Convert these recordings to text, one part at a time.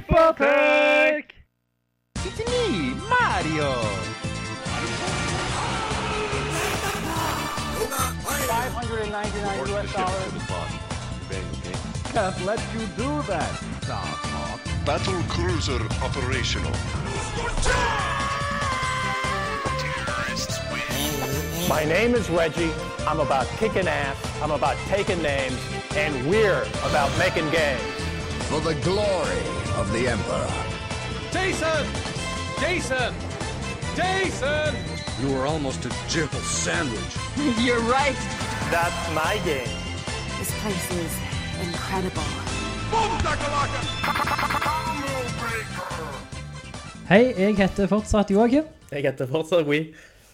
Supertech! It's me, Mario! Can't let you do that, Star Fox. Battle cruiser operational. My name is Reggie. I'm about kicking ass. I'm about taking names. And we're about making games. for the glory of the Emperor. Jason! Jason! Jason! You were almost a jibble sandwich. You're right. That's my game. This place is incredible. Hei, jeg heter fortsatt Joakim, Jeg heter fortsatt We.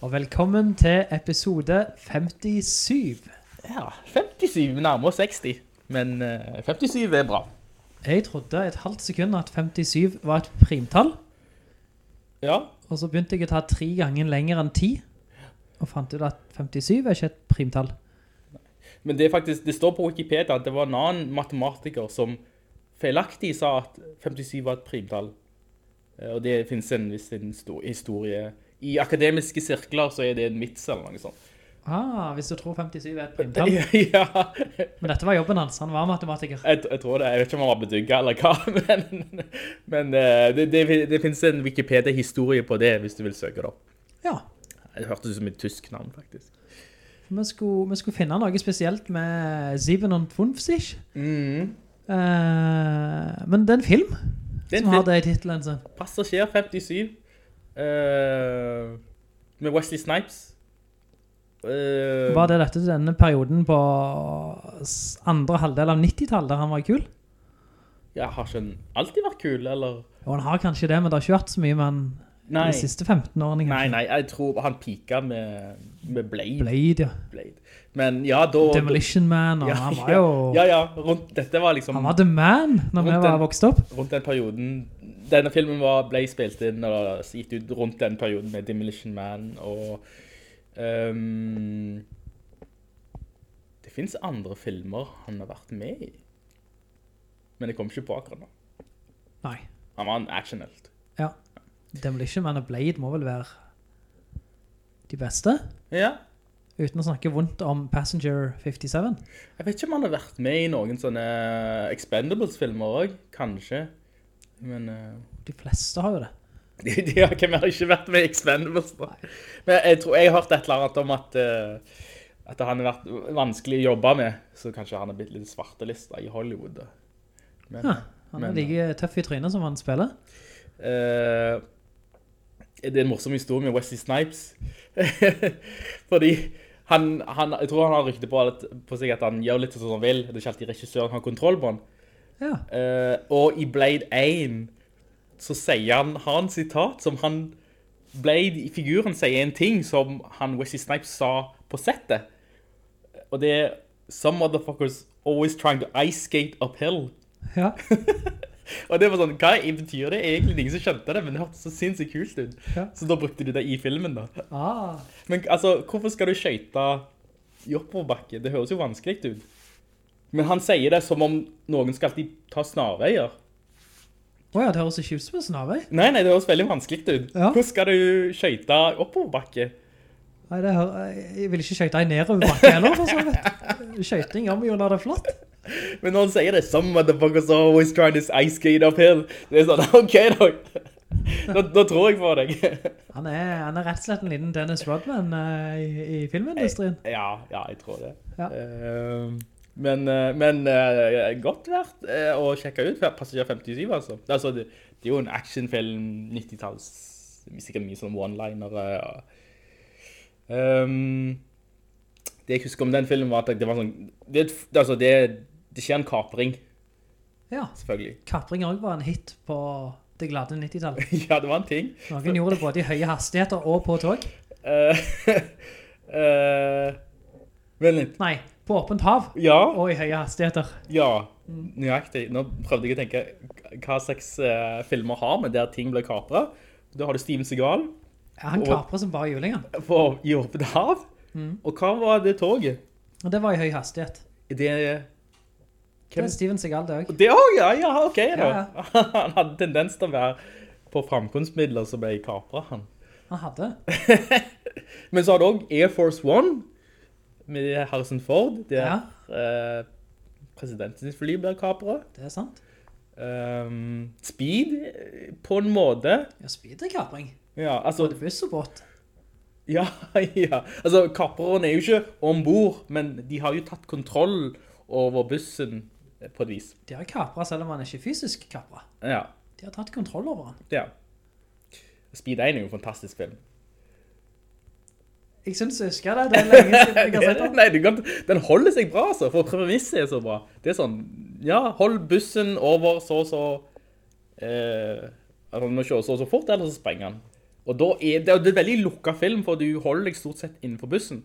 og velkommen til episode 57. Ja, 57. Vi nærmer oss 60. Men eh, 57 er bra. Jeg trodde et halvt sekund at 57 var et primtall, Ja. og så begynte jeg å ta tre ganger lenger enn 10, og fant ut at 57 er ikke et primtall. Men det er faktisk, det står på Wikipedia at det var en annen matematiker som feilaktig sa at 57 var et primtall. Eh, Og det finnes en viss en stor historie. I akademiske sirkler så er det en vits eller noe sånt. Ah, hvis du tror 57 er et primtall. Ja, Men dette var jobben hans, han var matematiker. jeg, jeg tror det. Jeg vet ikke om han var bedugget eller hva, men, men eh, det, det, det finnes en Wikipedia-historie på det hvis du vil søke det opp. Ja, Det hørtes ut som et tysk navn, faktisk. vi skulle, vi skulle finne noe spesielt med Sieben und Funfzig. Mm. Eh, men det er en film Det er en som har film. det i titelen sin. Passasjer 57 eh, med Wesley Snipes. Eh, Var det dette til denne perioden på s- andre halvdel av 90-tallet der han var kul? Ja, har ikke han alltid vært kul, eller? Og han har kanskje det, men det har ikke vært så mye med han Nei, de siste 15 årene. nei, kanskje. nei, jeg tror han pika med, med Blade. Blade, ja. Blade. Men ja, da... Demolition Man, og Ja, han var ja, jo... Ja, ja, rundt, dette var liksom Han var The Man når vi Rundt var den- vokst opp. rundt den perioden... Denne filmen var, ble spilt inn og gitt ut rundt den perioden med Demolition Man og... ehm, det finnes andre filmer han har vært med i. Men jeg kom ikke på akkurat nå. Nei, Han var en actionhelt. ja. Demolition Man og Blade må vel være de beste, Ja, uten å snakke vondt om Passenger 57. Jeg vet ikke om han har vært med i noen sånne Expendables-filmer òg. Kanskje. Men eh, De fleste har jo det. de, de har hvem har ikke vært med i Expendables, da? Men jeg tror jeg har hørt et eller annet om at, eh, at han har vært vanskelig å jobbe med. Så kanskje han har blitt litt svartelista i Hollywood. da. Men, Ja, han er Men- like tøff i trynet som han spiller. Eh, det er en morsom historie med Wesley Snipes. Fordi han, han, jeg tror han har rykte på, at- på seg at han gjør litt sånn som han vil. Det er ikke alltid regissøren har kontroll på han. Ja, Eh, og i Blade 1 så sier han, har han sitat som han, Blade i figuren sier en ting som han Wesley Snipes sa på settet. Og det er, some motherfuckers always trying to ice skate uphill. ja. Og det var sånn, hva betyr det? Egentlig ingen som skjønte det, men det hørte så sinnssykt kult ut. Ja. Så da brukte de det i filmen da. Ah, Men altså, hvorfor skal du skøyte i oppoverbakke? Det høres jo vanskelig ut. Men han sier det som om noen skal alltid ta snarveier. åja, det høres ikke ut som en snarvei. Nei, nei, det høres veldig vanskelig ut. Ja. Hvordan skal du skøyte oppoverbakke? Nei, det hør, jeg vil ikke skjøyte deg nedover bakken heller, for så vidt. Skjøyting gjør vi jo når det er flott. Men når han sier det, some motherfuckers are always trying this ice skate uphill. Det er sånn, ok da. Da, da tror jeg på deg. Han er, han er rett og slett en liten Dennis Rodman eh, i, i filmindustrien. Ja, ja, jeg tror det. Ja. Eh, men eh, men eh, godt verdt eh, å sjekke ut Passasjer 57, altså. altså det, det er jo en actionfilm, 90-talls, sikkert mye sånn one-linere. og- Ehm, det jeg husker om den filmen var at det var sånn, det, det- altså det, det skjer en kapring, Ja. selvfølgelig. Kapring også var en hit på det glade 90-tallet. ja, det var en ting. Noen gjorde det både i høye hastigheter og på tog. Eh, eh, vent litt. Nei, på åpent hav Ja. og i høye hastigheter. Ja, Mm. nøyaktig. Nå prøvde jeg å tenke k- hva slags eh, filmer har med der ting blir kapret. Da har du Steven Seagal Ja, Han Og- kaprer som bare juling, han. på I åpent Mm. hav. Og hva var det toget? Og det var i høy hastighet. Det Det er Steven Segal, det òg. Det òg, ja, ja, OK. da. Ja, Han hadde tendens til å være på framkomstmidler som ble kapra, han. Han hadde. Men så har du òg Air Force One med Harrison Ford, der Ja. eh, presidentens fly blir kapra. Det er sant. Um, speed, eh, på en måte. Ja, speed er kapring. Ja, altså Både buss og båt. Ja, ja. Altså, kaprerne er jo ikke om bord, men de har jo tatt kontroll over bussen eh, på et vis. De har kapra selv om han ikke er fysisk kapra. Ja. De har tatt kontroll over han. ja. Speed 1 er jo en fantastisk film. Jeg syns jeg husker det. Det er lenge siden jeg har sett den. Nei, du kan, den holder seg bra, altså, for premisset er så bra. Det er sånn, ja, hold bussen over så og så, eh, altså, den må kjøre så og så fort, eller så sprenger han. Og da er det, det er en veldig lukket film, for du holder deg stort sett innenfor bussen.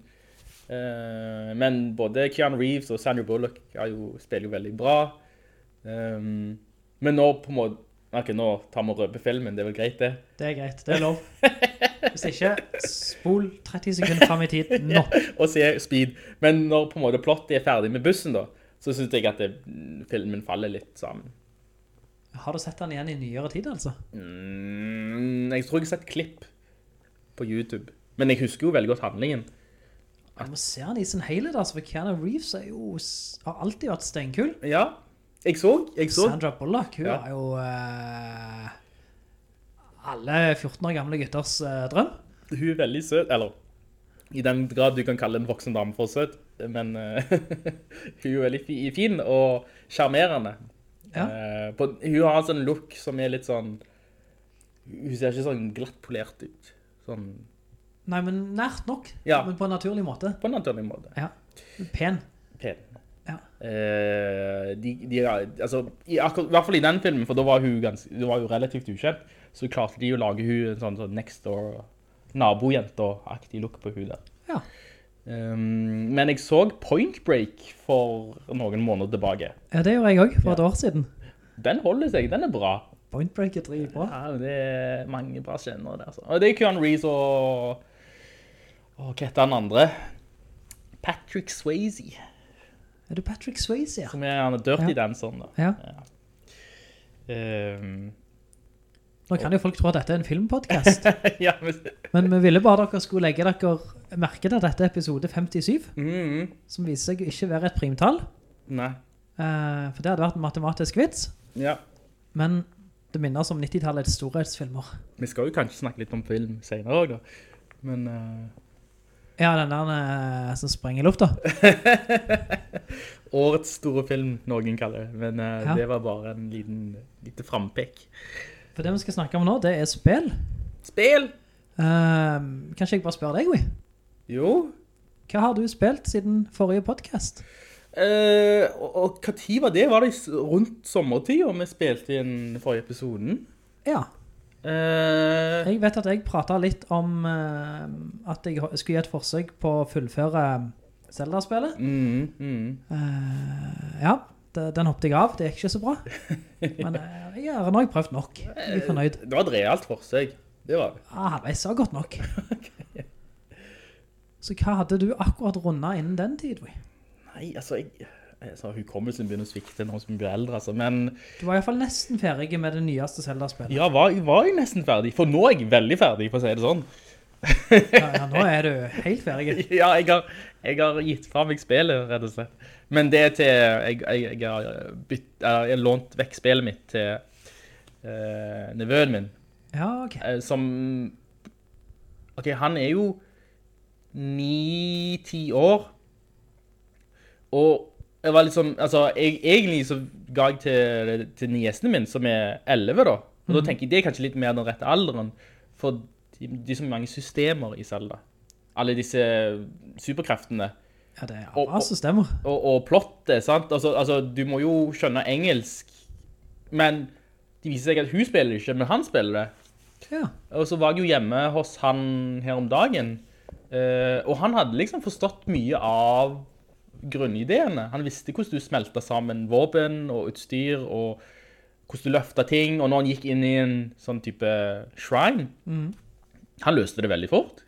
Eh, men både Keanu Reeves og Sandra Bullock er jo, spiller jo veldig bra. Ehm, men nå på en måte, ok, nå tar vi og røper filmen, det er vel greit det. Det er greit. Det er lov. Hvis ikke, spol 30 sekunder fram i tid nå. og se speed. Men når på en måte plottet er ferdig med bussen, da, så syns jeg at det, filmen faller litt sånn. sammen. Har du sett han igjen i nyere tid, altså? Mm, jeg tror jeg har sett klipp på YouTube. Men jeg husker jo veldig godt handlingen. Jeg må se han i sin helhet, altså, for Keanu Reeves er jo, har alltid vært steinkul. Ja, jeg så. Jeg så. Sandra Bullock, hun Ja. er jo eh, alle 14 år gamle gutters eh, drøm. Hun er veldig søt. Eller i den grad du kan kalle en voksen dame for søt. Men eh, hun er jo veldig fi- fin og sjarmerende. Ja. Eh, på- hun har en sånn look som er litt sånn Hun ser ikke sånn glattpolert ut. Sånn Nei, men nært nok, Ja. men på en naturlig måte. på en naturlig måte. Ja. Pen. Pen. Ja. Eh, de, de, altså, i, akkur- I hvert fall i den filmen, for da var hun, gans, hun var jo relativt ukjent, så klarte de å lage hun en sånn, sånn next door nabojenta-aktig look på hun der. Ja. Ehm, men jeg så Point Break for noen måneder tilbake. Ja, det gjorde jeg òg for et år siden. Den holder seg, den er bra. Point Break er dritbra. Ja, det er mange bra scener der. Altså. Og det er Keanu Reeves og, og hva heter han andre? Patrick Swayze, Er det Patrick Swayze, ja? som er han dirty Ja. danceren sånn, da. ja? Ehm, Nå kan jo folk tro at dette er en filmpodkast, ja, men, men vi ville bare dere skulle legge dere merke til at dette er episode 57, mm, som viser seg å ikke være et primtall, nei. eh, for det hadde vært en matematisk vits, Ja. men det minner oss om 90-tallets storhetsfilmer. Vi skal jo kanskje snakke litt om film senere også, da. Men eh, Ja, den der eh, som sprenger i lufta. årets store film, noen kaller det. Men eh, Ja. det var bare en liten, lite frampekk. For det vi skal snakke om nå, det er spill. Spill! Ehm, kanskje jeg bare spør deg, Ui. Jo. Hva har du spilt siden forrige podcast? Eh, og, og hva tid var det? Var det i s- rundt sommertid, og vi spilte inn forrige episoden? Ja, Eh, jeg vet at jeg pratet litt om ehm, at jeg ho- skulle gi et forsøk på å fullføre eh, Zelda-spillet. mm, mm. Eh, ja, det, den hoppet jeg av. Det gikk ikke så bra. Men eh, jeg har nå har jeg prøvd nok. Jeg er fornøyd. Det var et realt forsøk. Det var det. Ah, halvveis var godt nok. Så hva hadde du akkurat rundet innen den tid, Ui? Nei, altså, jeg... Altså, hukommelsen begynner å svikte når vi blir eldre, altså. Men Du var i hvert fall nesten ferdig med det nyeste Zelda-spillet. ja, var, var jeg nesten ferdig? For nå er jeg veldig ferdig, for å si det sånn. Ja, ja, nå er du helt ferdig. Ja, jeg har, jeg har gitt fra meg spillet, rett og slett. Men det er til Jeg, jeg, jeg har bytt, jeg har lånt vekk spillet mitt til eh, nevøen min, Ja, ok. eh, som OK, han er jo ni-ti år. Og jeg var litt sånn Altså, jeg, egentlig så ga jeg til, til niesen min, som er elleve, da. Og da tenker jeg det er kanskje litt mer den rette alderen. For de, de er så mange systemer i Selda. Alle disse superkreftene. Ja, det er Og- bra og- systemer. Og, og plottet, sant? Altså, altså, du må jo skjønne engelsk. Men det viser seg at hun spiller ikke, men han spiller det. Ja. Og så var jeg jo hjemme hos han her om dagen. eh, og han hadde liksom forstått mye av grunnideene. Han visste hvordan du smelta sammen våpen og utstyr, og hvordan du løfta ting. Og når han gikk inn i en sånn type shrine Han løste det veldig fort.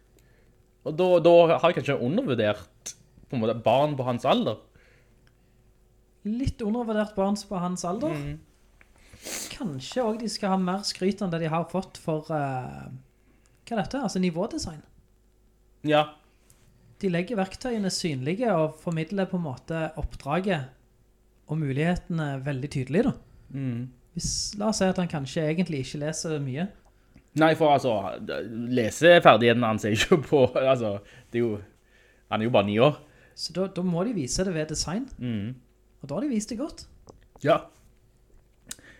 Og da, da har jeg kanskje undervurdert på en måte, barn på hans alder. litt undervurdert barn på hans alder. Mm. Kanskje også de skal ha mer skryt enn det de har fått for, eh, hva er dette? Altså nivådesign. Ja. De legger verktøyene synlige og formidler på en måte oppdraget og mulighetene veldig tydelig da. Hvis, la oss si at han kanskje egentlig ikke leser mye. Nei, for altså, leseferdigheten hans er jo på Altså, det er jo Han er jo bare ni år. Så da, da må de vise det ved design. Og da har de vist det godt. Ja.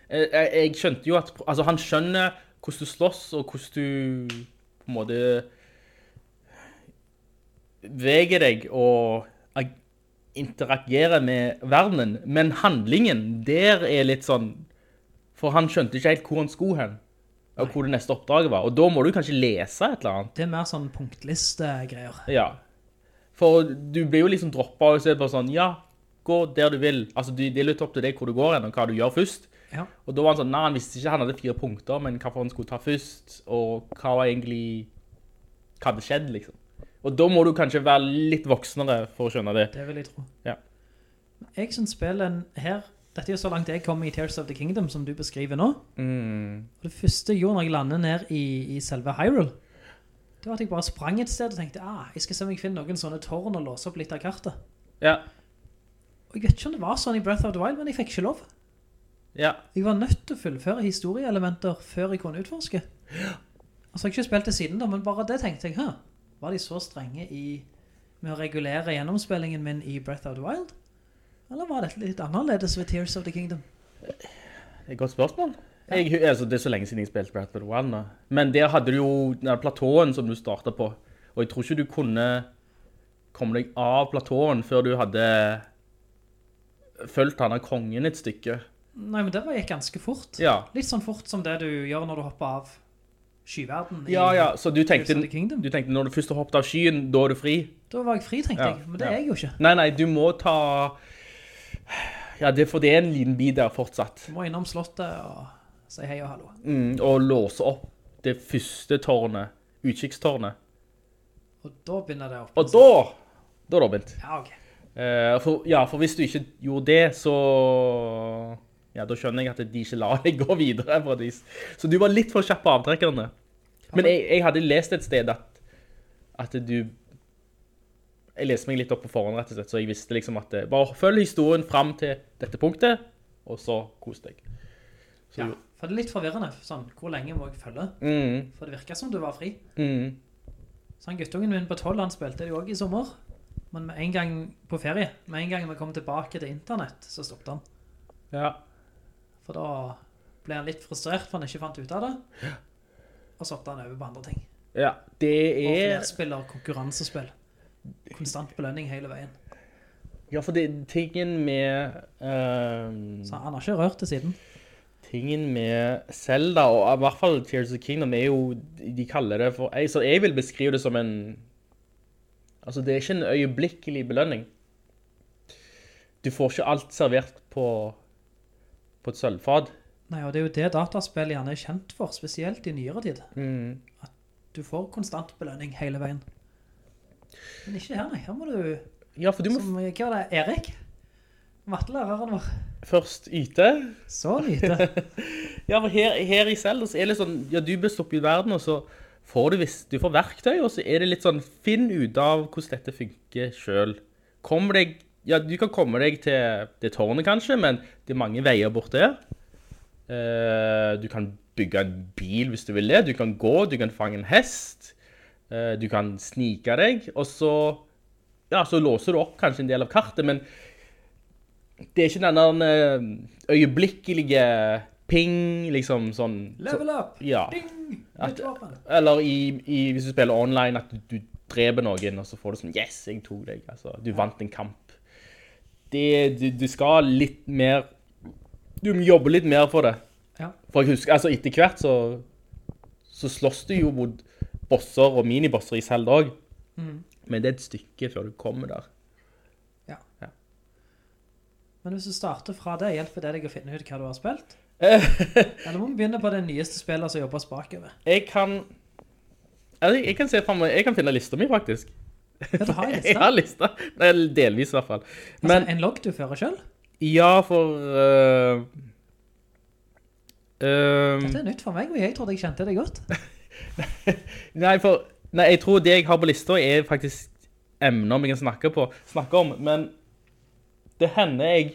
Jeg, jeg, jeg skjønte jo at Altså, han skjønner hvordan du slåss, og hvordan du på en måte veger deg og ag- interagerer med verdenen, men handlingen der er litt sånn For han skjønte ikke helt hvor han skulle hen, og hvor det neste oppdraget var. Og da må du kanskje lese et eller annet. Det er mer sånn punktliste-greier. Ja. For du blir jo liksom droppa og ser på sånn Ja, gå der du vil. Altså, du, det er litt opp til deg hvor du går hen, og hva du gjør først. Ja. Og da var han sånn Nei, han visste ikke han hadde fire punkter, men hva for han skulle ta først, og hva var egentlig Hva hadde skjedd, liksom. Og da må du kanskje være litt voksnere for å skjønne det. Det vil jeg tro. Ja. Jeg synes spillet her, dette er jo så langt jeg kommer i Tears of the Kingdom, som du beskriver nå. Og det første jeg gjorde når jeg landet ned i, i selve Hyrule, det var at jeg bare sprang et sted og tenkte, ah, jeg skal se om jeg finner noen sånne tårn og låse opp litt av kartet. Ja. Og jeg vet ikke om det var sånn i Breath of the Wild, men jeg fikk ikke lov. Ja. Jeg var nødt til å fullføre historieelementer før jeg kunne utforske. Altså, jeg har ikke spilt det siden da, men bare det tenkte jeg, hæ, var de så strenge i, med å regulere gjennomspillingen min i Breath of the Wild? Eller var dette litt annerledes ved Tears of the Kingdom? Det er et godt spørsmål. Jeg, altså, det er så lenge siden jeg spilte Breath of the Wild nå. Men der hadde du jo den der platåen som du startet på. Og jeg tror ikke du kunne komme deg av platåen før du hadde fulgt han av kongen et stykke. Nei, men det var gikk ganske fort. Ja. Litt sånn fort som det du gjør når du hopper av skyverden. i- Ja, ja, så du Tears tenkte, of the Kingdom. du tenkte når du først har hoppet av skyen, da er du fri. Da var jeg fri, tenkte Ja, jeg, men det ja. er jeg jo ikke. Nei, nei, du må ta... Ja, det, for det er en liten bit der fortsatt. Du må innom slottet og si hei og hallo. Mm, og låse opp det første tårnet, utkikkstårnet. Og da begynner det opp. Og da, da er det åpent. Ja, ok. Eh, for, ja, for hvis du ikke gjorde det, så Ja, da skjønner jeg at de ikke lar deg gå videre. på et vis. Så du var litt for kjapp på avtrekkerne. Men jeg, jeg hadde lest et sted at, at du Jeg leste meg litt opp på forhånd, rett og slett, så jeg visste liksom at eh, Bare følg historien fram til dette punktet, og så kos deg. Så Ja, jo- for det er litt forvirrende, sånn, hvor lenge må jeg følge? Mm. For det virker som du var fri. Sånn, guttungen min på 12, han spilte det jo også i sommer. Men med en gang på ferie, med en gang vi kom tilbake til internett, så stoppte han. ja. For da ble han litt frustrert, for han ikke fant ut av det. Og så hoppet han over på andre ting. ja. Det Og er flerspiller, konkurransespill. Konstant belønning hele veien. Ja, for det tingen med eh, Så han har ikke rørt det siden. Tingen med Zelda, og i hvert fall Tears of the Kingdom, er jo De kaller det for jeg, Så jeg vil beskrive det som en Altså, det er ikke en øyeblikkelig belønning. Du får ikke alt servert på på et sølvfat. Nei, og det er jo det dataspill gjerne er kjent for, spesielt i nyere tid. Mm. At du får konstant belønning hele veien. Men ikke her, nei. Her må du, Ja, for du må som, hva var det, Erik? Mattelæreren vår. f- først yte. Så lite. Ja, for her, her i Zelda så er det sånn Ja, du blir stoppet i verden, og så får du visst Du får verktøy, og så er det litt sånn Finn ut av hvordan dette funker sjøl. Kom deg Ja, du kan komme deg til det tårnet, kanskje, men det er mange veier bort der. Eh, du kan bygge en bil hvis du vil det. Du kan gå, du kan fange en hest. Eh, du kan snike deg, og så Ja, så låser du opp kanskje en del av kartet, men det er ikke den der eh, øyeblikkelige ping, liksom sånn så, Level up! Ja. Ding! At- Nytt våpen. Eller i, i, hvis du spiller online, at du, du dreper noen, og så får du sånn Yes, jeg tok deg. Altså, du vant en kamp. Det, du, du skal litt mer Du må jobbe litt mer for det. Ja. For jeg husker, altså etter hvert så, så slåss du jo mot bosser og minibosser i Zelda òg. Mm. Men det er et stykke før du kommer der. Men hvis du starter fra det, hjelper det deg å finne ut hva du har spilt? Eller må vi begynne på det nyeste spillet som jobbes bakover? Jeg kan altså, Jeg kan se frem, jeg kan finne lista mi, faktisk. Ja, du har en Jeg liste. har lista. Nei, Delvis, i hvert fall. Men altså, en logg du fører selv? Ja, for eh, ehm, Dette er nytt for meg, og jeg trodde jeg kjente det godt. Nei, for Nei, jeg tror det jeg har på lista, er faktisk emner vi kan snakke, på, snakke om. Men det hender jeg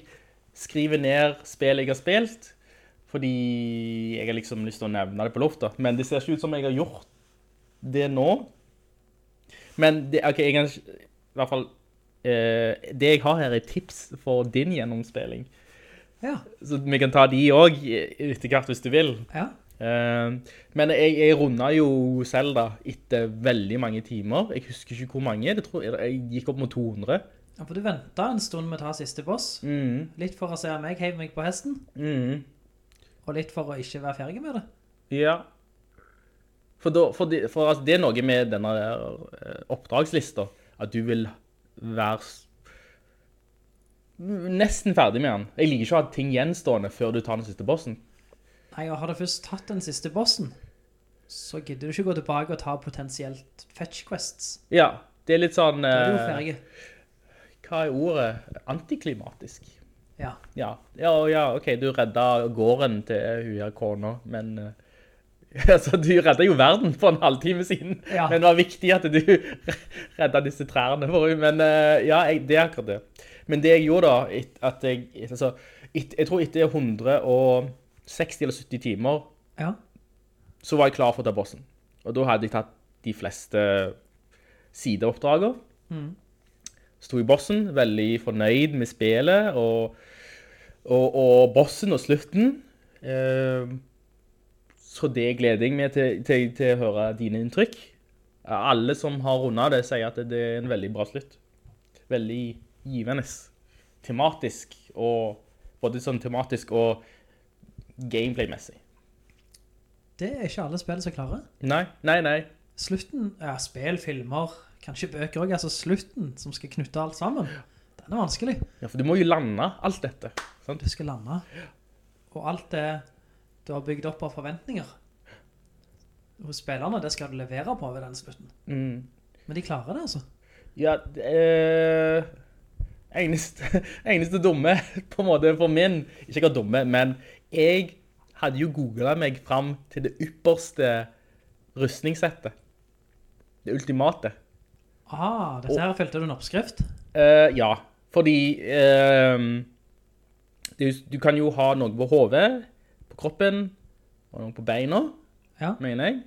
skriver ned spill jeg har spilt, fordi jeg har liksom lyst til å nevne det på lufta. Men det ser ikke ut som jeg har gjort det nå. Men det, OK, jeg kan ikke I hvert fall eh, Det jeg har her, er tips for din gjennomspilling. Ja, Så vi kan ta de òg etter hvert, hvis du vil. ja. Eh, men jeg, jeg runda jo Zelda etter veldig mange timer. Jeg husker ikke hvor mange. Det tror jeg, jeg gikk opp mot 200. Ja, For du venta en stund med å ta siste boss. Mm, Litt for å se meg heive meg på hesten, Mhm. mm, og litt for å ikke være ferdig med det. ja. For, da, for, det, for altså, det er noe med denne eh, oppdragslista. At du vil være s- nesten ferdig med den. Jeg liker ikke å ha ting gjenstående før du tar den siste bossen. Nei, og Har du først tatt den siste bossen, så gidder du ikke gå tilbake og ta potensielt fetch quests. Ja, det er litt sånn Da er du jo eh, ferdig. Hva er ordet? Antiklimatisk. Ja. Ja, ja, ja, ok, du redda gården til hun her kona, men eh, altså, du redda jo verden for en halvtime siden, Ja. men det var viktig at du redda disse trærne for henne, men eh, ja, jeg, det er akkurat det. Men det jeg gjorde da, et, at jeg, et- altså, et, jeg tror etter 160 eller 70 timer, ja. så var jeg klar for å ta bossen. Og da hadde jeg tatt de fleste sideoppdrager. Sto i bossen, veldig fornøyd med spillet og, og, og bossen og slutten. Eh, så det gleder jeg meg til, til, til å høre dine inntrykk. Alle som har runda det, sier at det er en veldig bra slutt. Veldig givende. Tematisk og Både sånn tematisk og gameplay-messig. Det er ikke alle spill som klarer. Nei, nei, nei. Slutten ja, Spill, filmer, kanskje bøker òg. Altså slutten som skal knytte alt sammen. Den er vanskelig. Ja, for du må jo lande alt dette. Sant? Du skal lande. Og alt det du har bygd opp av forventninger hos spillerne, det skal du levere på ved den slutten. Mm. Men de klarer det, altså. Ja, det eh, eneste, eneste dumme, på en måte, for min Ikke akkurat dumme, men jeg hadde jo googla meg fram til det ypperste rustningssettet. Det ultimate. Ah, dette her fulgte du en oppskrift. Eh, ja, fordi ehm, det er jo- Du kan jo ha noe på hodet, på kroppen og noe på beina. Ja. mener jeg.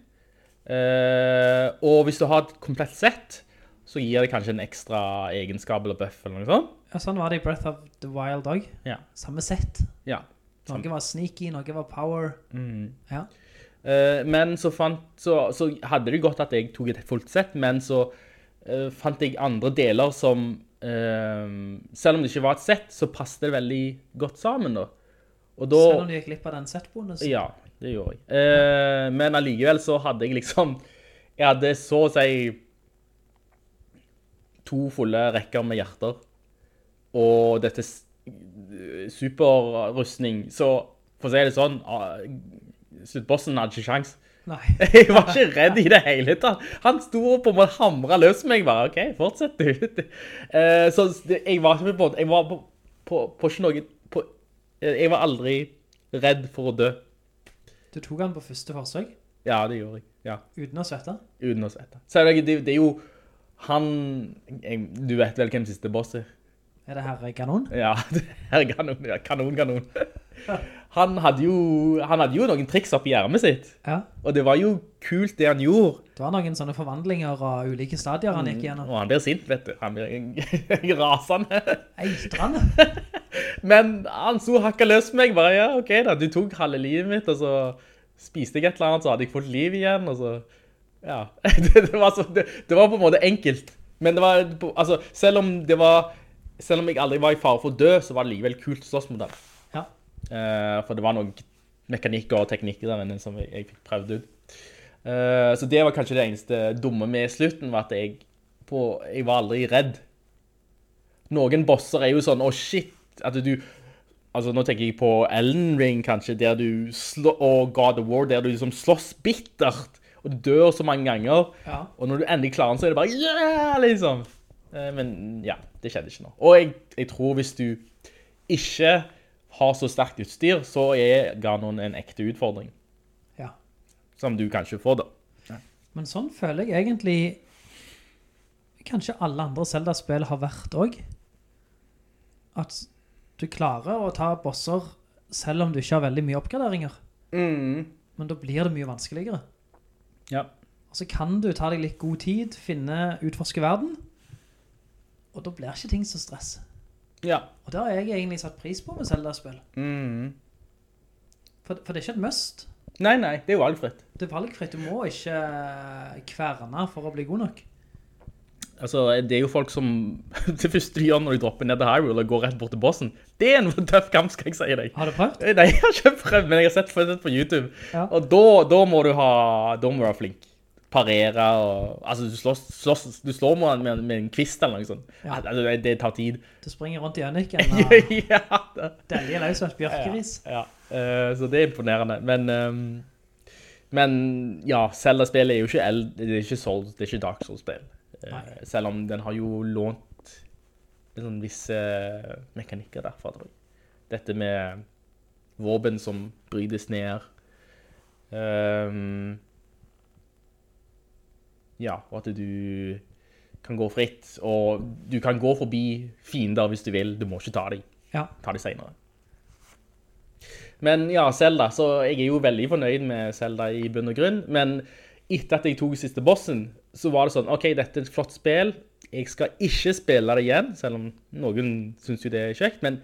Eh, og hvis du har et komplett sett, så gir det kanskje en ekstra egenskap eller buff eller noe sånt. Ja, sånn var det i Breath of the Wild òg. Ja. Samme sett. Ja. Samme. Mm. Noe var sneaky, noe var power. Ja. Eh, men så, fant, så, så hadde det godt at jeg tok et fullt sett, men så eh, fant jeg andre deler som eh, Selv om det ikke var et sett, så passet det veldig godt sammen, da. Og da Selv om du gikk glipp av den set-bonusen. Ja, det gjorde jeg. Eh, men allikevel så hadde jeg liksom Jeg hadde så å si to fulle rekker med hjerter. Og dette s- superrustning Så for å si det sånn ah, Sluttbossen hadde ikke sjans. Nei. Jeg var ikke redd i det hele tatt. Han sto og på en måte hamra løs meg. bare, OK, fortsett, du. Eh, så det- jeg var ikke på en måte Jeg var på, på, på ikke noe på, eh, Jeg var aldri redd for å dø. Du tok den på første forsøk Ja, det gjorde jeg. Ja, uten å svette. uten å sette. Så er det, det, det er jo han jeg, Du vet vel hvem siste boss er? Er det her kanon? Ja, det er kanon, ja, kanon, kanon. Han hadde jo, han hadde jo noen triks oppi ermet sitt, Ja. og det var jo kult det han gjorde. Det var noen sånne forvandlinger og ulike stadier han gikk Og gjennom. han blir sint, vet du. Han blir rasende. Eitrende. Men han sto og hakka løs på meg. Bare ja, OK, da. Du tok halve livet mitt, og så spiste jeg et eller annet, så hadde jeg fått liv igjen, og så Ja. Det, det, var, så, det, det var på en måte enkelt. Men det var på- Altså, selv om det var Selv om jeg aldri var i fare for å dø, så var det likevel kult å slåss mot den. Ja. Eh, for det var noen mekanikker og teknikker der inne som jeg, jeg fikk prøvd ut. Eh, så det var kanskje det eneste dumme med slutten, var at jeg, på, jeg var aldri redd. Noen bosser er jo sånn, å shit, at du... Altså, nå tenker jeg på Elden Ring, kanskje, der du slå, og God of War, der du liksom slåss bittert, og dør så mange ganger. Ja. Og når du endelig klarer den, så er det bare, yeah, liksom. Eh, men ja, det skjedde ikke nå. Og jeg, jeg tror hvis du ikke har så sterkt utstyr, så er Ganon en ekte utfordring. Ja. Som du kanskje får, da. Men sånn føler jeg egentlig kanskje alle andre Zelda-spill har vært òg. At du klarer å ta bosser selv om du ikke har veldig mye oppgraderinger. Men da blir det mye vanskeligere. Ja. Og så kan du ta deg litt god tid, finne, utforske verden. Og da blir ikke ting så stress. ja. Og det har jeg egentlig satt pris på med Zelda-spill. Mhm. For, for det er ikke et must. Nei, nei, det er jo valgfritt. Det er valgfritt. Du må ikke eh, kverne for å bli god nok. Altså, det er jo folk som Det første de gjør når de dropper ned til Hyrule og går rett bort til bossen, det er en tøff kamp, skal jeg si deg. Har du prøvd? Eh, Nei, jeg har ikke prøvd, men jeg har sett på, sett på YouTube. Ja. Og da, da må du ha Da må du være flink. Parere og Altså, du, slåss, slåss, du slår med, med, med en kvist eller noe sånt. Ja. Altså, det, det tar tid. Du springer rundt i øynikken og ja, det, deljer løs som et bjørkeris. ja. Eh, så det er imponerende. Men ehm, Men ja, Zelda-spillet er jo ikke eld, Det er ikke Souls, det er ikke Dark Souls-spill. Eh, Nei. selv om den har jo lånt en sånn visse mekanikker derfra, tror jeg. Dette med våpen som brytes ned. Ehm, ja, og at du kan gå fritt, og du kan gå forbi fiender hvis du vil. Du må ikke ta dem Ja. ta det senere. Men ja, Zelda, så jeg er jo veldig fornøyd med Zelda i bunn og grunn, men etter at jeg tok siste bossen, så var det sånn, ok, dette er et flott spill, jeg skal ikke spille det igjen, selv om noen synes jo det er kjekt, men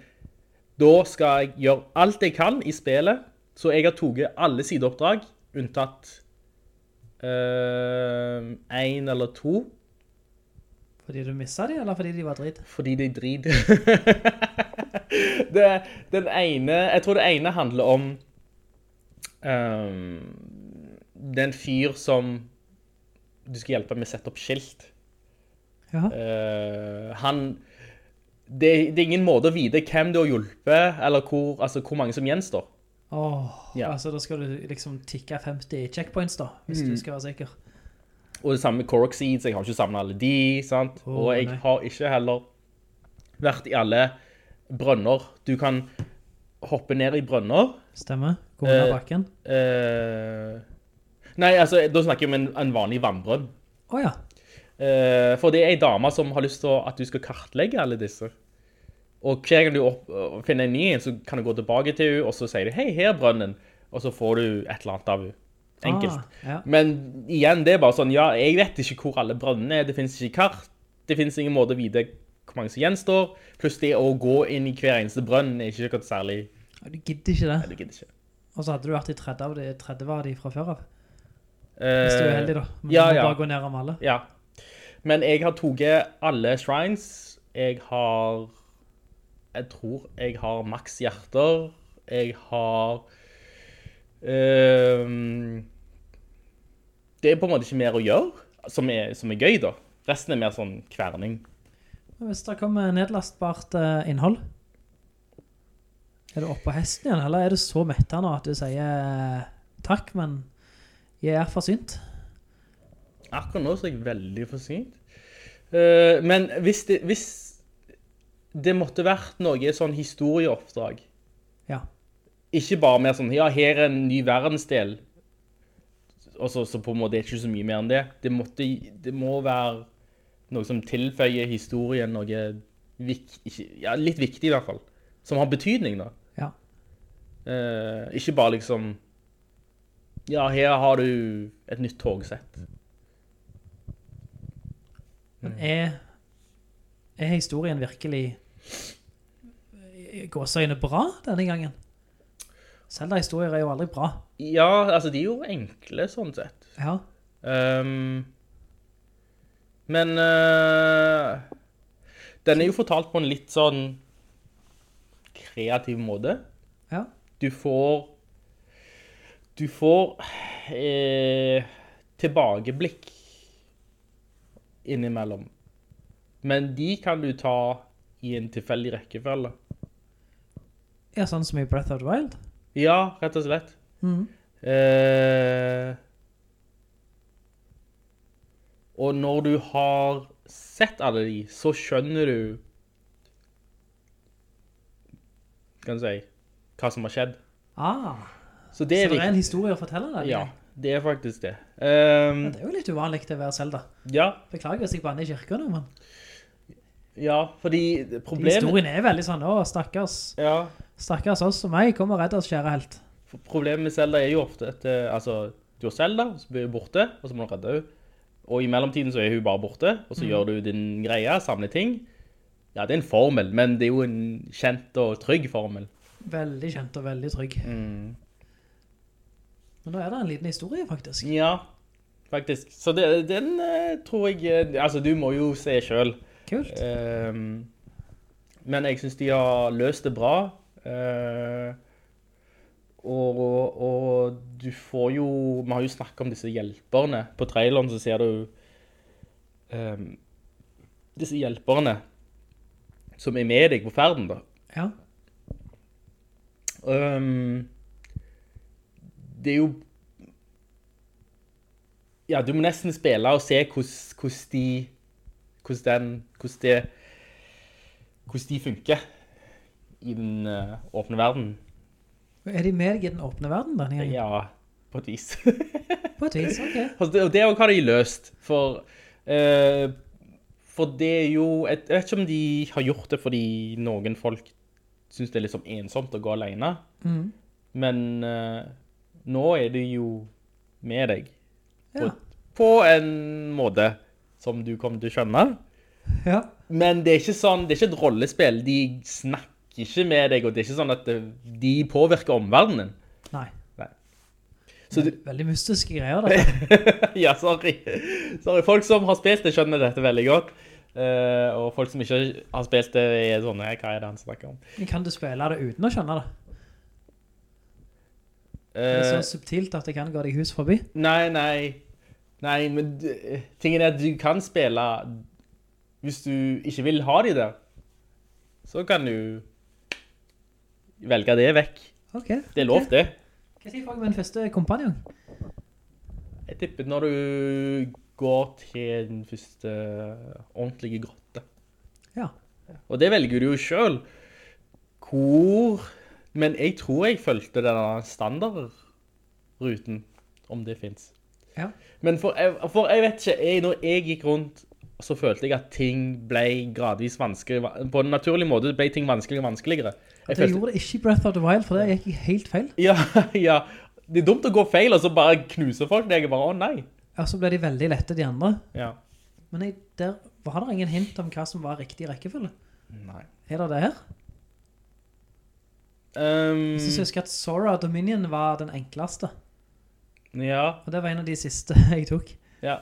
da skal jeg gjøre alt jeg kan i spillet, så jeg har toget alle sideoppdrag, unntatt øh, en eller to, Fordi du missa de, eller fordi de var drit? fordi de driter. det, den ene Jeg tror det ene handler om ehm, Det er en fyr som du skal hjelpe med å sette opp skilt. Ja. Eh, han det, det er ingen måte å vite hvem du har hjulpet, eller hvor, altså, hvor mange som gjenstår. Åh, Ja. altså da skal du liksom tikke 50 checkpoints da, hvis Mm. du skal være sikker. Og det samme med Korok Seeds. Jeg har ikke samla alle de. sant? Å, og jeg nei. har ikke heller vært i alle brønner. Du kan hoppe ned i brønner. Stemmer. Gå ned Eh, bakken. Eh, nei, altså, da snakker jeg om en, en vanlig vannbrønn. Å ja. Eh, for det er ei dame som har lyst til at du skal kartlegge alle disse. Og hver gang du opp, øh, finner en ny en, så kan du gå tilbake til henne, og så sier du 'hei, her er brønnen', og så får du et eller annet av henne. Enkelt. Ah, ja. Men igjen, det er bare sånn Ja, jeg vet ikke hvor alle brønnene er, det fins ikke kart. Det fins ingen måte å vite hvor mange som gjenstår. Pluss det å gå inn i hver eneste brønn er ikke noe særlig Du gidder ikke Jeg det. gidder ikke. Og så hadde du vært i 30 av de 30 var de fra før av. Eh, Hvis du er heldig da. Men ja, du må ja. bare gå ned om alle. Ja. Men jeg har tatt alle shrines. Jeg har Jeg tror jeg har maks hjerter. Jeg har ehm, Det er på en måte ikke mer å gjøre, som er, som er gøy, da. Resten er mer sånn kverning. Men hvis det kommer nedlastbart eh, innhold, er du oppe på hesten igjen, eller er du så mettet nå at du sier eh, takk, men jeg er forsynt? Akkurat nå så er jeg veldig forsynt. Eh, men hvis det, hvis det måtte vært noe sånn historieoppdrag Ja. ikke bare mer sånn Ja, her er en ny verdensdel. Og så, så på en måte er det ikke så mye mer enn det. Det, måtte, det må være noe som tilføyer historien noe vik, ikke, ja, litt viktig, i hvert fall. Som har betydning, da. Ja. Eh, ikke bare liksom Ja, her har du et nytt togsett. Mm. Men er, er historien virkelig i gåseøyne bra denne gangen? Zelda-historier er jo aldri bra. Ja, altså, de er jo enkle, sånn sett. Ja. Ehm, men eh, den er jo fortalt på en litt sånn kreativ måte. Ja. Du får Du får eh, tilbakeblikk innimellom. Men de kan du ta i en tilfeldig rekkefølge. ja, sånn som i Breath of the Wild. Ja, rett og slett. Mhm. Eh, og når du har sett alle de, så skjønner du kan du si, hva som har skjedd. Ah, Så det så er, det er en viktig. historie å fortelle der? Ja, det er faktisk det. Ehm, Ja, Det er jo litt uvanlig til å være Zelda. ja, Beklager hvis jeg banner i kirka nå, men ja, fordi problemet, historien er veldig sånn, å, stakkars, ja, stakkars oss og meg, kom og redd oss, kjære helt. for problemet med Zelda er jo ofte at, eh, altså, du har Zelda, så blir hun borte, og så må du redde henne. Og i mellomtiden så er hun bare borte, og så gjør du din greie, samler ting. Ja, det er en formel, men det er jo en kjent og trygg formel. Veldig kjent og veldig trygg. Men nå er det en liten historie, faktisk. Ja, faktisk. Så det, den eh, tror jeg eh, Altså, du må jo se sjøl. Kult. Ehm, men jeg syns de har løst det bra. Eh, og, og, og du får jo Vi har jo snakka om disse hjelperne. På traileren så ser du ehm, disse hjelperne som er med deg på ferden, da. Ja. Ehm, det er jo Ja, du må nesten spille og se hvordan hvordan de Hvordan den Hvordan det Hvordan de funker i den eh, åpne verden. Er de med deg i den åpne verden, denne gangen? Ja, på et vis. På et vis, ok. Altså, det- Og det er jo hva de har løst, for eh, For det er jo Jeg jeg vet ikke om de har gjort det fordi noen folk syns det er litt sånn ensomt å gå alene. Men eh, nå er de jo med deg. På, Ja. på en måte som du kommer til å skjønne. ja. Men det er ikke sånn, det er ikke et rollespill. De snakker ikke med deg, og det er ikke sånn at eh, de påvirker omverdenen. Nei. Så du, Veldig mystiske greier, dette. Ja, sorry. sorry. Folk som har spilt det, skjønner dette veldig godt. Eh, og folk som ikke har spilt det, er sånne Hva er det han snakker om? Kan du spille det uten å skjønne det? Det er sånn- så Eh, subtilt at det kan gå deg hus forbi. nei, nei. Nei, men d- eh, tingen er at du kan spille Hvis du ikke vil ha de der, så kan du velge det vekk. Ok. Det er lov, det. Hva sier folk med den første kompanjong? Jeg tipper når du går til den første ordentlige grotte. Ja. Og det velger du jo sjøl. Hvor Men jeg tror jeg fulgte denne standardruten, om det fins. Ja. Men for jeg, for jeg vet ikke jeg, Når jeg gikk rundt, så følte jeg at ting ble gradvis vanskeligere. På en naturlig måte ble ting vanskeligere og vanskeligere. Jeg Det følte- gjorde det ikke i Breath of the Wild, for det gikk helt feil. ja, ja. Det er dumt å gå feil, og så bare knuse folk. Jeg er bare Å, nei. Ja, så ble de veldig lette, de andre. Ja. Men jeg, der var det ingen hint om hva som var riktig rekkefølge. Nei. Er det det her? Um, Jeg synes jeg husker at Sora Dominion var den enkleste. ja. Og det var en av de siste jeg tok. Ja.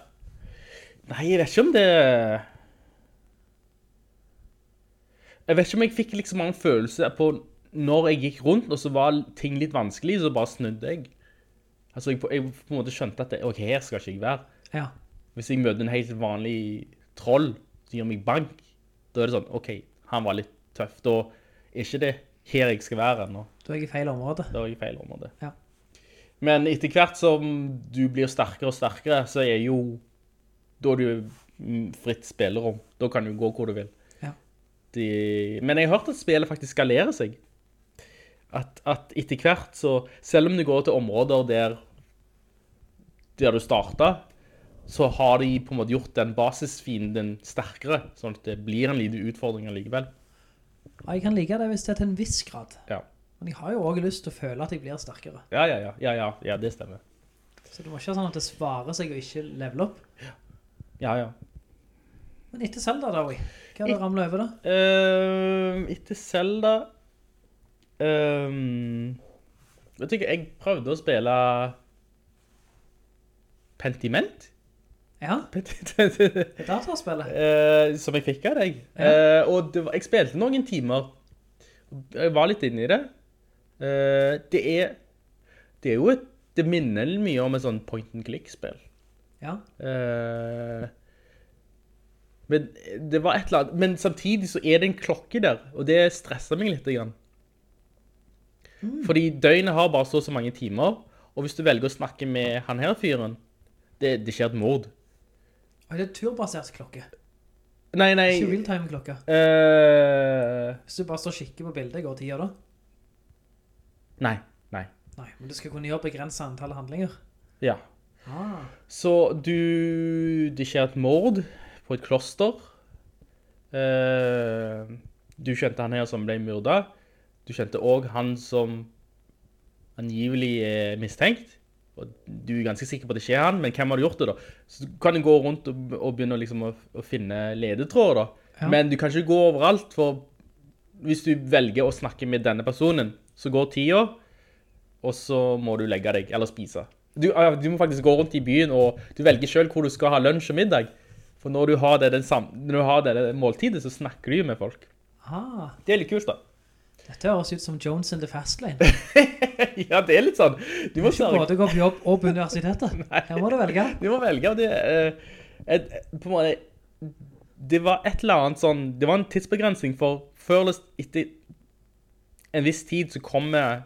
Nei, jeg vet ikke om det Jeg vet ikke om jeg fikk liksom en følelse på når jeg gikk rundt, og så var ting litt vanskelig, så bare snudde jeg. Altså, jeg på, jeg på en måte skjønte at det, OK, her skal ikke jeg være. Ja. Hvis jeg møter en helt vanlig troll som gir meg bank, da er det sånn OK, han var litt tøff. Da er ikke det her jeg skal være ennå. Da er jeg i feil område. Da er jeg i feil område. Ja. Men etter hvert som du blir sterkere og sterkere, så er jo Da er du mm, fritt spillerom. Da kan du gå hvor du vil. Ja. De, men jeg har hørt at spillet faktisk skalerer seg. At, at etter hvert så Selv om du går til områder der der du starta, så har de på en måte gjort den basisfienden sterkere, sånn at det blir en liten utfordring allikevel. Og jeg kan like det hvis det er til en viss grad. Ja. Men jeg har jo også lyst til å føle at jeg blir sterkere. Ja, ja, ja, ja, ja, ja, det stemmer. Så det må ikke være sånn at det svarer seg å ikke level opp. Ja, ja. Men etter Zelda da, Oi. Hva er det ramlet over da? Ehm, etter Zelda ehm, Vet du ikke, jeg prøvde å spille Pentiment? Ja, Pentiment. det er dataspillet. Eh, som jeg fikk av deg. Eh, og det var, jeg spilte noen timer. Jeg var litt inne i det. Eh, det er Det er jo et Det minner mye om et sånn point and click-spill. Ja. Eh, men det var et eller annet Men samtidig så er det en klokke der, og det stresser meg litt. Grann. Fordi døgnet har bare så og så mange timer, og hvis du velger å snakke med han her fyren Det, det skjer et mord. Og det er turbasert klokke. Nei, eh, nei Ikke real-time klokke. eh, Hvis du bare står og kikker på bildet, går tida da. Nei. Nei. Nei, men du skal kunne gjøre begrenset antall handlinger. Ja. Ah. Så du Det skjer et mord på et kloster. Eh, du kjente han her som ble myrda. Du kjente òg han som angivelig er mistenkt. Og du er ganske sikker på at det skjer han, men hvem har gjort det, da? Så du kan jo gå rundt og, og begynne liksom å, å finne ledetråder, da. Ja. Men du kan ikke gå overalt, for hvis du velger å snakke med denne personen, så går tida, og så må du legge deg, eller spise. Du, ja, du må faktisk gå rundt i byen, og du velger selv hvor du skal ha lunsj og middag. For når du har det, den sam når du har det, det måltidet, så snakker du jo med folk. Ah, Det er litt kult da. dette høres ut som Jones in the Fastlane. ja, det er litt sånn. Du må, Ikke sørge, både gå på jobb og på universitetet. Her må du velge. du må velge, og det eh, et, på en måte, det var et eller annet sånn, det var en tidsbegrensning, for før eller etter en viss tid så kommer,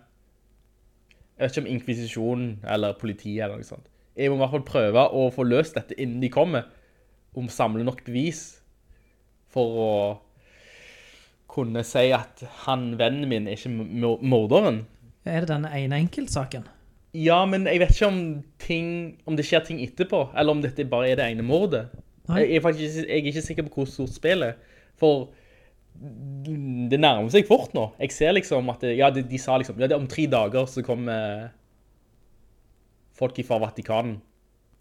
jeg vet ikke om inkvisisjonen eller politiet eller noe sånt. Jeg må i hvert fall prøve å få løst dette innen de kommer, om samle nok bevis for å kunne si at han, vennen min, er ikke mor- morderen. Er det denne ene enkeltsaken? Ja, men jeg vet ikke om, ting, om det skjer ting etterpå, eller om dette bare er det ene mordet. Nei. Jeg, jeg, er faktisk, jeg er ikke sikker på hvor stort spillet er, for det nærmer seg fort nå. Jeg ser liksom at, det, ja, de, de sa liksom, ja, det er om tre dager så kommer folk fra Vatikanen.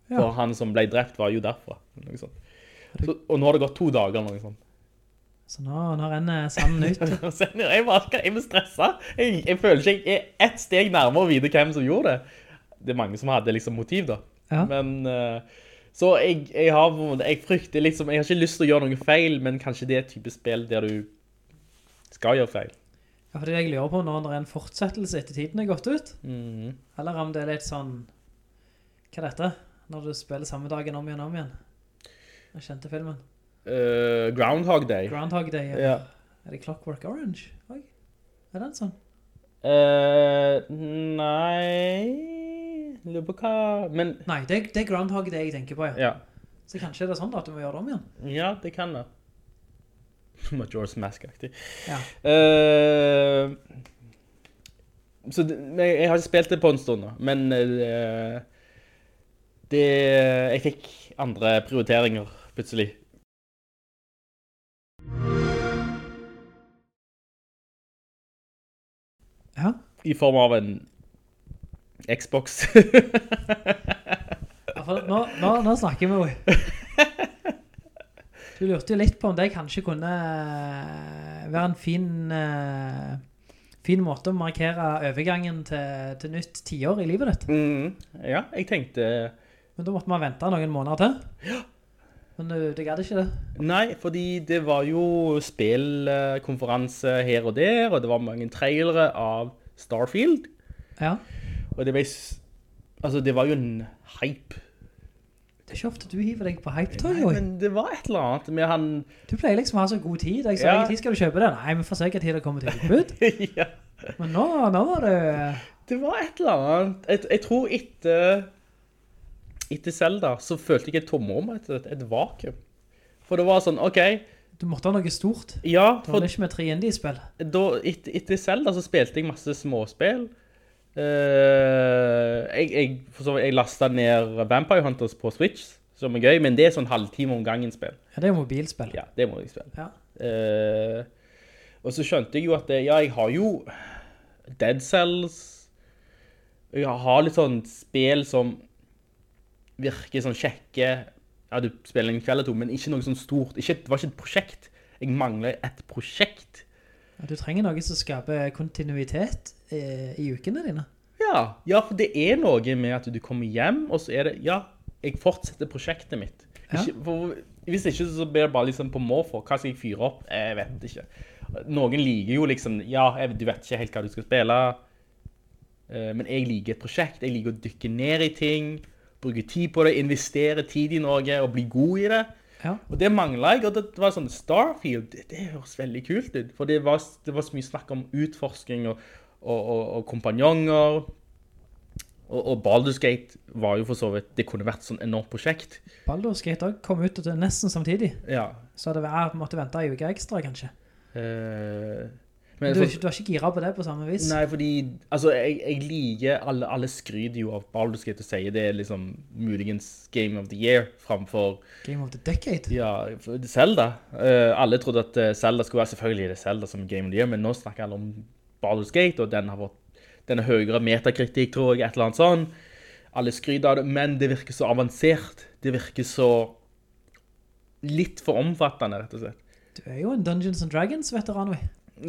Ja. For han som ble drept var jo derfra. Noe sånt. Så, og nå har det gått to dager eller noe sånt. Så nå, nå renner sanden ut. Og så- Jeg, bare, jeg blir stressa. Jeg, jeg føler ikke jeg er ett steg nærmere å vite hvem som gjorde det. Det er mange som hadde liksom motiv, da. Ja. Men eh, Så jeg, jeg har på en måte Jeg frykter liksom Jeg har ikke lyst til å gjøre noe feil, men kanskje det er et type spill der du skal gjøre feil. Ja, for det jeg lurer på nå når det er en fortsettelse etter tiden er gått ut, eller om det er litt sånn, hva er dette? Når du spiller samme dagen om igjen og om igjen. Jeg kjente filmen. Eh, Groundhog Day. Groundhog Day. eller- Ja. Er det Clockwork Orange? Oi. Er den sånn? Eh, nei Lurer på hva Men Nei, det, er- det er Groundhog Day jeg tenker på, ja. ja. Så kanskje er det sånn da at du må gjøre det om igjen. Ja, det kan det. Majora's Mask-aktig. Ja. Eh, så det, men jeg, jeg har ikke spilt det på en stund nå, men eh, det, jeg fikk andre prioriteringer plutselig. Ja. I form av en Xbox. Ja, for Nå, nå, nå snakker vi jo. Du lurte jo litt på om det kanskje kunne være en fin, eh, fin måte å markere overgangen til, til nytt tiår i livet ditt. Mhm. ja, jeg tenkte Men da måtte man vente noen måneder til. Men du, du gadd ikke det. Nei, fordi det var jo spillkonferanse her og der, og det var mange trailere av Starfield. Ja. Og det ble s- Altså, det var jo en hype. Det er ikke ofte du hiver deg på hypetog, Nei, jo. men det var et eller annet med han Du pleier liksom å ha så god tid. Jeg sa, Ja. hvilken tid skal du kjøpe det? Nei, vi får se hvilken tid det kommer til utbud. Ja. Men nå, nå var det... Det var et eller annet Jeg, jeg tror etter Etter Zelda så følte jeg et tomrom, et, et, et vakuum. For det var sånn OK, Du måtte ha noe stort. ja Det for var ikke med 3D-spill. da, et, Etter Zelda så spilte jeg masse småspill. Eh, jeg jeg, for så vidt- jeg lasta ned Vampire Hunters på Switch, som er gøy, men det er sånn halvtime om gangen-spill. Ja, det er jo mobilspill. Ja, det må jeg spille. Ja. Eh, og så skjønte jeg jo at det, ja, jeg har jo Dead Cells. og Jeg har litt sånn spill som virker sånn kjekke. Ja, du spiller en kveld eller to, men ikke noe sånn stort. Ikke, det var ikke et prosjekt. Jeg mangler et prosjekt. Ja, Du trenger noe som skaper kontinuitet eh, i ukene dine. Ja, ja, for det er noe med at du kommer hjem, og så er det, ja, jeg fortsetter prosjektet mitt. Ja. Ikke, for, hvis ikke, så blir det bare liksom på måfå. Hva skal jeg fyre opp? Jeg vet ikke. Noen liker jo liksom, ja, jeg, du vet ikke helt hva du skal spille, eh, men jeg liker et prosjekt. Jeg liker å dykke ned i ting, bruke tid på det, investere tid i noe, og bli god i det. Ja. Og det manglet jeg, og det var sånn Starfield, det, det høres veldig kult ut. For det var, det var så mye snakk om utforsking og, og, og, og kompanjonger. Og, og Baldur's Gate var jo for så vidt Det kunne vært sånn enormt prosjekt. Baldur's Gate også kom ut til nesten samtidig, Ja. så hadde vi jeg måtte vente en uke ekstra, kanskje. eh, Men Du, er for- ikke- du er ikke gira på det på samme vis? Nei, fordi Altså, jeg, jeg liker Alle, alle skryter jo av Baldur's Gate og sier det er liksom muligens Game of the Year framfor Game of the Decade? ja, for Zelda. Eh, alle trodde at eh, Zelda skulle være selvfølgelig er det Zelda som er Game of the Year, men nå snakker alle om Baldur's Gate, og den har fått den er høyere metakritikk, tror jeg, et eller annet sånn. Alle skryter av det, men det virker så avansert. Det virker så litt for omfattende, rett og slett. Du er jo en Dungeons and Dragons-veteran. oi.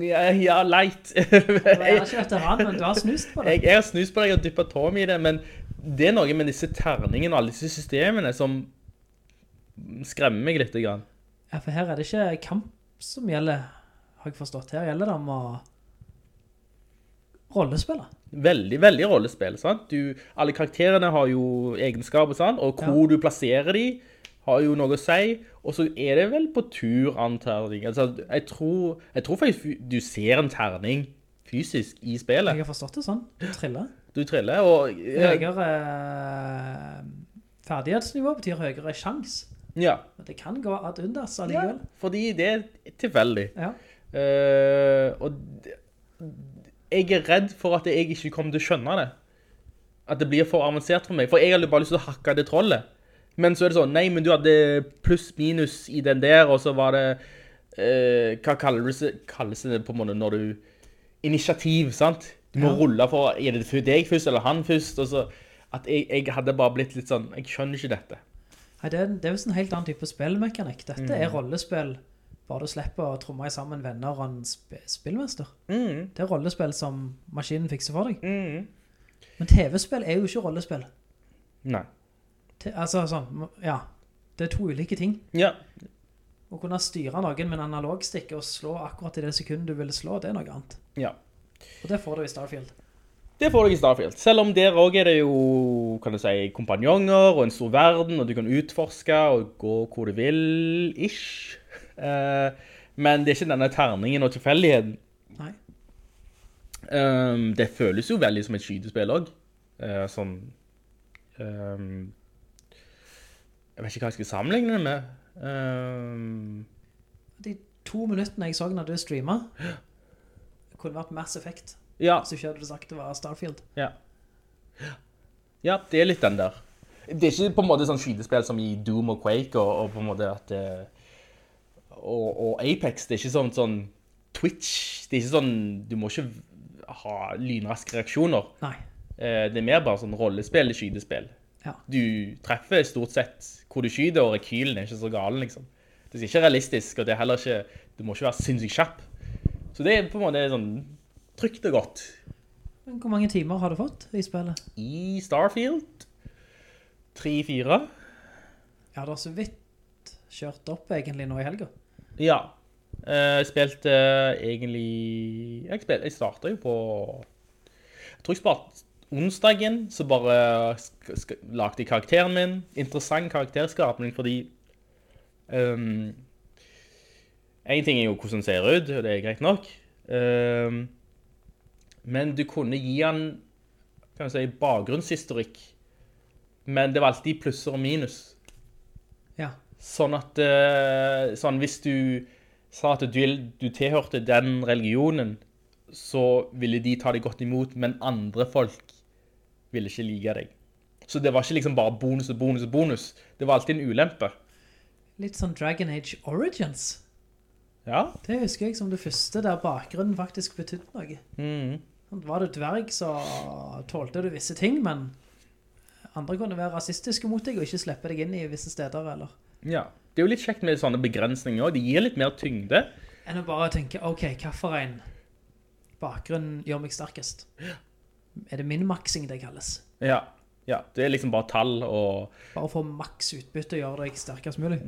Ja, ja leit. Du er ikke veteran, men du har snust på det. Jeg, jeg har snus på deg og dyppet tåen i det, men det er noe med disse terningene og alle disse systemene som skremmer meg litt. Grann. Ja, for her er det ikke kamp som gjelder, har jeg forstått. Her gjelder det om å rollespille. Veldig, veldig rollespill. sant? Du, alle karakterene har jo egenskaper, sant? og hvor du plasserer de har jo noe å si. Og så er det vel på tur, antar jeg. Altså, jeg, tror, jeg tror faktisk du ser en terning fysisk i Jeg spillet. har forstått det sånn. Du triller. Du triller, og Høyere eh, ferdighetsnivå betyr høyere sjanse. Ja. Men det kan gå ad undas ja. allikevel. Fordi det er tilfeldig. Ja. Eh, og det- jeg er redd for at jeg ikke kommer til å skjønne det. At det blir for avansert for meg. For jeg hadde bare lyst til å hakke det trollet. Men så er det sånn Nei, men du hadde pluss-minus i den der, og så var det eh, Hva kalles det, kalles det på en måte når du Initiativ, sant? Du må rulle for Er det deg først, eller han først? Og så At jeg, jeg hadde bare blitt litt sånn Jeg skjønner ikke dette. Nei, det, er, det er visst en helt annen type spillmekanikk. Dette er rollespill, bare du slipper å tromme sammen venner og en sp spillmester. Det er rollespill som maskinen fikser for deg. Men TV-spill er jo ikke rollespill. Nei. Te- altså, sånn, ja, det er to ulike ting. Ja. Å kunne styre noen med en analogstikk og slå akkurat i det sekundet du vil slå, det er noe annet. ja. Og det får du i Starfield. Det får du i Starfield. Selv om der òg er det jo kan du si, kompanjonger og en stor verden, og du kan utforske og gå hvor du vil ish. Eh, men det er ikke denne terningen og tilfeldigheten. Nei. Ehm, det føles jo veldig som et skytespill òg. sånn ehm, Jeg vet ikke hva jeg skal sammenligne det med. Ehm, De to minuttene jeg så når du streama, kunne vært Mass Effect. ja. Hvis du ikke hadde sagt det var Starfield. Ja. Ja, det er litt den der. Det er ikke på en måte sånn skytespill som i Doom og Quake og, og på en måte at eh, og, og Apex. Det er ikke sånn, sånn Twitch. Det er ikke sånn Du må ikke ha lynraske reaksjoner. Nei. Eh, Det er mer bare sånn rollespill, skytespill. Ja. Du treffer stort sett hvor du skyter, og rekylen er ikke så galen, liksom. Det er ikke realistisk, og det er heller ikke Du må ikke være sinnssykt kjapp. Så det er på en måte sånn trygt og godt. Men hvor mange timer har du fått i spillet? i Starfield. 3-4. Jeg har da så vidt kjørt opp egentlig nå i helga. Ja. Eh, Jeg spilte egentlig Jeg, spil- jeg starta jo på Jeg tror jeg sparte onsdagen, så bare sk sk lagde jeg karakteren min. Interessant karakterskapning fordi ehm, En ting er jo hvordan den ser ut, og det er greit nok. Ehm, men du kunne gi han kan du si, bakgrunnshistorikk. Men det var alltid plusser og minus. Ja. Sånn at eh, sånn, Hvis du sa at du, du tilhørte den religionen, så ville de ta deg godt imot, men andre folk ville ikke like deg. Så det var ikke liksom bare bonus og bonus og bonus. Det var alltid en ulempe. Litt sånn Dragon Age Origins. Ja. Det husker jeg som det første der bakgrunnen faktisk betydde noe. Sånn, Var du dverg, så tålte du visse ting, men andre kunne være rasistiske mot deg og ikke slippe deg inn i visse steder, eller ja. Det er jo litt kjekt med sånne begrensninger òg. Det gir litt mer tyngde. enn å bare tenke OK, hvilken bakgrunn gjør meg sterkest? Er det min maksing det kalles? Ja. ja. Det er liksom bare tall og Bare få maks utbytte og gjøre deg sterkest mulig?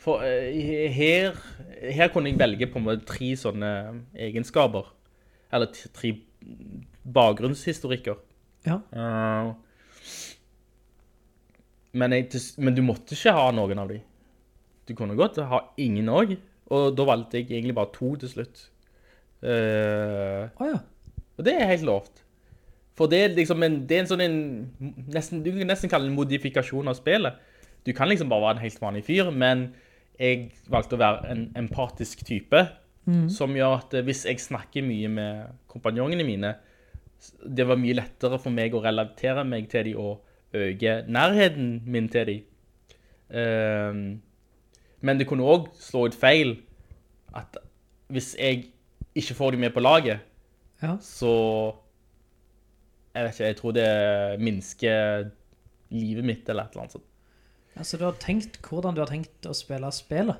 For eh, her, her kunne jeg velge på en måte tre sånne eh, egenskaper. Eller t- tre bakgrunnshistorikker. Ja. Eh, men, jeg, til s- men du måtte ikke ha noen av de. Du kunne godt ha ingen òg. Og da valgte jeg egentlig bare to til slutt. Eh, Å ja. og det er helt lovt. For det er liksom en, det er en sånn en, nesten, du kan nesten kalle det en modifikasjon av spillet. Du kan liksom bare være en helt vanlig fyr, men jeg valgte å være en empatisk type, Som gjør at eh, hvis jeg snakker mye med kompanjongene mine, s- det var mye lettere for meg å relatere meg til dem og øke nærheten min til dem. Ehm, men det kunne òg slå ut feil at hvis jeg ikke får dem med på laget, Ja. så Jeg vet ikke, jeg tror det minsker livet mitt eller et eller annet sånt. Altså, du har tenkt hvordan du har tenkt å spille spillet.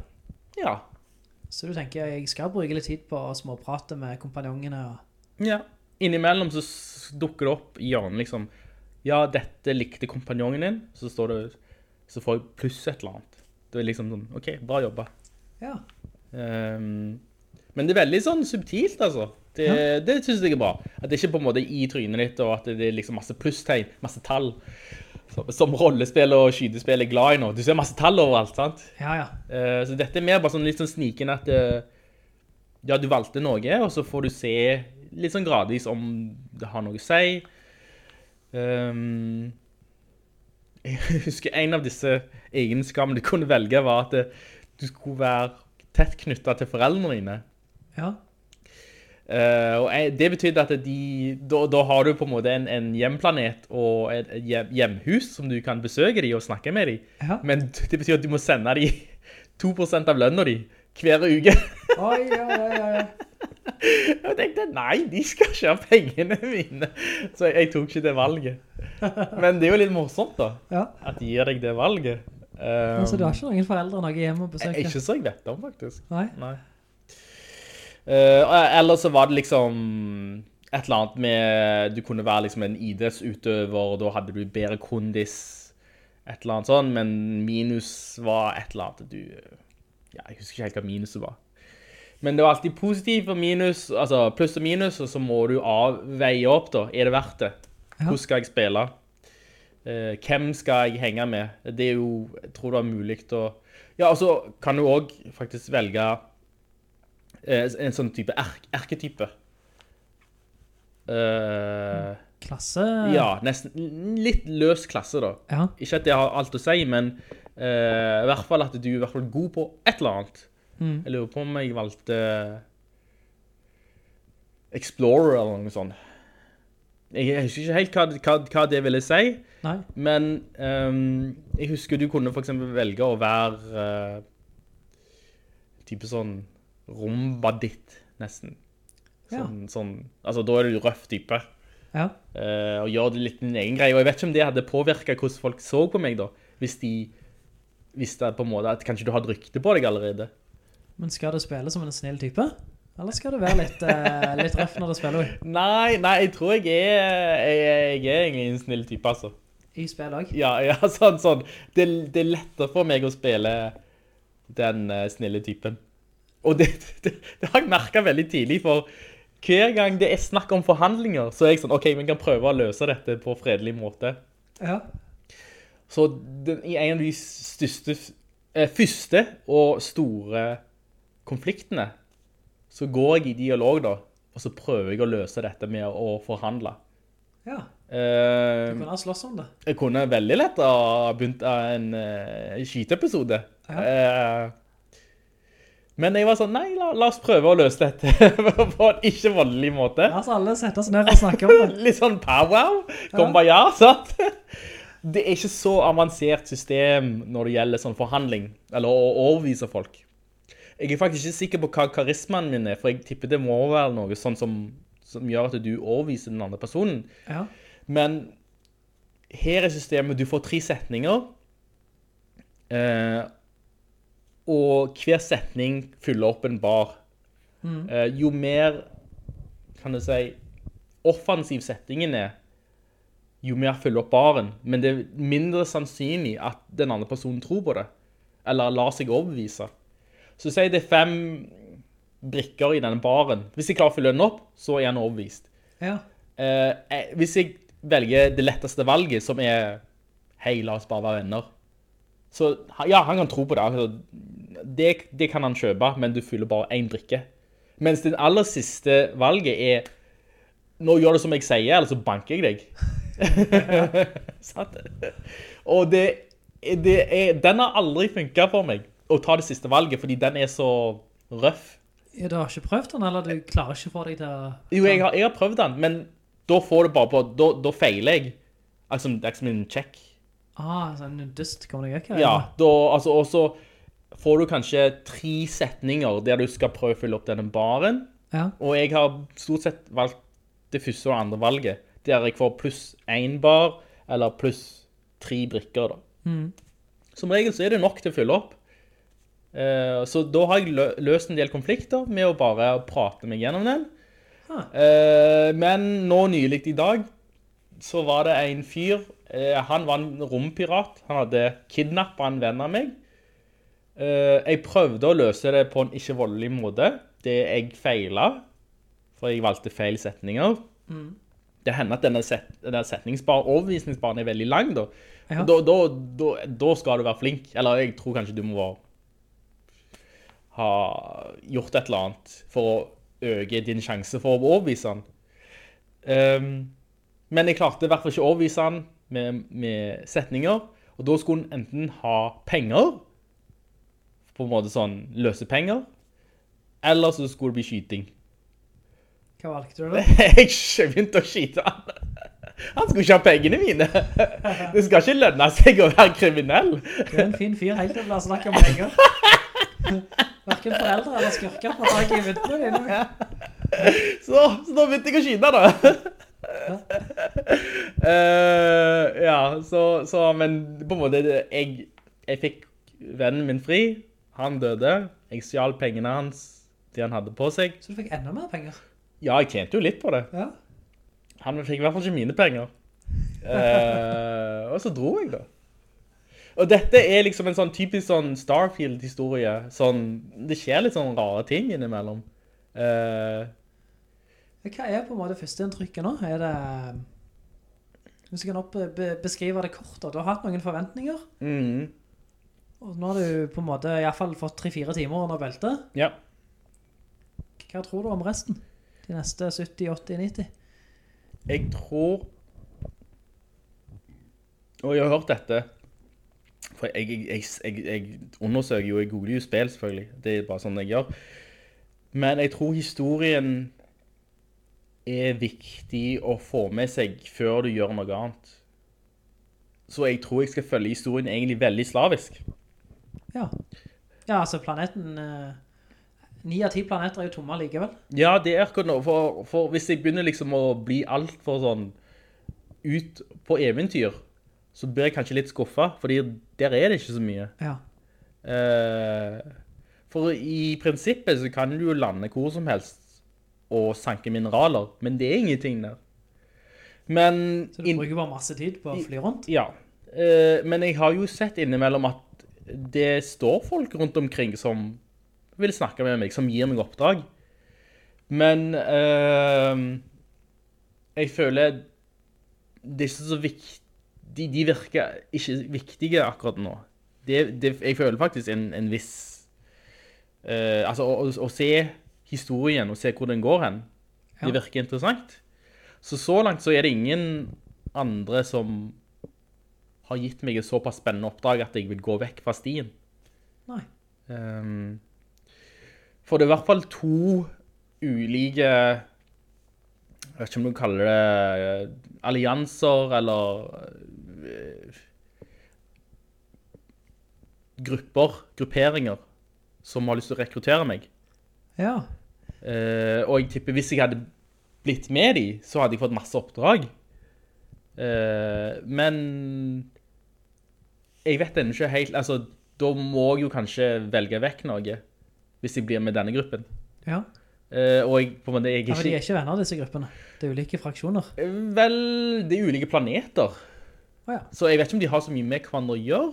Ja. Så du tenker jeg skal bruke litt tid på å småprate med kompanjongene. Og... Ja. Innimellom så s- dukker det opp i hjernen liksom Ja, dette likte kompanjongen din. Så står det Så får jeg pluss et eller annet. Det er liksom sånn OK, bra jobba. Ja. Ehm, men det er veldig sånn subtilt, altså. Det, det syns jeg er bra. At det ikke på en måte er i trynet ditt, og at det er liksom masse plusstegn, masse tall. Som, som rollespill og skytespill er glad i nå. Du ser masse tall overalt, sant? ja, ja. Eh, så dette er mer bare sånn litt sånn sniken at eh, ja, du valgte noe, og så får du se litt sånn gradvis om det har noe å si. Ehm, jeg husker en av disse egenskapene du kunne velge var at eh, du skulle være tett knyttet til foreldrene dine. ja. Eh, og jeg, det betydde at de, da, da har du på en måte en, en hjemplanet og et et hjem, hjemhus som du kan besøke de og snakke med de. Ja. Men det betyr at du må sende de 2% av lønna de hver uke. Oi, oi, oi, oi. Jeg tenkte, nei, de skal ikke ha pengene mine. Så jeg, jeg tok ikke det valget. Men det er jo litt morsomt da, Ja. at de gir deg det valget. Um, Altså, du har ikke noen foreldre noe hjemme å besøke? Ikke så jeg vet om, faktisk. Nei? Nei. Eh, eller så var det liksom et eller annet med Du kunne være liksom en idrettsutøver, og da hadde du bedre kondis, et eller annet sånn, men minus var et eller annet du Ja, jeg husker ikke helt hva minuset var. Men det var alltid positivt og minus, altså pluss og minus, og så må du avveie opp, da. Er det verdt det? Hvordan skal jeg spille? Eh, hvem skal jeg henge med? Det er jo Jeg tror det er mulig å Ja, og så kan du òg faktisk velge eh, en sånn type erk erketype. Eh, Klasse? ja, nesten litt løs klasse, da. Ja. Ikke at det har alt å si, men eh, i hvert fall at du er i hvert fall god på et eller annet. Jeg lurer på om jeg valgte Explorer eller noe sånt. Jeg jeg husker ikke helt hva, hva, hva det ville si, Nei? men ehm, jeg husker du kunne for eksempel velge å være eh, type sånn rombaditt, nesten. Ja. Sånn, sånn, altså da er du røff type. Ja. Eh, og gjør det litt din egen greie. Og jeg vet ikke om det hadde påvirka hvordan folk så på meg, da. Hvis de visste på en måte at kanskje du hadde rykte på deg allerede. Men skal du spille som en snill type? Eller skal du være litt, eh, litt røff når du spiller Nei, nei, jeg tror jeg er Jeg, jeg er egentlig en snill type, altså. i spill òg? Ja, ja sånn, sånn. Det, det er lettere for meg å spille den eh, snille typen. Og det, det, det har jeg merka veldig tidlig, for hver gang det er snakk om forhandlinger, så er jeg sånn OK, vi kan prøve å løse dette på fredelig måte. Ja. Så den, i en av de største, eh, første og store konfliktene, så går jeg i dialog da, og så prøver jeg å løse dette med å forhandle. ja. Eh, Du kunne ha slåss om det. jeg kunne veldig lett ha begynt av en uh, skyteepisode. Ja. Eh, men jeg var sånn, nei, la, la oss prøve å løse dette på en ikke voldelig måte. La oss alle sette oss ned og snakke om det. Litt sånn powwow. Kumbaya, sant? Det er ikke så avansert system når det gjelder sånn forhandling, eller å overvise folk. Jeg er faktisk ikke sikker på hva karismaen min er, for jeg tipper det må være noe sånn som, som gjør at du overviser den andre personen. Ja. Men her er systemet du får tre setninger. Eh, og hver setning fyller opp en bar. Eh, jo mer kan du si offensiv settingen er, jo mer fyller opp baren. Men det er mindre sannsynlig at den andre personen tror på det. Eller lar seg overbevise. Så si det er fem brikker i denne baren. Hvis jeg klarer å fylle den opp, så er han overbevist. ja. Eh, jeg- hvis jeg velger det letteste valget, som er Hei, la oss bare være venner. Så ja, han kan tro på det. Altså, det, det kan han kjøpe, men du fyller bare én brikke. Mens det aller siste valget er Nå gjør du som jeg sier, eller så banker jeg deg. Sant? Og det, det er, den har aldri funka for meg, å ta det siste valget, fordi den er så røff. Ja, Du har ikke prøvd den, eller du klarer ikke for deg til å Jo, jeg har, jeg har prøvd den, men da får du bare på Da, da feiler jeg. Altså, det er ikke som en check. Ah, sånn nudist kommer deg ikke? Ja, da Altså, og så får du kanskje tre setninger der du skal prøve å fylle opp denne baren. ja. Og jeg har stort sett valgt det første og det andre valget, der jeg får pluss én bar, eller pluss tre brikker, da. Mm. Som regel så er det nok til å fylle opp. Eh, Så da har jeg lø- løst en del konflikter med å bare prate meg gjennom den. Ah. Eh, Men nå nylig i dag så var det en fyr, eh, han var en rompirat, han hadde kidnappet en venn av meg. Eh, jeg prøvde å løse det på en ikke-voldelig måte. Det jeg feilet, for jeg valgte feil setninger. Det hender at denne, set, denne setningsbar, overvisningsbaren er veldig lang, da. Ja. Da, da, da. Da skal du være flink. Eller jeg tror kanskje du må være, ha gjort et eller annet for å øke din sjanse for å overvise den. Ehm, men jeg klarte i hvert fall ikke å overvise den med, med setninger. Og da skulle hun enten ha penger, på en måte sånn løse penger, eller så skulle det bli skyting. Hva valgte du da? Jeg skj- begynte å skyte han. Han skulle ikke ha pengene mine. Det skal ikke lønne seg å være kriminell. Du er en fin fyr helt til å bli snakk om penger. Hverken foreldre eller skurker får tak i myntene dine. Så, så da begynte jeg å skyte, da. Eh, ja, så, så Men på en måte det- jeg, jeg fikk vennen min fri. Han døde. Jeg stjal pengene hans, de han hadde på seg. Så du fikk enda mer penger. Ja, jeg tjente jo litt på det. Ja. Han fikk i hvert fall ikke mine penger. Eh, og så dro jeg, da. Og dette er liksom en sånn typisk sånn Starfield-historie. Sånn, det skjer litt sånn rare ting innimellom. Eh, Hva er på en måte førsteinntrykket nå? Er det Hvis du kan opp, be, beskrive det kort, da. Du har hatt noen forventninger. mm, Og nå har du på en måte i hvert fall fått tre-fire timer under beltet. ja. Hva tror du om resten? De neste 70, 80, 90? Jeg tror Og jeg har hørt dette. For jeg, jeg, jeg, jeg, jeg undersøker jo, jeg googler jo spill, selvfølgelig. Det er bare sånn jeg gjør. Men jeg tror historien er viktig å få med seg før du gjør noe annet. Så jeg tror jeg skal følge historien egentlig veldig slavisk. Ja. Ja, altså planeten eh, Ni av ti planeter er jo tomme likevel. Ja, det er akkurat nå. For, for hvis jeg begynner liksom å bli altfor sånn ut på eventyr, så blir jeg kanskje litt skuffa, fordi der er det ikke så mye. Ja. Eh, for i prinsippet så kan du jo lande hvor som helst og sanke mineraler, men det er ingenting der. Men Så du inn- bruker bare masse tid på å fly rundt. ja. Eh, men jeg har jo sett innimellom at det står folk rundt omkring som vil snakke med meg, som gir meg oppdrag. Men eh, jeg føler det er ikke så viktig De, de virker ikke viktige akkurat nå. Det, det, jeg føler faktisk en, en viss eh, Altså, å, å, å se historien og se hvor den går hen, Ja. det virker interessant. Så så langt så er det ingen andre som har gitt meg et såpass spennende oppdrag at jeg vil gå vekk fra stien. Nei. Ehm, for det er i hvert fall to ulike Jeg vet ikke om du kaller det eh, allianser eller eh, Grupper, grupperinger, som har lyst til å rekruttere meg. Ja. Eh, og jeg tipper hvis jeg hadde blitt med de, så hadde jeg fått masse oppdrag. Eh, men jeg vet ennå ikke helt Altså, da må jeg jo kanskje velge vekk noe hvis jeg blir med denne gruppen. Ja. Eh, og jeg, på en måte, jeg Ja, er men de er ikke ikke venner, disse gruppene. Det er ulike fraksjoner. Vel, det er ulike planeter, Å ja. så jeg vet ikke om de har så mye med hverandre å gjøre.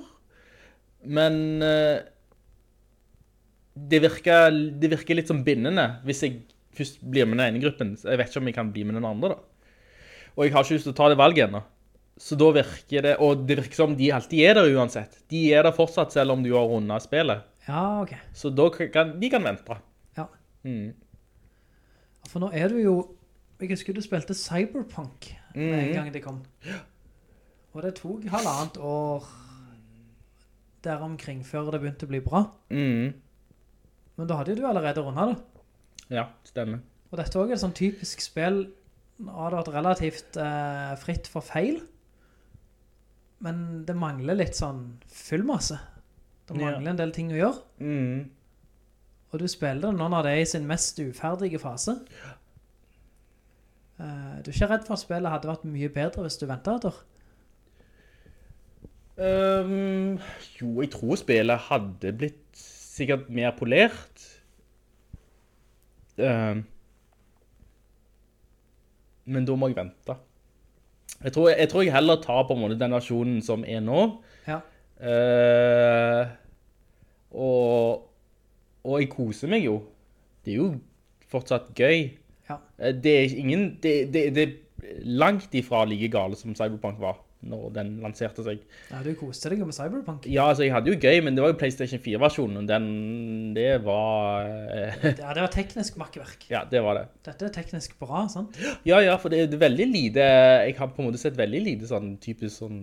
Men eh, det, virker, det virker litt som bindende hvis jeg først blir med den ene gruppen. så Jeg vet ikke om jeg kan bli med den andre, da. Og jeg har ikke lyst til å ta det valget ennå. Så da virker det Og det virker som de alltid er der uansett. De er der fortsatt selv om du har runda spillet. ja, ok. Så da kan de kan vente. Ja. Mm. For nå er du jo Jeg husker du spilte Cyberpunk med Mhm. en gang det kom. Og det tok halvannet år der omkring før det begynte å bli bra. Mm. Men da hadde jo du allerede runda det. Ja, stemmer. Og dette er også et sånn typisk spill har det vært relativt eh, fritt for feil. Men det mangler litt sånn fyllmasse. Det Ja. mangler en del ting å gjøre. Mm. Og du spiller det nå når det er i sin mest uferdige fase. Eh, du er ikke redd for at spillet hadde vært mye bedre hvis du ventet etter. Ehm, jo, jeg tror spillet hadde blitt sikkert mer polert. Ehm, men da må jeg vente. Jeg tror jeg, tror jeg heller tar på en måte den versjonen som er nå. Ja. Eh, og, og jeg koser meg jo. Det er jo fortsatt gøy. Ja. Eh, Det er ikke ingen det, det, det er langt ifra like gale som Cyberpunk var når den lanserte seg. Nei, du koste deg jo med Cyberpunk. Ja, altså, jeg hadde jo gøy, men det var jo PlayStation 4-versjonen, og den Det var eh, Ja, det var teknisk makkverk. Ja, det var det. Dette er teknisk bra, sant? Ja, ja, for det er veldig lite Jeg har på en måte sett veldig lite sånn typisk sånn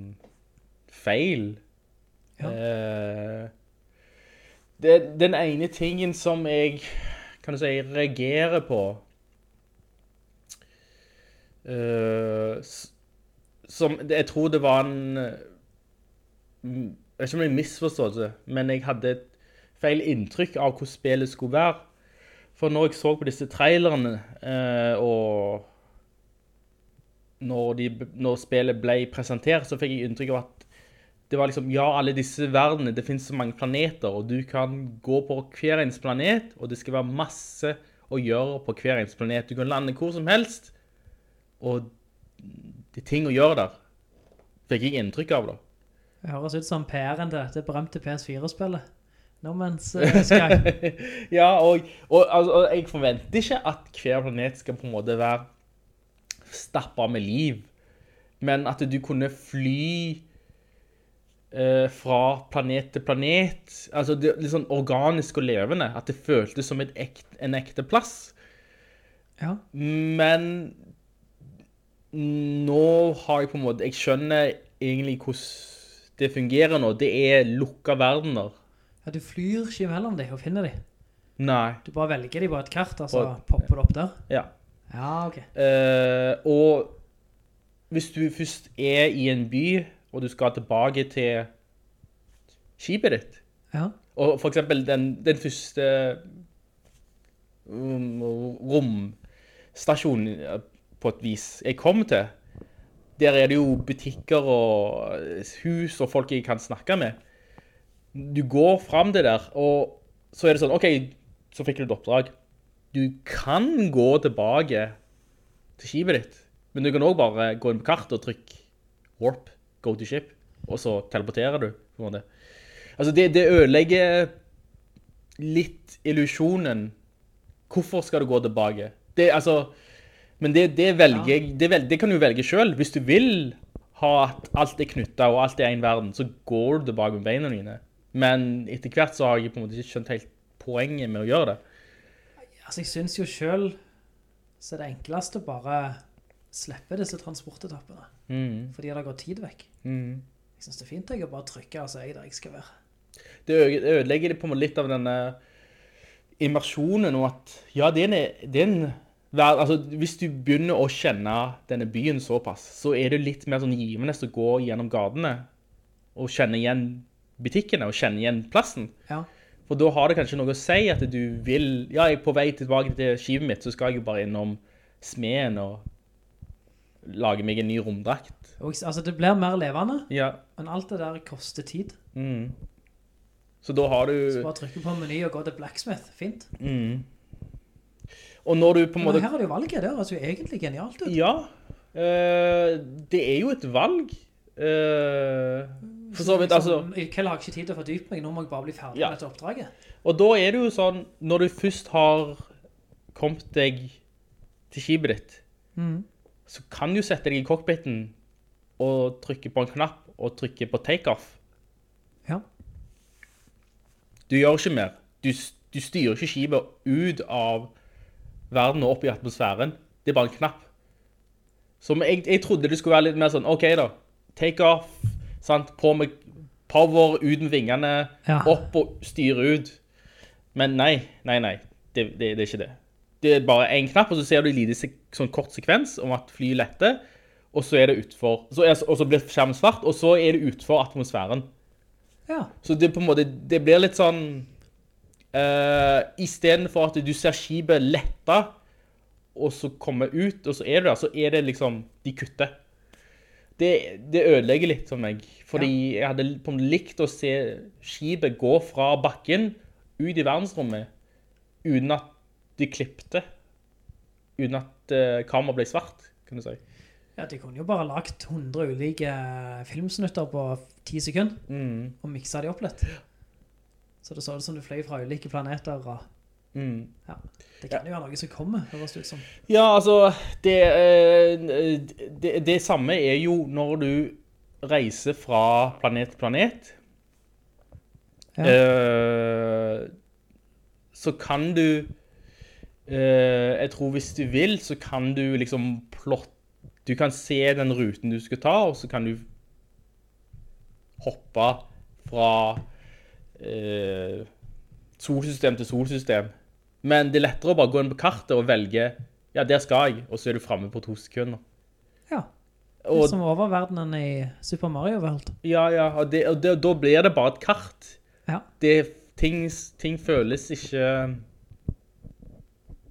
feil. Ja. Eh, det, den ene tingen som jeg kan du si reagerer på eh, s- Som det- Jeg tror det var en eh, m- Jeg vet ikke om det er en misforståelse, men jeg hadde et feil inntrykk av hvordan spillet skulle være. For når jeg så på disse trailerne eh, og når, de, når spillet ble presentert, så fikk jeg inntrykk av at det var liksom, ja, alle disse verdenene, det finnes så mange planeter, og du kan gå på hver ens planet, og det skal være masse å gjøre på hver ens planet. Du kan lande hvor som helst, og det er ting å gjøre der. Fikk jeg inntrykk av da. Det høres ut som PR-en til dette berømte PS4-spillet. No Man's eh, Sky. ja, og, og, altså, og jeg forventer ikke at hver planet skal på en måte være stappa med liv, men at du kunne fly eh, fra planet til planet, altså det, er litt sånn organisk og levende, at det føltes som et ekt, en ekte plass. Ja. Men nå har jeg på en måte Jeg skjønner egentlig hvordan det fungerer nå. Det er lukka verdener. Ja, du flyr ikke mellom dem og finner dem. Nei. Du bare velger dem på et kart, og så På- popper det opp der. Ja. Ja, ok. Eh, og hvis du først er i en by, og du skal tilbake til skipet ditt, Ja, og for eksempel den, den første um, romstasjonen eh, på et vis jeg kom til, der er det jo butikker og eh, hus og folk jeg kan snakke med. Du går frem til der, og så er det sånn, ok, så fikk du et oppdrag. Du kan gå tilbake til skipet ditt, men du kan også bare gå inn på kartet og trykke warp, go to ship, og så teleporterer du på en måte. Altså, det, det ødelegger litt illusjonen. Hvorfor skal du gå tilbake? Det, altså, men det, det, velger, jeg- det, vel- det kan du velge selv. Hvis du vil ha at alt er knyttet og alt er en verden, så går du tilbake med beina dine. Men etter hvert så har jeg på en måte ikke skjønt helt poenget med å gjøre det. altså jeg synes jo selv så er det enkleste å bare slippe disse transportetappene. Mm. Fordi det går tid vekk. Jeg synes det er fint jeg å bare trykke, altså jeg er der jeg skal være. det ø- det ødelegger det på en måte litt av denne immersjonen og at ja, det er en, det er en ver- altså, hvis du begynner å kjenne denne byen såpass, så er det litt mer sånn givende å gå gjennom gatene og kjenne igjen butikkene og kjenne igjen plassen. Ja, For da har det kanskje noe å si at du vil, ja, jeg er på vei tilbake til skivet mitt, så skal jeg jo bare innom smeden og lage meg en ny romdrakt. og, jeg- altså det blir mer levende, Ja. men alt det der koster tid. Mm. Så da har du... Så bare trykke på meny og gå til Blacksmith, fint. Og når du på en Men måte her er det jo valget, det høres jo egentlig genialt ut. Ja. eh, det er jo et valg. eh, for så vidt, altså. Som- Kjell har ikke tid til å fordype meg, nå må jeg bare bli ferdig Ja. med dette oppdraget. Og da er det jo sånn, når du først har kommet deg til skipet ditt, så kan du sette deg i cockpiten og trykke på en knapp og trykke på takeoff. Ja. Du gjør ikke mer. Du, s- du styrer ikke skipet ut av verden og opp i atmosfæren. Det er bare en knapp. Så men jeg, jeg trodde det skulle være litt mer sånn, ok da, take off, sant? på med power, ut med vingene, Ja. opp og styre ut. Men nei, nei, nei, det, det, det er ikke det. det er bare én knapp, og så ser du en liten sek sånn kort sekvens om at flyet letter, og så er det utfor. Så er, og så blir skjermen svart, og så er det utfor atmosfæren. Ja. Så det, er på en måte, det blir litt sånn uh, Istedenfor at du ser skipet lette, og så komme ut, og så er du der, så er det liksom De kutter. Det, det ødelegger litt for meg. Fordi jeg hadde på en måte likt å se skipet gå fra bakken ut i verdensrommet uten at de klipte. Uten at uh, kameraet ble svart, kan du si. ja, de kunne jo bare lagt 100 ulike filmsnutter på 10 sekunder, Mm. og miksa de opp litt. Så det så ut som du fløy fra ulike planeter, og Mm. ja, det kan jo være noe som kommer, høres det ut som. Ja, altså det, eh, det, det samme er jo når du reiser fra planet til planet. Ja. Eh, så kan du eh, Jeg tror hvis du vil, så kan du liksom plott Du kan se den ruten du skal ta, og så kan du hoppe fra eh, solsystem til solsystem. Men det er lettere å bare gå inn på kartet og velge Ja, der skal jeg, og så er du framme på to sekunder. Ja, Og, litt som oververdenen i Super Mario World. ja, ja, og, det, og det, da blir det bare et kart. Ja. Det, ting, ting føles ikke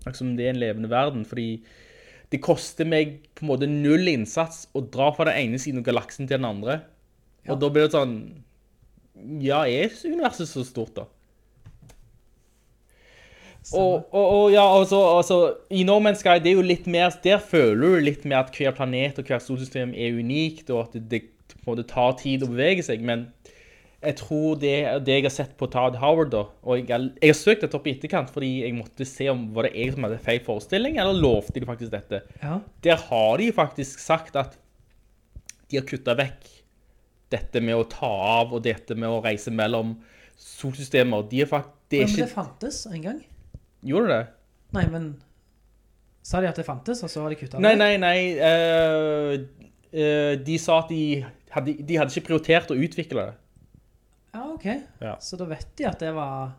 Akkurat som det er en levende verden, fordi det koster meg på en måte null innsats å dra fra den ene siden av galaksen til den andre. Og da blir det sånn Ja, er universet så stort, da? Og, og, og ja, altså, altså, I No Man's Sky det er jo litt mer, der føler du litt mer at hver planet og hvert solsystem er unikt, og at det, det på en måte tar tid å bevege seg, men jeg tror det, det jeg har sett på Todd Howard da, og jeg, har- jeg har søkt dette opp i etterkant, fordi jeg måtte se om var det jeg som hadde feil forestilling, eller lovte de faktisk dette. Ja, Der har de faktisk sagt at de har kuttet vekk dette med å ta av, og dette med å reise mellom solsystemer. De er fakt- det er men det ikke... fantes en gang. Gjorde du det? Nei, men sa de at det fantes, og så har de kuttet Nei, det? nei, nei. eh, eh, de sa at de hadde, de hadde ikke prioritert å utvikle det. Ja, ok. Ja. Så da vet de at det var...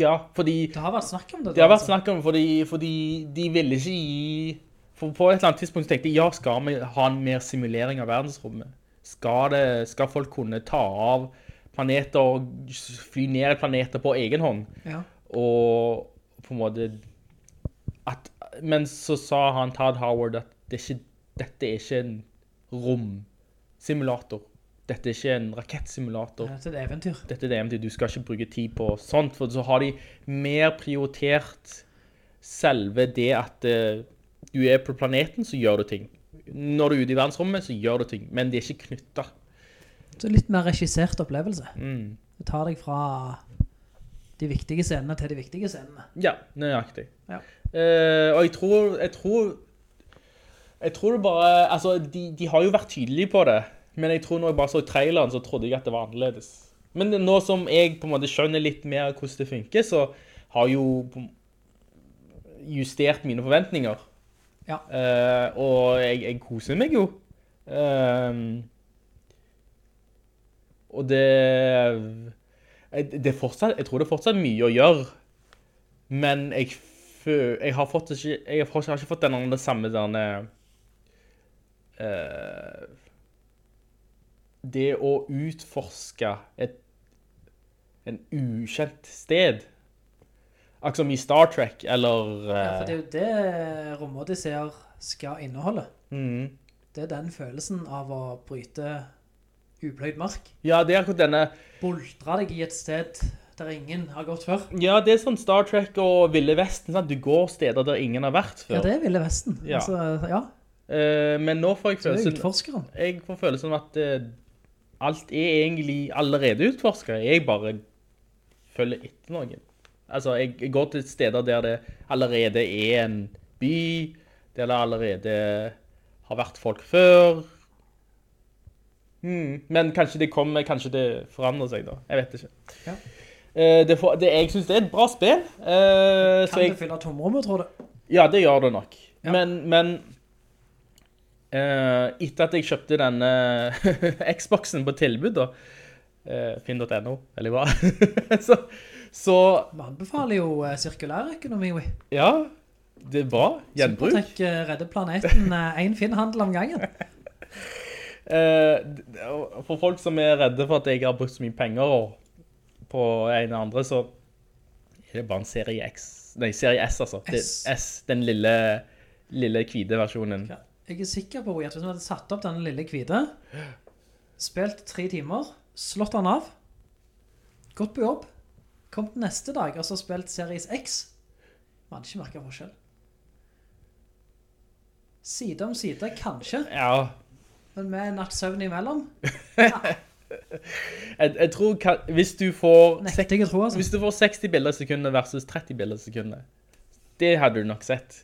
Ja, fordi Det har vært snakk om det. da, det har vært altså. snakk om fordi, fordi de ville ikke gi For på et eller annet tidspunkt så tenkte jeg ja, skal vi ha en mer simulering av verdensrommet? Skal, det, skal folk kunne ta av planeter og fly ned planeter på egen hånd? Ja. Og på en måte at, Men så sa han Todd Howard at det er ikke, dette er ikke en romsimulator. Dette er ikke en rakettsimulator. Det er et eventyr. Dette er det eventyr. Du skal ikke bruke tid på sånt, for så har de mer prioritert selve det at eh, du er på planeten, så gjør du ting. Når du er ute i verdensrommet, så gjør du ting. Men det er ikke knytta. Så litt mer regissert opplevelse. Mm. Det tar deg fra de viktige scenene til de viktige scenene. Ja, nøyaktig. Ja. Eh, og jeg tror, jeg tror Jeg tror det bare Altså, de, de har jo vært tydelige på det, men jeg tror når jeg bare så traileren, så trodde jeg at det var annerledes. Men nå som jeg på en måte skjønner litt mer hvordan det funker, så har jeg jo på- justert mine forventninger. Ja. Eh, og jeg, jeg koser meg jo. Ehm, og det jeg- det er fortsatt, jeg tror det er fortsatt mye å gjøre, men jeg, fø- jeg, har, fått, ikke- jeg har, fortsatt- har ikke fått den andre samme derne, eh, Det å utforske et en ukjent sted. Akkurat som i Star Trek, eller Ja, for eh, det er jo det romodiseer skal inneholde. mhm. Mm. Det er den følelsen av å bryte upløyd mark. Ja, det er akkurat denne Boldre deg i et sted der ingen har gått før. Ja, det er sånn Star Trek og Ville Vesten. Sant? Du går steder der ingen har vært før. Ja, det er Ville Vesten. Ja. Altså, ja, Eh, men nå får jeg det er følelsen utforskeren. jeg får følelsen av at eh, alt er egentlig allerede utforska. Jeg bare følger etter noen. Altså, jeg, jeg går til steder der det allerede er en by, der det allerede har vært folk før. Hmm, Men kanskje det kommer, kanskje det forandrer seg da. Jeg vet ikke. Ja. Eh, det får, det, jeg synes det er et bra spill. eh, så Kan jeg, det fylle tomrommet, tror du? ja, det gjør det nok. Ja. Men, men eh, etter at jeg kjøpte denne Xboxen på tilbud, da, eh, finn.no, veldig bra, så, Så Vi anbefaler jo eh, sirkulærøkonomi. vi. ja, det er bra. Gjenbruk. Supertech eh, redder planeten én fin handel om gangen. Eh, d- d- og for folk som er redde for at jeg har brukt så mye penger og- på en eller andre, så er det bare en serie X. Nei, serie S, altså. Det, S. S, den lille, lille hvite versjonen. Ja. Jeg er sikker på at hvis vi hadde satt opp denne lille hvite, spilt tre timer, slått den av, gått på jobb, kommet neste dag og så spilt Series X, vi hadde ikke merket forskjell. Side om side, kanskje, Ja. men med en natt søvn imellom, Jeg, jeg tror ka- hvis du får nekter jeg å tro, altså. Hvis du får 60 bilder i sekundet versus 30 bilder i sekundet, det hadde du nok sett.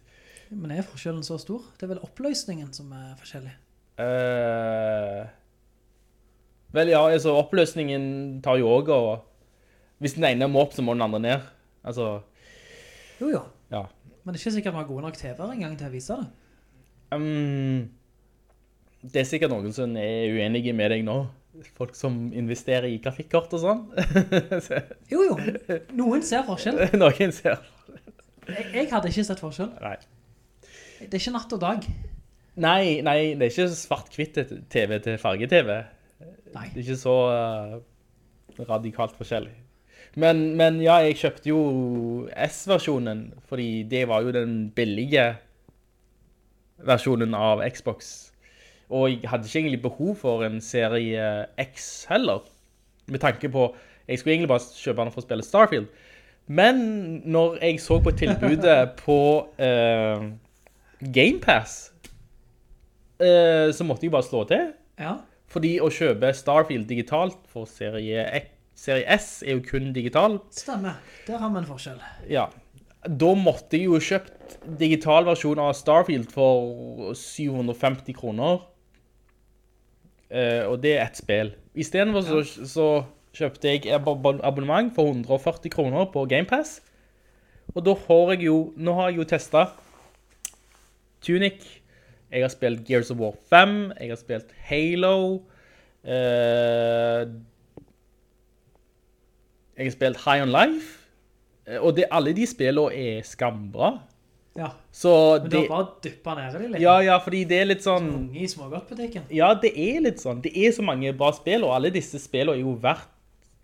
Men er forskjellen så stor? Det er vel oppløsningen som er forskjellig. Eh, vel, ja, altså, oppløsningen tar jo også, og hvis den ene må opp, så må den andre ned. Altså, Jo, jo. ja. Men det er ikke sikkert vi har gode nok TV-er engang til å vise det. Ehm, det er sikkert noen som er uenige med deg nå. Folk som investerer i grafikkort og sånn. Jo, jo. Noen ser forskjell. noen ser. Jeg, jeg hadde ikke sett forskjell. Nei. Det er ikke natt og dag. Nei, nei, det er ikke svart-hvitt TV til farge-TV. Nei. Det er ikke så eh, radikalt forskjellig. Men, men ja, jeg kjøpte jo S-versjonen, fordi det var jo den billige versjonen av Xbox. Og jeg hadde ikke egentlig behov for en serie X heller, med tanke på Jeg skulle egentlig bare kjøpe den for å spille Starfield. Men når jeg så på tilbudet på uh, GamePass, Eh, så måtte jeg bare slå til. Ja. Fordi å kjøpe Starfield digitalt for serie, X- serie S er jo kun digital. Stemmer. Der har vi en forskjell. Ja. Da måtte jeg jo kjøpt digital versjon av Starfield for 750 kroner. Eh, og det er ett spill. Istedenfor så, så kjøpte jeg abo- abo- abonnement for 140 kroner på GamePass. Og da får jeg jo Nå har jeg jo testa Tunic. Jeg har spilt Gears of War 5. Jeg har spilt Halo. Eh, jeg har spilt High on Life. Eh, Og det, alle de spillene er skambra. Ja. Så Men det det er bare å dyppe ned i det litt. Ja, ja, fordi det er litt sånn Unge i smågodtbutikken. Ja, det er litt sånn. Det er så mange bra spill, og alle disse spillene er jo verdt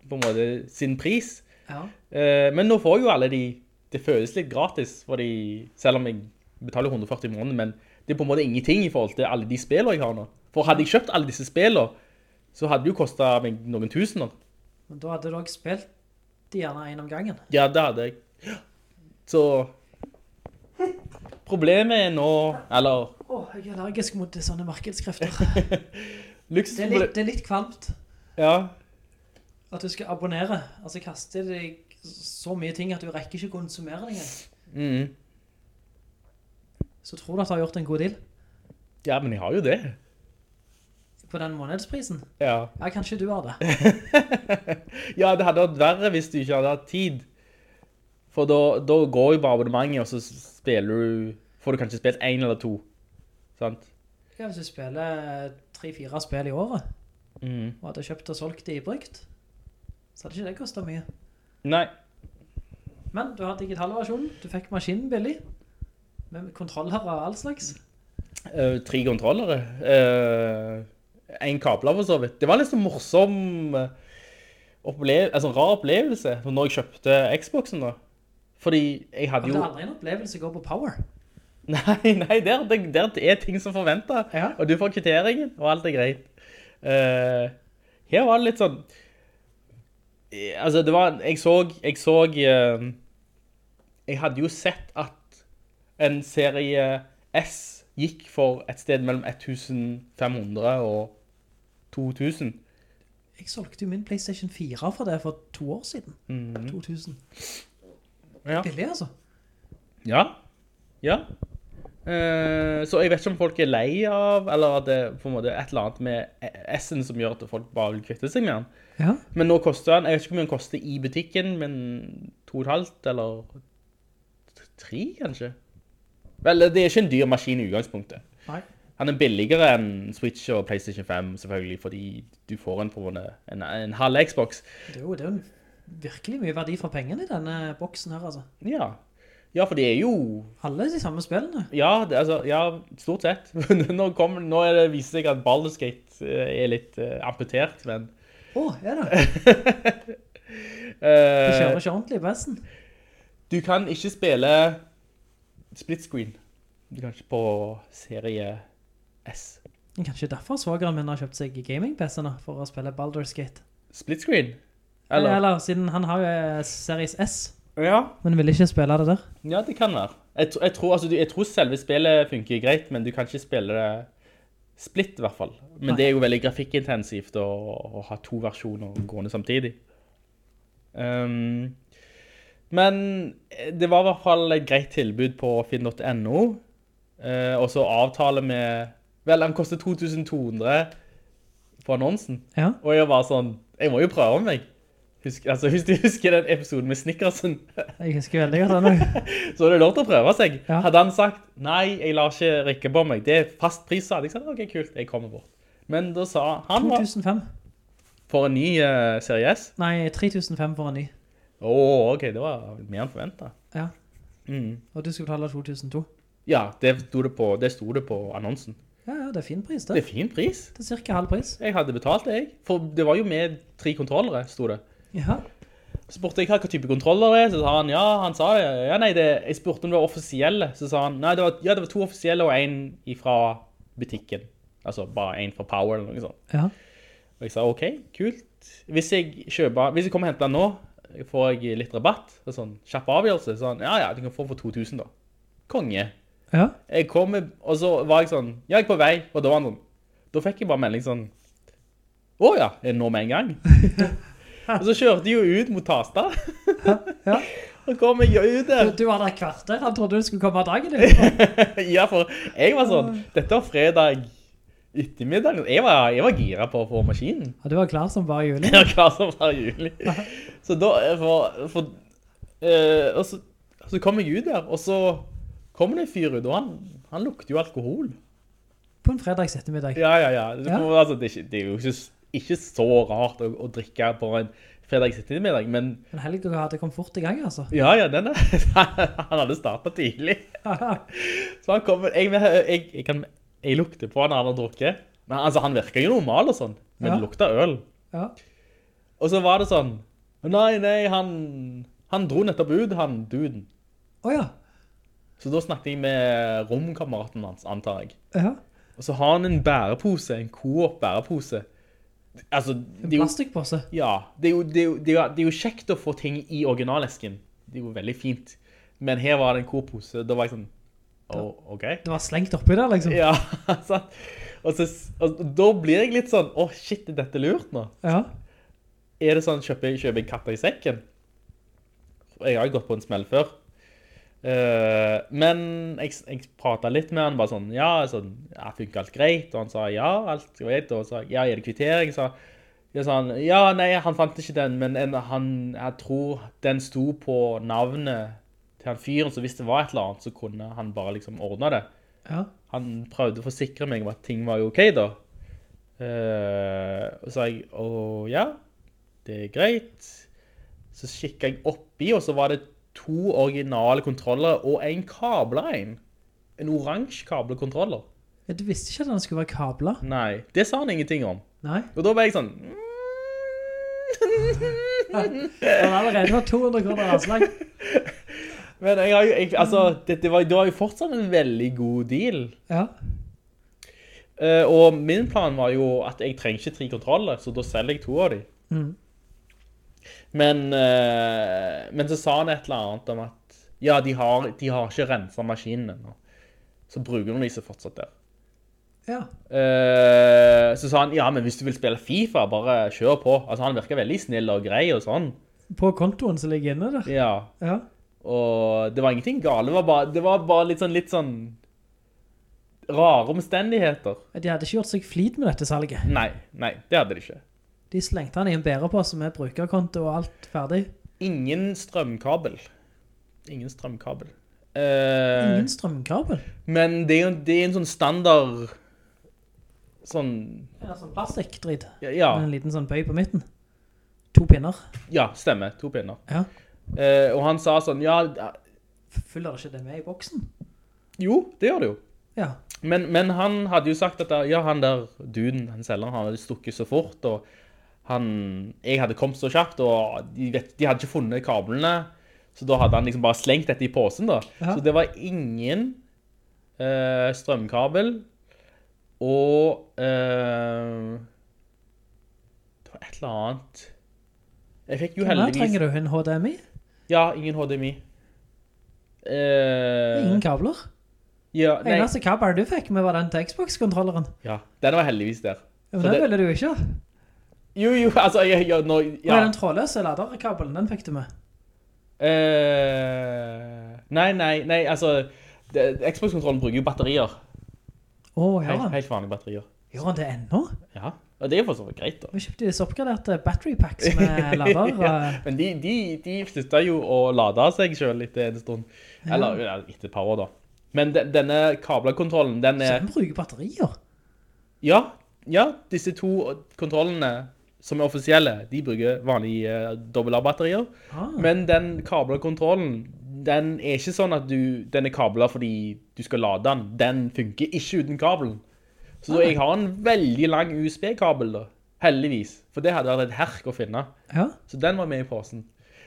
på en måte sin pris. Ja. Eh, men nå får jo alle de Det føles litt gratis, fordi, selv om jeg betaler 140 i måneden, men det er på en måte ingenting i forhold til alle de spillene jeg har nå. For hadde jeg kjøpt alle disse spillene, så hadde det jo kosta meg noen tusener. Men da hadde du også spilt de gjerne en om gangen. Ja, det hadde jeg. Så Problemet er nå Eller Å, jeg er allergisk mot sånne markedskrefter. Det er litt, luksusproble- det er litt kvalmt Ja. at du skal abonnere. Altså kaste deg så mye ting at du rekker ikke å konsumere det engang. Mm. Så tror du at du har gjort en god deal Ja, men jeg har jo det. på den månedsprisen? Ja. Ja, kanskje du har det. Ja, det hadde vært verre hvis du ikke hadde hatt tid. For da, da går jo bare abonnementet, og så spiller du Får du kanskje spilt én eller to. Sant? Ja, hvis du spiller tre-fire spill i året, Mhm. og hadde kjøpt og solgt de i brukt, så hadde ikke det kosta mye. Nei. Men du har digitalversjonen, du fikk maskinen billig, med kontroller og all slags. eh, tre kontrollere. Én kabler, for så vidt. Det var en litt sånn morsom eh, opplev altså, en rar opplevelse når jeg kjøpte Xboxen. da. Fordi Men jeg hadde det jo er aldri en opplevelse å gå på power. Nei, nei, der, der, der er ting som forventer. Ja. Og du får kvitteringen, og alt er greit. Eh, her var det litt sånn Eh, Altså, det var Jeg så Jeg, så, eh, jeg hadde jo sett at en serie S gikk for et sted mellom 1500 og 2000. Jeg solgte jo min PlayStation 4 for det for to år siden. 2000. Mm. Ja. Billig, altså. Ja. Ja. Eh, så jeg vet ikke om folk er lei av, eller at det er på en måte et eller annet med e-, S-en som gjør at folk bare vil kvitte seg med den. Ja. Men nå koster den, jeg vet ikke hvor mye den koster i butikken, men to og et halvt, eller t- tre, kanskje? Vel, det er ikke en dyr maskin i utgangspunktet. Nei. Han er billigere enn Switch og Playstation 5, selvfølgelig, fordi du får en, på en, måte- en, en halv Xbox. Det er jo det er jo en virkelig mye verdi for pengene i denne boksen her, altså. Ja. ja, for det er jo Alle de samme spillene. Ja, det, altså, ja stort sett. Men nå, kommer- nå er det, viser det seg at Baldur's Gate eh, er litt eh, amputert, men Å, er det? De eh, kjører ikke ordentlig i pressen. Du kan ikke spille split screen. Du kan ikke på serie S. Kanskje derfor svageren min har kjøpt seg gaming-PC-ene for å spille Baldur's Gate. Split screen? Eller, Eller? siden han har jo eh, Series S, Ja. men vil ikke spille det der. ja, det kan være. Jeg, tr- jeg, tror, altså, du- jeg tror selve spillet funker greit, men du kan ikke spille det split, i hvert fall. Men Nei. det er jo veldig grafikkintensivt å, å ha to versjoner gående samtidig. Ehm, men det var i hvert fall et greit tilbud på finn.no. eh, og så avtale med Vel, han koster 2200 på annonsen. Ja. Og jeg var sånn Jeg må jo prøve meg. Husk, altså, hvis du husker den episoden med Snickersen, Jeg husker veldig godt den. også. så er det lov til å prøve seg. Ja. Hadde han sagt nei, jeg lar ikke rikke på meg, det er fast pris, så hadde jeg sagt OK, kult, jeg kommer bort. Men da sa han var 2005. for en ny eh, Serie S. Nei, 3005 for en ny. Å, OK, det var mer enn forventa. Ja. Mm. Og du skulle betale 2002. Ja, det sto det, på, det sto det på annonsen. Ja, ja, det er fin pris, Det det. er fin pris. Det er cirka halv pris. Jeg hadde betalt det, jeg. For det var jo med tre kontrollere, sto det. Ja. Så spurte jeg hva hva type kontroller det er, så sa han, ja, han sa det. Ja, nei, det, jeg spurte om det var offisielle, så sa han, nei, det var, ja, det var to offisielle og en fra butikken. Altså, bare en fra Power eller noe sånt. Ja. Og jeg sa, ok, kult. Hvis jeg, kjøper, hvis jeg kommer og henter den nå, får jeg litt rabatt. Det er sånn, kjapp avgjørelse. Så han, ja, ja, du kan få for 2000 da. Konge. Ja. Jeg kom, med- og så var jeg sånn, ja, jeg er på vei. Og da var han sånn, da fikk jeg bare melding sånn, å ja, er det nå med en gang? og så kjørte jeg jo ut mot Tasta. ja. Og kom jeg Du, ut der. du var der et kvarter. Han trodde du skulle komme av dagen. du. Ja, for jeg var sånn, dette var fredag ettermiddag. Jeg var, jeg var gira på å få maskinen. Ja, du var klar som bare juli. Ja, hva som var juli. Så da, eh, for, for eh, og så, så kom jeg ut der, og så kom det en fyr ut, og han, han lukter jo alkohol. På en fredags ettermiddag. Ja, ja, ja. Det, Ja. Altså, det, er, ikke, det er jo ikke, s- ikke så rart å, å drikke på en fredags ettermiddag, men Men helga hadde kommet fort i gang, altså. ja, ja, den er, han hadde startet tidlig. Så han kommer, jeg, jeg, jeg, kan, jeg lukter på han når han har drukket, men altså, han virker jo normal og sånn, men Ja. det lukter øl. Ja. Og så var det sånn Nei, nei, han, han dro nettopp ut, han duden. Å ja. Så da snakket jeg med romkameraten hans, antar jeg. ja. Og så har han en bærepose, en Coop-bærepose. Altså, En det er jo, plastikkpose. ja, det, er jo, det, er jo, det, er jo, det er jo kjekt å få ting i originalesken. Det er jo veldig fint. Men her var det en Coop-pose. Da var jeg sånn Å, OK? Det var slengt oppi der, liksom. Ja, sant. Og, så, og da blir jeg litt sånn Å, shit, er dette lurt nå? Ja. Er det sånn, kjøper jeg, kjøper jeg katter i sekken? Jeg har jo gått på en smell før. Eh, men jeg, jeg pratet litt med han, bare sånn, ja, sånn, ja, funker alt greit? Og han sa, ja, alt greit. Og så, sa jeg, ja, er det kvittering? Så, jeg sa han, ja, nei, han fant ikke den, men en, han, jeg tror den sto på navnet til han fyren, så hvis det var et eller annet, så kunne han bare liksom ordne det. ja. Han prøvde å forsikre meg om at ting var jo ok da. Eh, og så sa jeg, å ja, det er greit. Så kikket jeg oppi, og så var det to originale kontroller og en kablein. En oransje kablekontroller. Ja, Du visste ikke at den skulle være kabla? Nei, det sa han ingenting om. Nei. Og da ble jeg sånn, «Mm». Den allerede var 200 kroner avslag. men jeg har jo, jeg, altså, det, det, var, det var jo fortsatt en veldig god deal. Ja. Eh, og min plan var jo at jeg trenger ikke tre kontroller, så da selger jeg to av dem. Mhm. Men, eh, men så sa han et eller annet om at ja, de har, de har ikke rensa maskinen ennå. Så bruker de disse fortsatt der. Ja. Eh, så sa han ja, men hvis du vil spille Fifa, bare kjør på. Altså Han virker veldig snill og grei og sånn. På kontoen som ligger inne der. Ja. Ja. Og det var ingenting galt. Det var bare, det var bare litt, sånn, litt sånn Rare omstendigheter. De hadde ikke gjort seg flid med dette salget. Nei, nei, det hadde de ikke. De slengte han i en bærepose med brukerkonto og alt ferdig. Ingen strømkabel. Ingen strømkabel. Eh, Ingen strømkabel. Men det er jo det er en sånn standard Sånn Ja, sånn plastikkdrit. Ja. ja. Med en liten sånn bøy på midten. to pinner. Ja, stemmer. To pinner. Ja. Eh, og han sa sånn, ja, Følger det ikke det med i boksen? jo, det gjør det jo. Ja. Men, men han hadde jo sagt at ja, han der duden, han selgeren, han hadde stukket så fort, og han, jeg hadde kommet så kjapt, og de, vet, de hadde ikke funnet kablene, så da hadde han liksom bare slengt dette i påsen da. Ja. Så det var ingen eh, strømkabel, og eh, det var et eller annet. Jeg fikk jo Hvem her heldigvis... Eh. trenger du en HDMI? Ja, ingen HDMI. Eh, Ingen kabler. Ja, nei, Eneste kabelen du fikk med var den til Xbox-kontrolleren. ja, den var heldigvis der. Men Så den det- ville du ikke. ha. Jo, jo, altså, jeg, jeg, nå, ja. Og den trådløse laderkabelen, den fikk du med. Eh, nei, nei, nei, altså, det- Xbox-kontrollen bruker jo batterier. Å, ja. Helt, helt vanlige batterier. Gjør han det ennå? Ja, og det er jo for så vidt greit da. Vi kjøpte disse oppgraderte battery packs med Eh, lader. ja, men de, de, de slutta jo å lade seg selv etter en stund. Eller ja, etter et par år da. Men de, denne kablekontrollen, den Så er... den bruker batterier. Ja, ja, disse to kontrollene som er offisielle, de bruker vanlige uh, batterier Ah, Men den kablerkontrollen, den er ikke sånn at du, den er kablet fordi du skal lade den. Den funker ikke uten kabelen. Så jeg har en veldig lang USB-kabel da, heldigvis. For det hadde vært et herk å finne. ja. Så den var med i posen.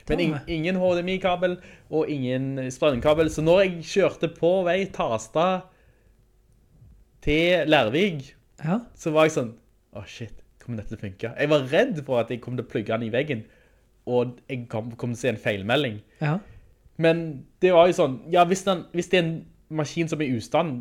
Men Den ing- var med. ingen HDMI-kabel og ingen eh, strømkabel. Så når jeg kjørte på vei Tarstad til Lærvig, ja. så var jeg sånn, å shit, kommer dette til å funke? Jeg var redd for at jeg kom til å plugge den i veggen, og jeg kom, kom til å se en feilmelding. ja. Men det var jo sånn, ja, hvis, den, hvis det er en maskin som er i ustand,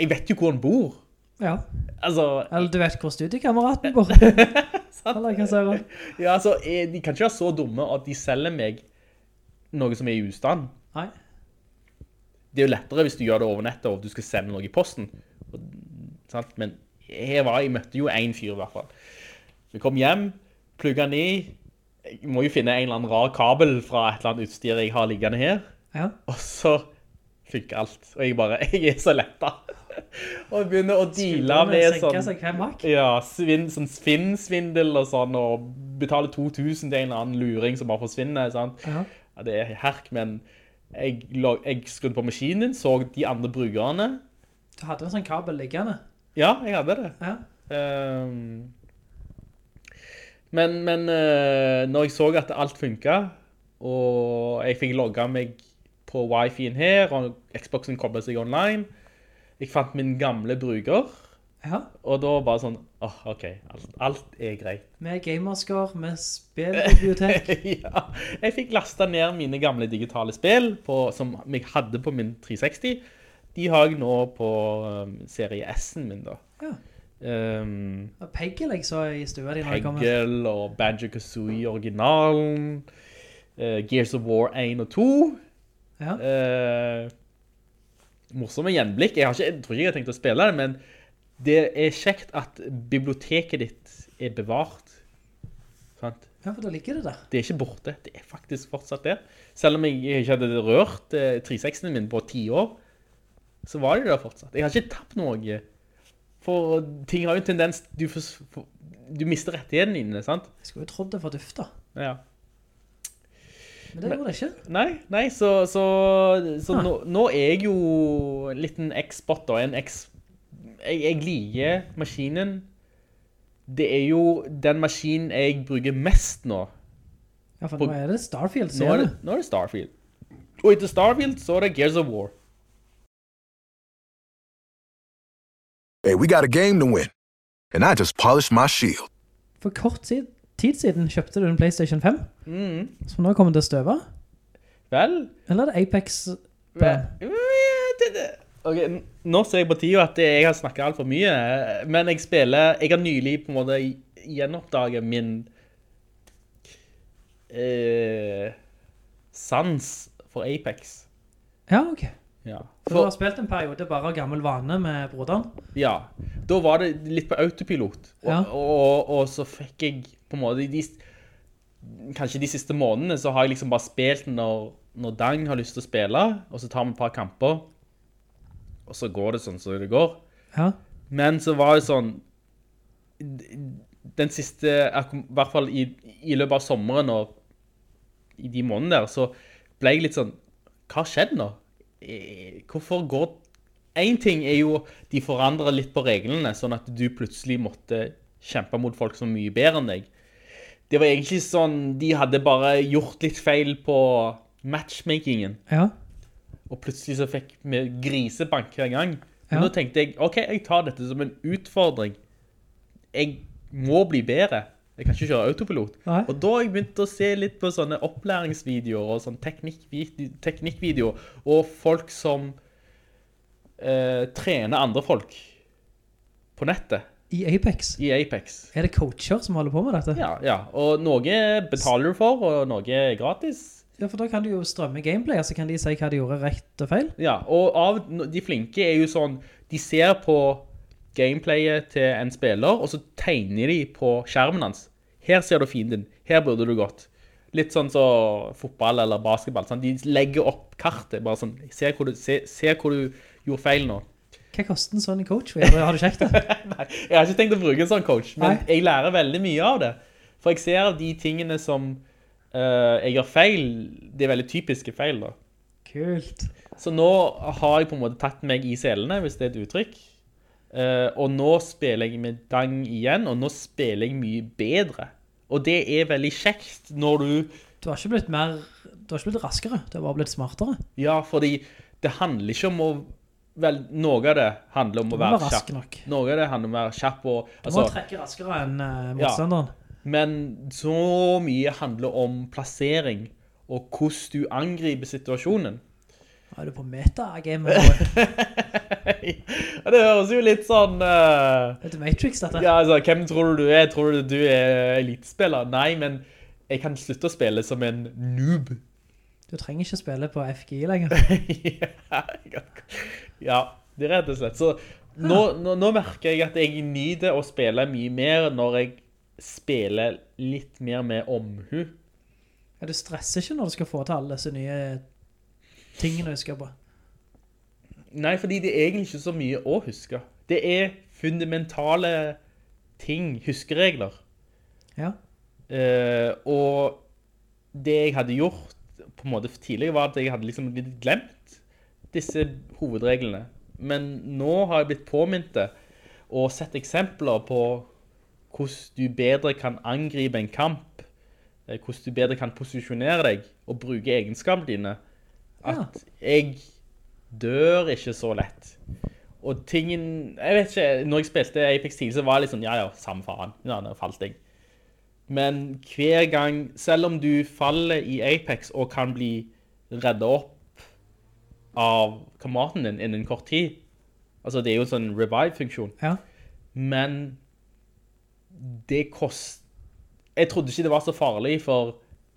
jeg vet jo hvor den bor. Ja. Altså, Eller du vet hvor studiekameraten bor. Eller hva sier han? ja, altså, eh, de kan ikke være så dumme at de selger meg noe som er i ustand. Nei. Det er jo lettere hvis du gjør det over nettet, og du skal sende noe i posten. Og, sant? Men her var jeg, møtte jo en fyr i hvert fall. Vi kom hjem, plugget den i, jeg må jo finne en eller annen rar kabel fra et eller annet utstyr jeg har liggende her. Ja. Og så funker alt. Og jeg bare, jeg er så letta. Og begynner å deale med Senker sånn, seg hver mark. ja, svin, sånn svinn-svindel og sånn, og betale 2000 til en eller annen luring som bare forsvinner, sant? Ja. Ja, det er herk, men jeg, la- jeg skrudde på maskinen din, så de andre brukerne. Du hadde en sånn kabel liggende. Ja, jeg hadde det. Ja. Ehm, men men eh, når jeg så at alt funket, og jeg fikk logga meg på wifi-en her, og Xboxen koblet seg online, jeg fant min gamle bruker, ja. og da bare sånn, åh, ok, alt, alt er greit. Med gamerscore, med spillbibliotek. ja, jeg fikk lasta ned mine gamle digitale spill på, som jeg hadde på min 360. De har jeg nå på um, serie S-en min, da. Ja. Ehm, Og Peggy jeg så i stua di når jeg kom. her. Peggle og Banjo Kazooie originalen. eh, Gears of War 1 og 2. Ja. Eh, morsomme gjenblikk. Jeg, har ikke, jeg tror ikke jeg har tenkt å spille det, men det er kjekt at biblioteket ditt er bevart. Sant? ja, for da ligger det der. Det er ikke borte. Det er faktisk fortsatt der. Selv om jeg ikke hadde rørt eh, 360-en min på ti år, så var det der fortsatt. Jeg har ikke tapt noe. eh, For ting har jo en tendens Du, fors- for- du mister rettighetene dine, sant? Jeg skulle jo trodd det var dufta. Ja. Men det gjorde det ikke. Nei, nei, så, så, Ah. så nå, nå er jeg jo en liten X-bot og en X... Jeg, jeg liker maskinen. Det er jo den maskinen jeg bruker mest nå. Ja, for nå er det Starfield, Nå ser er, du. det, nå er det Starfield. Og etter Starfield så er det Gears of War. Hey, we got a game to win. And I just polished my shield. For kort si- tid siden kjøpte du en PlayStation 5, som nå kommer til å støve. Vel? Eller er det Apex vel- Plan? det- det- Ok, n- nå ser jeg på tida at jeg har snakket alt for mye, men jeg spiller... Jeg har nylig på en måte gjenoppdaget min... Eh, sans for Apex. Ja, ok. Ja. For du har spilt en periode bare av gammel vane med broderen. Ja, da var det litt på autopilot. Og, Ja. og, og, og så fikk jeg på en måte de, Kanskje de siste månedene så har jeg liksom bare spilt når, når Dang har lyst til å spille, og så tar vi et par kamper, og så går det sånn som det går. Ja. Men så var det sånn den siste, i hvert fall i, i løpet av sommeren og i de månedene der, så ble jeg litt sånn, hva har skjedd nå? Eh, Hvorfor går... En ting er jo, de forandrer litt på reglene, sånn at du plutselig måtte kjempe mot folk som er mye bedre enn deg. Det var egentlig sånn, de hadde bare gjort litt feil på matchmakingen. Ja. Og plutselig så fikk vi grisebank hver gang. Men Ja. nå tenkte jeg, ok, jeg tar dette som en utfordring. Jeg må bli bedre. Jeg kan ikke kjøre autopilot. Nei. Og da har jeg begynt å se litt på sånne opplæringsvideoer og sånn teknikkvide- teknikkvideoer, og folk som eh, trener andre folk på nettet I Apex. i Apex. Er det coacher som holder på med dette? Ja, ja. Og noe betaler du for, og noe er gratis. Ja, for da kan du jo strømme gameplay, så kan de si hva de gjorde rett og feil. Ja, og av de flinke er jo sånn, de ser på gameplayet til en spiller, og så tegner de på skjermen hans. Her ser du fienden, her burde du gått. Litt sånn så fotball eller basketball, sånn. de legger opp kartet, bare sånn, se hvor du, se, se hvor du gjorde feil nå. Hva koster en sånn coach? Har du sjekket det? Nei, jeg har ikke tenkt å bruke en sånn coach, men Nei. jeg lærer veldig mye av det. For jeg ser de tingene som eh, jeg gjør feil, det er veldig typiske feil da. Kult. Så nå har jeg på en måte tatt meg i selene, hvis det er et uttrykk. Eh, og nå spiller jeg med Dang igjen, og nå spiller jeg mye bedre. Og det er veldig kjekt når du Du har ikke blitt mer, du har ikke blitt raskere, du har bare blitt smartere. Ja, fordi det handler ikke om å Vel, noe av det handler om å må være være rask kjapp. nok. Noe av det handler om å være kjapp og Du må altså, trekke raskere enn eh, Ja. motstanderen. Men så mye handler om plassering og hvordan du angriper situasjonen. Er du på metagame? eller? Ja, Det høres jo litt sånn eh, Er det Matrix, dette? Ja, altså, hvem tror du du er? Tror du du er elitespiller? Nei, men jeg kan slutte å spille som en noob. Du trenger ikke spille på FGI lenger. ja, det er rett og slett. Så nå, nå, nå merker jeg at jeg nyter å spille mye mer når jeg spiller litt mer med omhu. Ja, du stresser ikke når du skal få til alle disse nye tingene du skal på. Nei, fordi det er egentlig ikke så mye å huske. Det er fundamentale ting, huskeregler. Ja. Eh, og det jeg hadde gjort på en måte tidligere var at jeg hadde liksom litt glemt disse hovedreglene. Men nå har jeg blitt påminnet det, og sett eksempler på hvordan du bedre kan angripe en kamp, eh, hvordan du bedre kan posisjonere deg og bruke egenskapene dine. At jeg dør ikke så lett. Og tingen, jeg vet ikke, når jeg spilte Apex tidlig så var jeg litt sånn, ja ja, samme faen, ja, nå falt jeg. Men hver gang, selv om du faller i Apex og kan bli reddet opp av kameraten din innen kort tid, altså det er jo en sånn revive-funksjon, Ja. men det kost... Jeg trodde ikke det var så farlig, for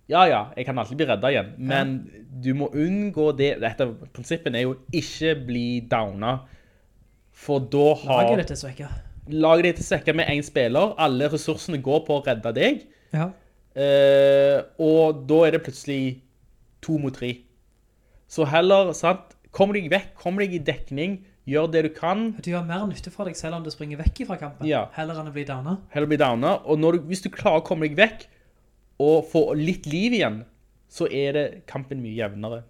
ja, ja, jeg kan alltid bli reddet igjen, men du må unngå det. Dette prinsippet er jo ikke bli downet, for da har Laget ditt er svekka. laget ditt er svekket med en spiller, alle ressursene går på å redde deg, Ja. Eh, og da er det plutselig to mot tre. Så heller, sant, kom deg vekk, kom deg i dekning, gjør det du kan, Du gjør mer nytte for deg selv om du springer vekk fra kampen, Ja. heller enn å bli downa. heller bli downa, og når du, hvis du klarer å komme deg vekk, og få litt liv igjen, så er det kampen mye jevnere.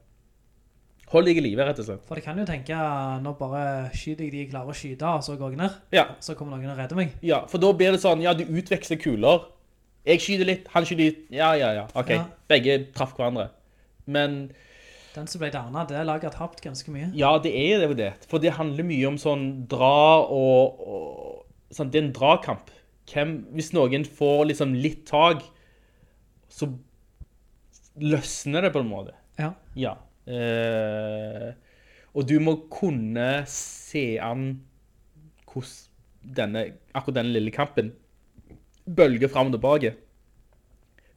Hold deg i livet, rett og slett. For det kan jo tenke, nå bare skyter jeg de jeg klarer å skyte, og så går jeg ned. Ja, Så kommer noen og redder meg. ja, for da blir det sånn, ja, du utveksler kuler, jeg skyter litt, han skyter litt, ja, ja, ja, ok, Ja. begge traff hverandre. Men Den som ble downa, det laget har tapt ganske mye. Ja, det er jo det. For det handler mye om sånn dra og, og sånn, Det er en dragkamp. Hvem, hvis noen får liksom litt tak, så løsner det på en måte. Ja. Ja. Eh, og du må kunne se an hvordan denne, akkurat denne lille kampen bølger frem og tilbake.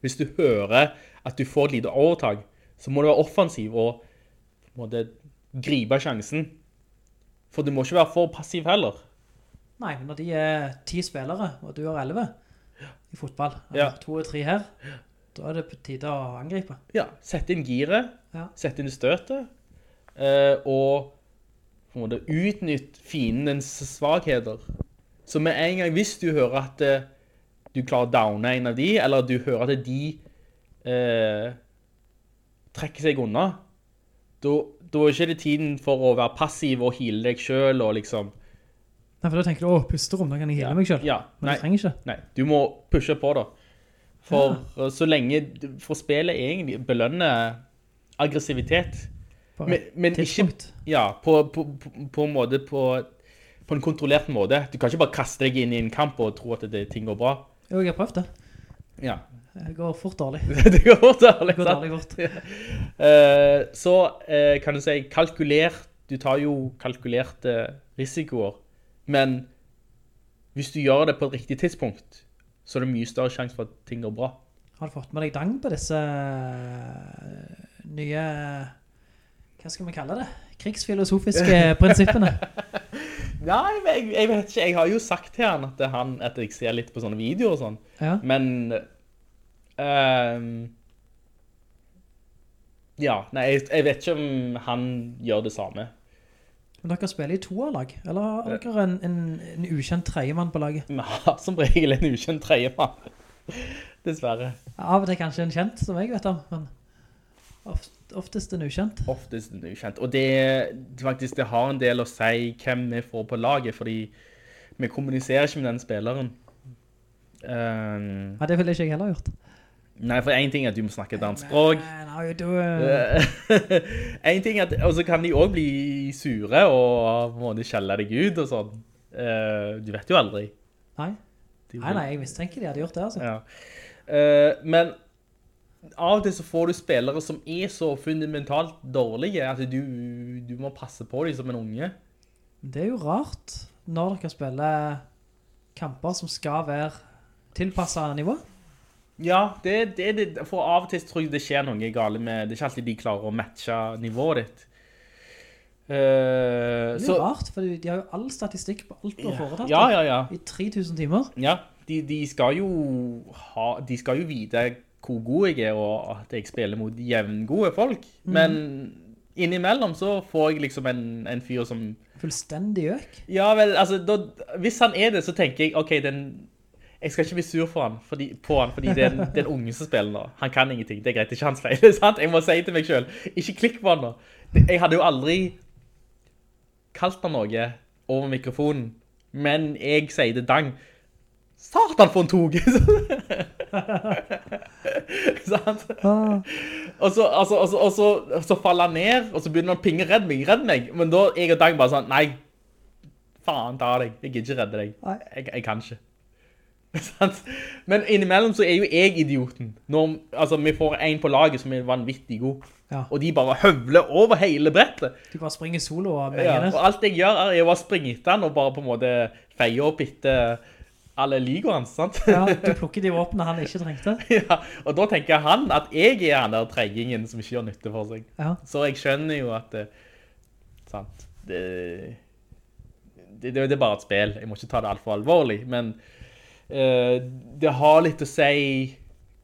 Hvis du hører at du får et lite overtag, så må du være offensiv og på en måte, gripe sjansen. For du må ikke være for passiv heller. Nei, men når de er ti spillere, og du har elleve i fotball, Ja. eller to og tre her, da er det på tide å angripe. Ja, sette inn giret, Ja. sette inn støtet, eh, og på en måte utnytte fiendens svagheter. Så med en gang, hvis du hører at eh, du klarer å downe en av de, eller du hører at de eh, trekker seg unna, da, da er ikke det tiden for å være passiv og heale deg selv og liksom... Nei, for da tenker du, åh, pusterom, da kan jeg hele meg selv. Ja, Men nei, du trenger ikke. nei, du må pushe på da. For eh, så lenge, for spillet egentlig belønner aggressivitet. Bare Men, men ikke, tidspunkt. ja, på, på, på, på en måte på, på en kontrollert måte. Du kan ikke bare kaste deg inn i en kamp og tro at det, ting går bra. Jo, jeg har prøvd det. Ja, Det går fort dårlig. det går fort, Det går liksom. dårlig fort. Eh, så eh, kan du si kalkulert, du tar jo kalkulerte risikoer, men hvis du gjør det på et riktig tidspunkt, så er det mye større sjanse for at ting går bra. Har du fått med deg dang på disse eh, nye, hva skal vi kalle det? Krigsfilosofiske prinsippene. Nei, men jeg, jeg vet ikke, jeg har jo sagt til han at, han, at jeg ser litt på sånne videoer og sånn, Ja. Men ehm, Ja, nei, jeg, jeg vet ikke om han gjør det samme. Men dere spiller i toerlag, eller har dere en, en, en ukjent tredjemann på laget? Vi har som regel en ukjent tredjemann. Dessverre. Av og til kanskje en kjent, som jeg vet om, men oft, oftest en ukjent. Oftest en ukjent. Og det, faktisk, det har en del å si hvem vi får på laget, fordi vi kommuniserer ikke med den spilleren. Ehm, Ja, det ville ikke jeg heller gjort. nei, for én ting er at du må snakke et annet språk. Nei, nei, du, eh, Eh, en ting er at, og så kan de også bli sure og på en måte skjelle deg ut og sånn. Eh, du vet jo aldri. nei. De nei, nei, jeg mistenker de hadde gjort det, altså. Ja. Eh, men av og til så får du spillere som er så fundamentalt dårlige at du, du må passe på dem som en unge. Det er jo rart når dere spiller kamper som skal være tilpasset nivå. Ja, det, det, det, for av og til så tror jeg det skjer noe galt med Det er ikke alltid de klarer å matche nivået ditt. Eh, Det er så, jo rart, for de har jo all statistikk på alt du har foretatt. ja, ja, ja. I 3000 timer. Ja, de, de skal jo ha, de skal jo vite hvor god jeg er, og at jeg spiller mot jevngode folk. Men innimellom så får jeg liksom en, en fyr som Fullstendig øk. Ja vel, altså da, Hvis han er det, så tenker jeg OK, den jeg skal ikke bli sur for han, fordi, på han, fordi det er, en, det er en unge som spiller nå. Han kan ingenting. Det er greit, det er ikke hans feil. sant? Jeg må si til meg sjøl ikke klikk på han nå. Det- Jeg hadde jo aldri kalt han noe over mikrofonen, men jeg sier det dang. Satan, for en tog! sant? Ah. Og så, altså, altså, og så, så faller han ned, og så begynner han å pinge 'redd meg', 'redd meg'. Men da er jeg og Dang bare sånn Nei, faen ta deg. Jeg gidder ikke redde deg. Nei. Jeg, jeg kan ikke. Sant? Men innimellom så er jo jeg idioten. Når, altså, vi får en på laget som er vanvittig god, Ja. og de bare høvler over hele brettet. Du bare springer solo og Ja, menger og ned. alt jeg gjør, er jo å springe etter han og bare på en måte feie opp etter alle ligaene hans. sant? Ja, du plukker de våpnene han ikke trengte. ja, og da tenker han at jeg er han der treggingen som ikke gjør nytte for seg. Ja. Så jeg skjønner jo at det, sant, det, det, det, det er bare et spill. Jeg må ikke ta det altfor alvorlig, men eh, det har litt å si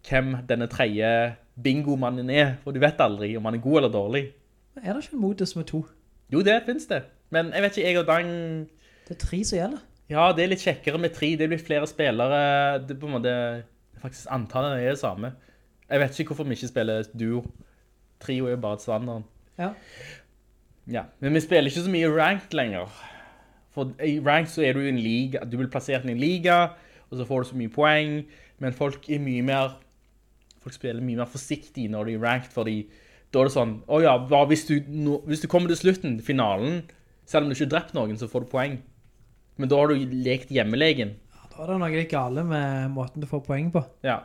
hvem denne tredje bingomannen er, for du vet aldri om han er god eller dårlig. Er det ikke en modus med to? Jo, det finnes det. Men jeg vet ikke, jeg og Dang... Det er tre som gjelder. Ja, det er litt kjekkere med tre. Det blir flere spillere. Det er på en måte Faktisk antallet er det samme. Jeg vet ikke hvorfor vi ikke spiller duo. Trio er jo bare et standard. Ja. Ja. Men vi spiller ikke så mye ranked lenger. For i ranked så er du i en liga. Du blir plassert i en liga, og så får du så mye poeng. Men folk er mye mer Folk spiller mye mer forsiktig når de er ranked, fordi da er det sånn Å ja, hva hvis du, nå- hvis du kommer til slutten, finalen, selv om du ikke har drept noen, så får du poeng. Men da har du lekt hjemmelegen. Da er det noe litt gale med måten du får poeng på. Ja.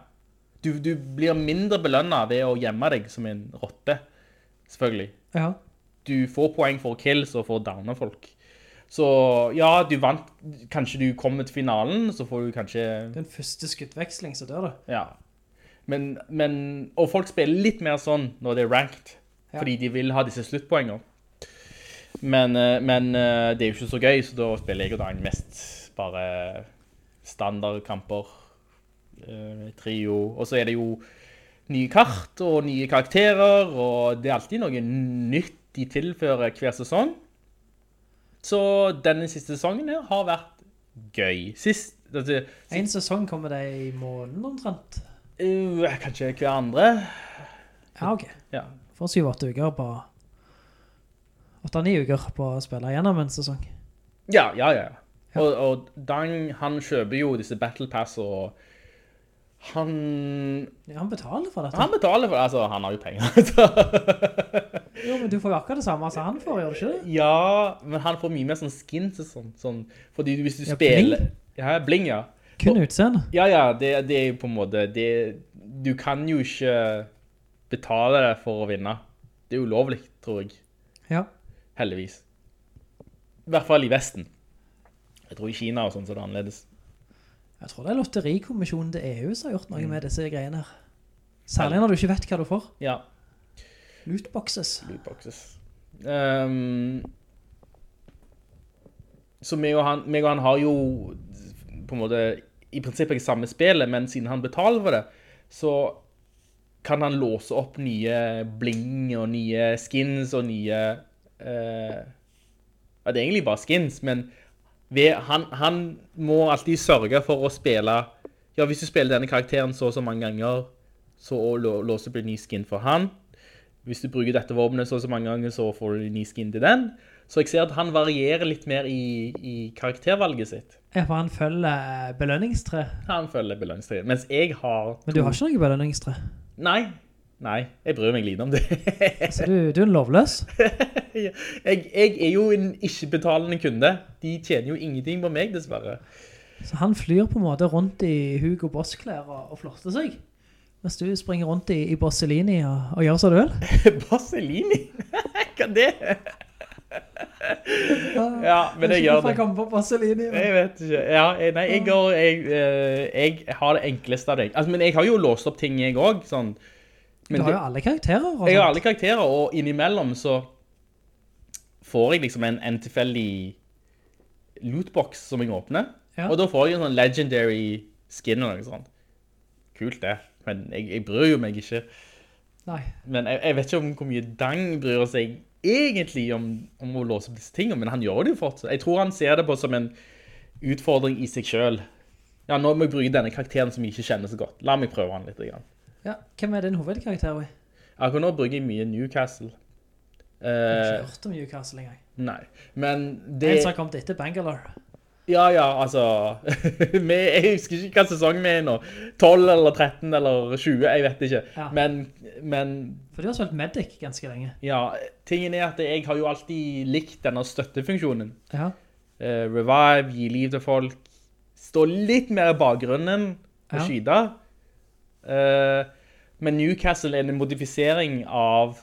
Du, du blir mindre belønna ved å gjemme deg som en rotte. Selvfølgelig. Ja. Du får poeng for kills og for å downe folk. Så ja, du vant. Kanskje du kommer til finalen, så får du kanskje Den første skuddveksling så dør du. Ja. Men, men Og folk spiller litt mer sånn når det er ranked, Ja. fordi de vil ha disse sluttpoengene. Men, eh, men eh, det er jo ikke så gøy, så da spiller jeg og Dang mest bare standardkamper. eh, Trio. Og så er det jo nye kart og nye karakterer, og det er alltid noe nytt de tilfører hver sesong. Så denne siste sesongen her har vært gøy. Sist, altså, det, det, En sesong kommer det i måneden omtrent. uh, Kanskje hver andre? Ja, ok. Ja. Får syv-åtte uker på Åtte-ni uker på å spille gjennom en sesong. Ja, ja, ja. Og, og Dang, han kjøper jo disse battle pass, og han, Ja, han betaler for dette. han betaler for det. Altså, han har jo penger. altså. så- Jo, men du får jo akkurat det samme som han får, gjør du ikke det? ja, men han får mye mer sånn skins og sånn. sånn fordi hvis du Ja, spiller... bling. Ja, bling, ja. Kun utseende. Ja, ja, det, det er jo på en måte det, Du kan jo ikke betale deg for å vinne. Det er ulovlig, tror jeg. Ja. Heldigvis. I hvert fall i Vesten. Jeg tror i Kina og sånn så er det annerledes. Jeg tror det er Lotterikommisjonen til EU som har gjort noe med disse greiene her. Særlig når du ikke vet hva du får. Ja. Lootboxes. Lootboxes. Ehm, så meg og, han, meg og han har jo på en måte i prinsippet ikke samme spillet, men siden han betaler for det, så kan han låse opp nye bling og nye skins og nye eh, Ja, det er egentlig bare skins, men ved, han, han må alltid sørge for å spille Ja, hvis du spiller denne karakteren så og så mange ganger, så å lå- låse opp en ny skin for han. Hvis du bruker dette våpenet så og så mange ganger, så får du en ny skin til den. Så jeg ser at han varierer litt mer i, i karaktervalget sitt. Ja, for han følger belønningstre. Han følger belønningstreet. Mens jeg har Men du har ikke noe belønningstre. Nei. Nei, jeg bryr meg lite om det. Så Altså, du, du er lovløs. jeg, jeg er jo en ikke-betalende kunde. De tjener jo ingenting på meg, dessverre. Så han flyr på en måte rundt i Hugo Boss-klær og, og flotter seg. Mens du springer rundt i, i Borsellini og, og gjør som du vil. Baselini? Hva er det? ja, men jeg gjør det. Jeg på Borsellini. men- Jeg vet ikke. Ja, jeg- nei, jeg, går, jeg, eh, jeg har det enkleste av deg. Altså, men jeg har jo låst opp ting, jeg òg. Sånn. Men Du har det- jo alle karakterer. altså. Og jeg har sånt. alle karakterer, og innimellom så får jeg liksom en, en tilfeldig lootbox som jeg åpner. Ja. Og da får jeg en sånn legendary skin eller noe sånt. Kult, det. Men jeg, jeg bryr jo meg ikke. Nei. Men jeg, jeg vet ikke om hvor mye Dang bryr seg egentlig om, om å låse opp disse tingene, men han gjør det jo fortsatt. Jeg tror han ser det på som en utfordring i seg selv. Ja, nå må jeg bruke denne karakteren som jeg ikke kjenner så godt. La meg prøve han litt. Grann. Ja, hvem er din hovedkarakter? Vi? Akkurat nå bruker jeg mye Newcastle. Jeg har Eh, ikke hørt om Newcastle engang. nei, men det... En som har kommet etter Bangalore. Ja, ja, altså... vi, jeg husker ikke hva sesong vi er nå. 12 eller 13 eller 20, jeg vet ikke. Ja. Men, men For du har spilt Medic ganske lenge. ja, tingen er at jeg har jo alltid likt denne støttefunksjonen. Ja. eh, revive, gi liv til folk, stå litt mer i bakgrunnen og Ja. skyte. Eh, men Newcastle er en modifisering av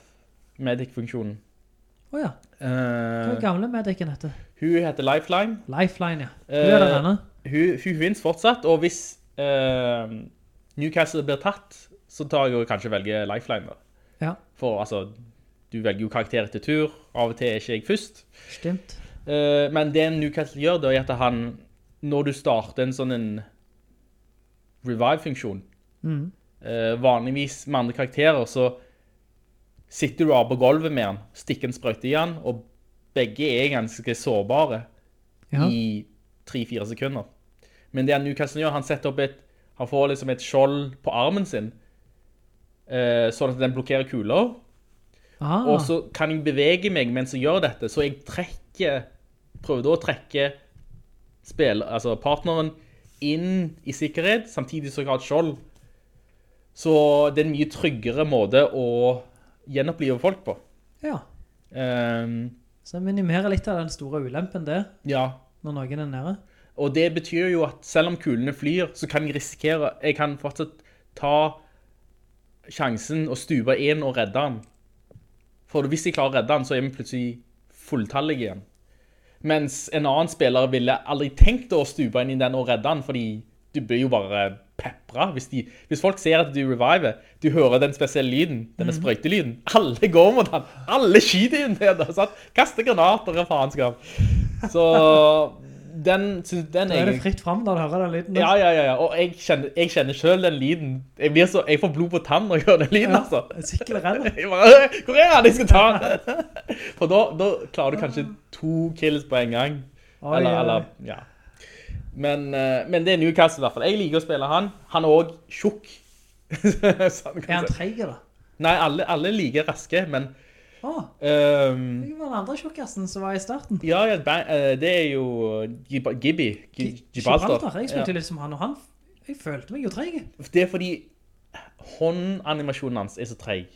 medic-funksjonen. Å ja. Eh, Hva er gamle Medicen heter? hun heter Lifeline. Lifeline, ja. Du er den Eh, ene. Hun, hun finnes fortsatt, og hvis eh, Newcastle blir tatt, så tar jeg jo kanskje velge Lifeline. da. Ja. For altså, du velger jo karakter etter tur. Av og til er ikke jeg først. Stimt. Eh, men det Newcastle gjør, det er at han, når du starter en sånn en revive-funksjon, eh, vanligvis med andre karakterer, så sitter du av på gulvet med han, stikker en sprøyte i han, og begge er ganske sårbare Ja. i 3-4 sekunder. Men det Newcastle gjør, han setter opp et, han får liksom et skjold på armen sin, eh, sånn at den blokkerer kuler, Ah, og så kan jeg bevege meg mens jeg gjør dette, så jeg trekker, prøvde å trekke spill, altså partneren inn i sikkerhet, samtidig som jeg har et skjold. Så det er en mye tryggere måte å gjenopplive folk på. ja. Ehm, Så jeg minimerer litt av den store ulempen det, ja, når noen er nede. og det betyr jo at selv om kulene flyr, så kan jeg risikere, jeg kan fortsatt ta sjansen og stupe inn og redde han. For hvis jeg klarer å redde han, så er vi plutselig fulltallige igjen. Mens en annen spiller ville aldri tenkt å stupe inn i den og redde han, fordi du blir jo bare pepra. Hvis, de, hvis folk ser at du reviver, du hører den spesielle lyden, denne Mhm. sprøytelyden, alle går mot han, alle skyter inn til han, sant? kaster granater og faenskap. Så den, sy- den Da er det jeg- fritt fram da du hører den lyden. ja, ja, ja, ja. Og jeg kjenner, jeg kjenner selv den lyden. Jeg, blir så, jeg får blod på tann når jeg hører den lyden, altså. Sikkel renner. Jeg bare, hvor er han? Jeg skal ta han. For da, da klarer du kanskje to kills på en gang. Ah. Oi, eller, oi. eller, ja. Men, eh, men det er Newcastle i hvert fall. Jeg liker å spille han. Han er òg tjukk. sånn Er kan han du si. treig, da? Nei, alle, alle liker raske, men Å, ehm, det var den andre tjukkasen som var i starten. Ja, ja ba- eh, det er jo Gib- Gibby. Gi- Gibraltar. Jeg spilte litt som han, og han Jeg følte meg jo treig. Ja. Det er fordi håndanimasjonen hans er så treig.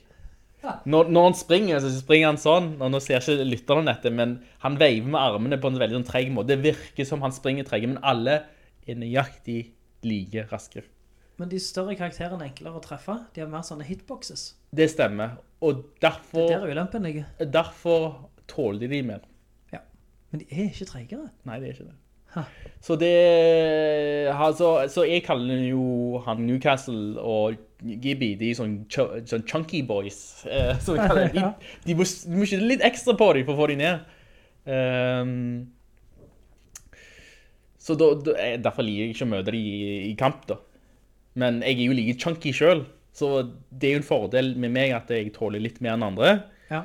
Ja. Når, når han springer, så springer han sånn. Og nå ser ikke lytterne dette, men han veiver med armene på en veldig sånn treig måte. Det virker som han springer treig, men alle er nøyaktig like raske. Men de større karakterene er enklere å treffe. De har mer sånne hitboxes. Det stemmer. Og Der derfor, er ulempen ligger. derfor tåler de mer. Ja. Men de er ikke treigere. Nei, det er ikke det. Ha. Så det altså, Så jeg kaller jo han Newcastle og Gibby de er sånn, chu, sånn chunky boys. Eh, som jeg kaller det. Ja. De, de må, du må skyte litt ekstra på dem for å få dem ned. Ehm, så da, da, eh, derfor liker jeg ikke å møte dem i, i kamp, da. Men jeg er jo like chunky sjøl, så det er jo en fordel med meg at jeg tåler litt mer enn andre. Ja.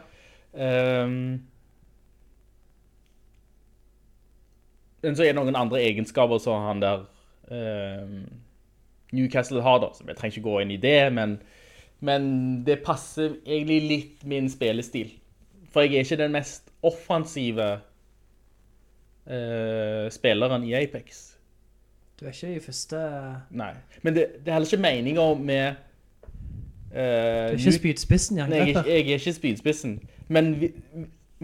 Ehm. Men så er det noen andre egenskaper som han der ehm, Newcastle har, da. Så jeg trenger ikke gå inn i det, men, men det passer egentlig litt min spillestil. For jeg er ikke den mest offensive eh, spilleren i Apex. Du er ikke i første Du Nei. Men det, det er heller ikke meninga med eh, er ikke New- spydspissen i Nei, jeg, er angrepet. ikke- jeg er ikke spydspissen. Men, vi-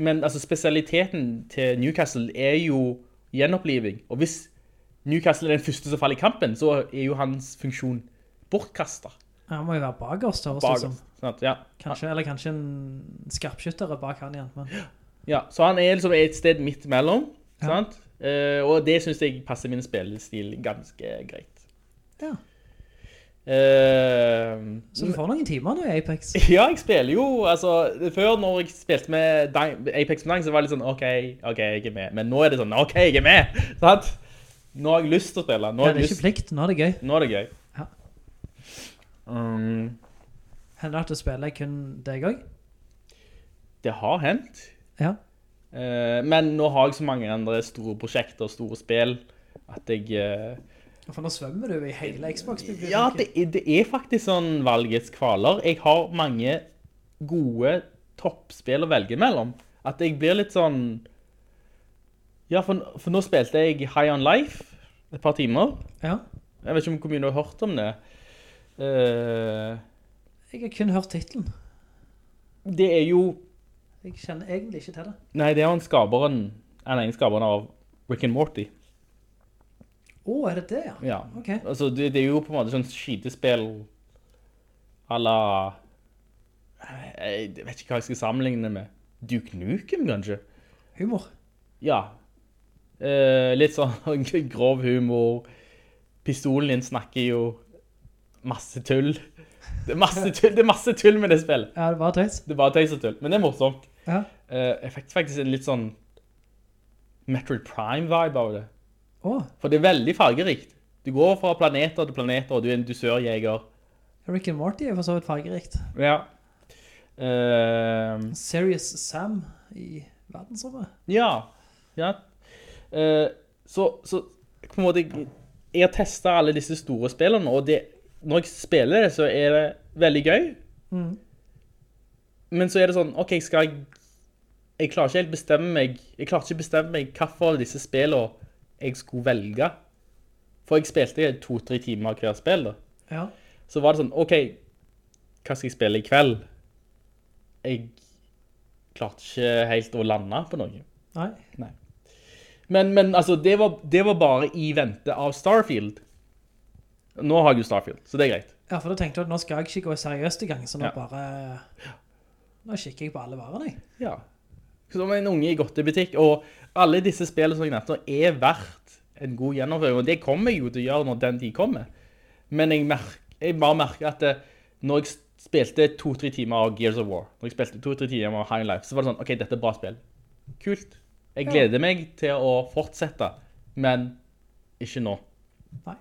men altså, spesialiteten til Newcastle er jo gjenoppliving. Og hvis Newcastle er den første som faller i kampen, så er jo hans funksjon bortkasta. Han må jo være bakerst, høres det ut som. Bakerst. Sånn at, ja. Kanskje, eller kanskje en skarpskytter er bak han igjen. Men ja. Så han er liksom et sted midt mellom. Sant? Eh, og det syns jeg passer min spillestil ganske greit. ja. Eh, Så du får noen timer nå i Apex. Ja, jeg spiller jo, altså, før når jeg spilte med Dang- Apex med Dang, så var det litt sånn, ok, ok, jeg er med. Men nå er det sånn, ok, jeg er med, sant? Nå har jeg lyst til å spille, nå Ja, har det er jeg ikke lyst, plikt. Nå er det gøy. nå er det gøy. Ja. Um, Hender det at du spiller kun deg òg? det har hendt, Ja. eh, men nå har jeg så mange andre store prosjekter og store spill, at jeg... eh, For nå svømmer du i hele Xbox-biblioteket. Ja, det er, det er faktisk sånn valgets kvaler. Jeg har mange gode toppspill å velge mellom. At jeg blir litt sånn Ja, for, for nå spilte jeg High On Life et par timer. Ja. Jeg vet ikke om hvor mye du har hørt om det. Eh, Jeg har kun hørt tittelen. det er jo Jeg kjenner egentlig ikke til det. Nei, det er jo en skaperen Den ene skaperen av Rick and Morty. Å, er det det, ja? Ja. Ok. Altså, det, det er jo på en måte sånn skytespill à la eh, Jeg vet ikke hva jeg skal sammenligne med. Duke Nukem, kanskje? Humor. Ja. Eh, litt sånn grov humor. Pistolen din snakker jo masse tull. Det er masse tull, det er masse tull med det spillet. Ja, det var tøys. Det er bare tøys og tull, men det er morsomt. Ja. Eh, jeg fikk faktisk en litt sånn Metroid Prime-vibe av det. Å, For det er veldig fargerikt. Du går fra planeter til planeter, og du er en dusørjeger. Rick and Morty er for så vidt fargerikt. Ja. Ehm, Serious Sam i verdensrommet. ja. Ja. Eh, så, så på en måte Jeg jeg har testa alle disse store spillene, og det, når jeg spiller det, så er det veldig gøy. Mhm. Men så er det sånn OK, skal jeg Jeg klarer ikke helt bestemme meg Jeg klarer ikke bestemme meg hvilke av disse spillene jeg skulle velge. For jeg spilte to-tre timer hver spill, da. Ja. så var det sånn, ok, hva skal jeg spille i kveld? Jeg klarte ikke helt å lande på noe. Nei. Men, men altså, det var, det var bare i vente av Starfield. Nå har jeg jo Starfield, så det er greit. Ja, for da tenkte du at nå skal jeg ikke gå seriøst i gang, så nå Ja. bare Nå kikker jeg på alle varene, jeg. Ja. Som en unge i godtebutikk, og alle disse spillene som jeg nevnte, er verdt en god gjennomføring, og det kommer jeg jo til å gjøre når den tid kommer. Men jeg, merk, jeg bare merker at eh, når jeg spilte to-tre timer av Gears of War, når jeg spilte to-tre timer av High Life, så var det sånn, ok, dette er bra spill. Kult. Jeg gleder meg til å fortsette, men ikke nå. Nei.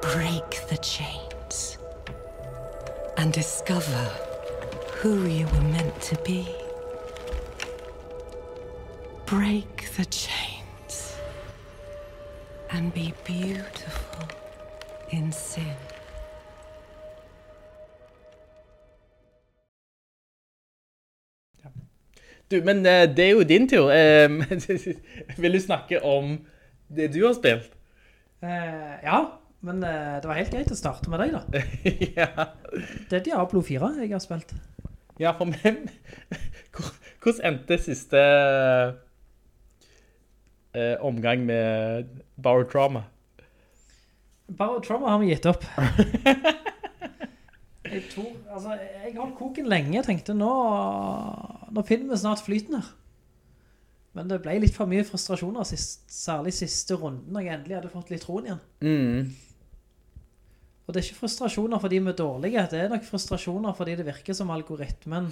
Break the chains and discover who you were meant to be. Break the chains and be beautiful in sin. Du, men eh, det er jo din tur. Eh, men vil du snakke om det du har spilt? Eh, ja, men eh, det var helt greit å starte med deg, da. ja. Det er Diablo 4 jeg har spilt. ja, for meg Hvor- Hvordan endte siste eh, omgang med Bower Drama? Bare trauma har vi gitt opp. Jeg tror, altså, jeg holdt koken lenge, jeg tenkte nå, nå finner vi snart flyten her. Men det ble litt for mye frustrasjoner, sist, særlig siste runden, når jeg endelig hadde fått litt troen igjen. Og det er ikke frustrasjoner fordi vi er dårlige, det er nok frustrasjoner fordi det virker som algoritmen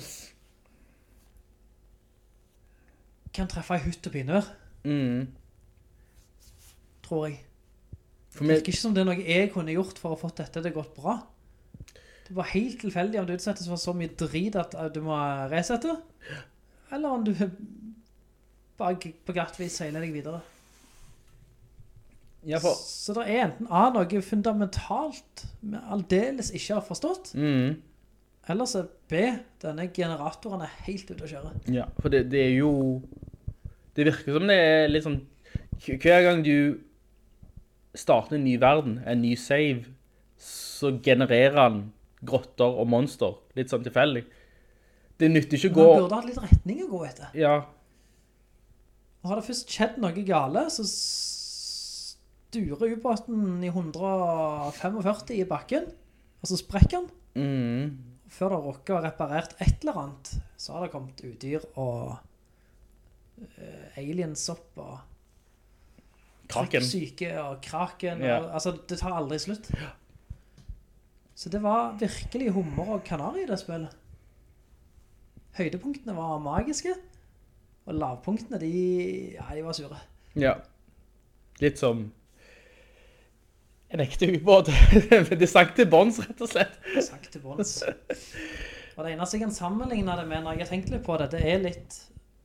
kan treffe ei hutt og pinner, Mm. tror jeg. For Det meg, virker ikke som det er noe jeg kunne gjort for å fått dette til å gått bra. Det var helt tilfeldig om du utsettes for så mye drit at eh, du må resette, eller om du bare g- på glatt vis seiler deg videre. ja, for, Så det er enten A, noe fundamentalt vi aldeles ikke har forstått, mm, eller så er B, denne generatoren er helt ute å kjøre. ja, for det, det er jo Det virker som det er litt sånn hver- Hver gang du starter en ny verden, en ny save, så genererer han grotter og monster. Litt sånn tilfeldig. Det nytter ikke Men å gå man burde hatt litt retning å gå etter. Ja. Og har det først skjedd noe gale, så sturer ubåten i 145 i bakken, og så sprekker den. Mm. Før det rokker og reparert et eller annet, så har det kommet udyr og eh, aliens opp og Kraken. syke og kraken. Ja. Og, altså, det tar aldri slutt. Så det var virkelig hummer og kanari i det spillet. Høydepunktene var magiske, og lavpunktene, de, ja, de var sure. Ja. Litt som en ekte ubåt. Men det sank til bånns, rett og slett. Sank til bunns. Og det eneste jeg kan sammenligne det med når jeg har tenkt litt på det, det er litt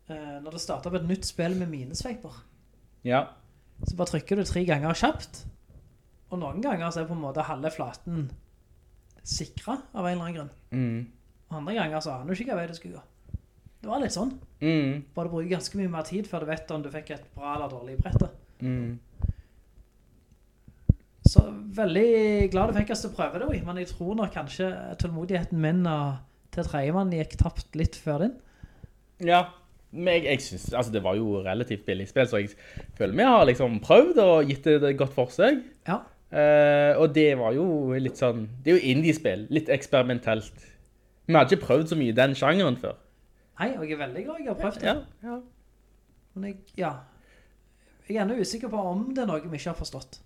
eh, Når du starter opp et nytt spill med minesveiper, Ja. så bare trykker du tre ganger kjapt. Og noen ganger så er på en måte halve flaten sikra av en eller annen grunn. Mm. Og andre ganger så aner du ikke hva vei du skulle gå. Det var litt sånn. Mm. Bare du bruker ganske mye mer tid før du vet om du fikk et bra eller dårlig brett. da. Mm. Så veldig glad du fikk oss til å prøve det, Oi, men jeg tror nok kanskje tålmodigheten min og til tredjemann gikk tapt litt før din. Ja. Men jeg, jeg synes, altså det var jo relativt billig spill, så jeg føler vi har liksom prøvd og gitt det et godt forsøk. Ja. Eh, og det var jo litt sånn Det er jo indie-spill. Litt eksperimentelt. Vi hadde ikke prøvd så mye i den sjangeren før. Nei, og jeg er veldig glad jeg har prøvd det. Ja, ja. Men jeg, ja. jeg er ennå usikker på om det er noe vi ikke har forstått.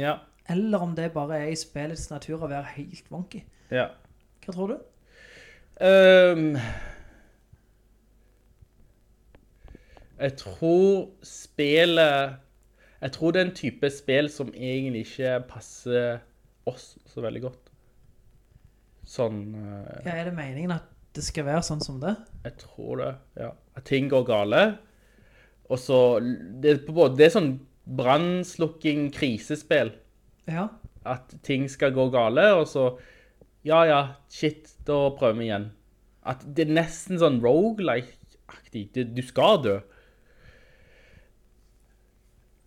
ja. Eller om det bare er i spillets natur å være helt wonky. ja. Hva tror du? Ehm, jeg tror spillet Jeg tror det er en type spill som egentlig ikke passer oss så veldig godt. Sånn eh, Ja, er det meningen at det skal være sånn som det? Jeg tror det. Ja. At ting går gale. Og så Det er på en måte- det er sånn brannslukking, krisespill. Ja. At ting skal gå gale, og så Ja, ja, shit, da prøver vi igjen. At det er nesten sånn roguelike-aktig. Du- Du skal dø.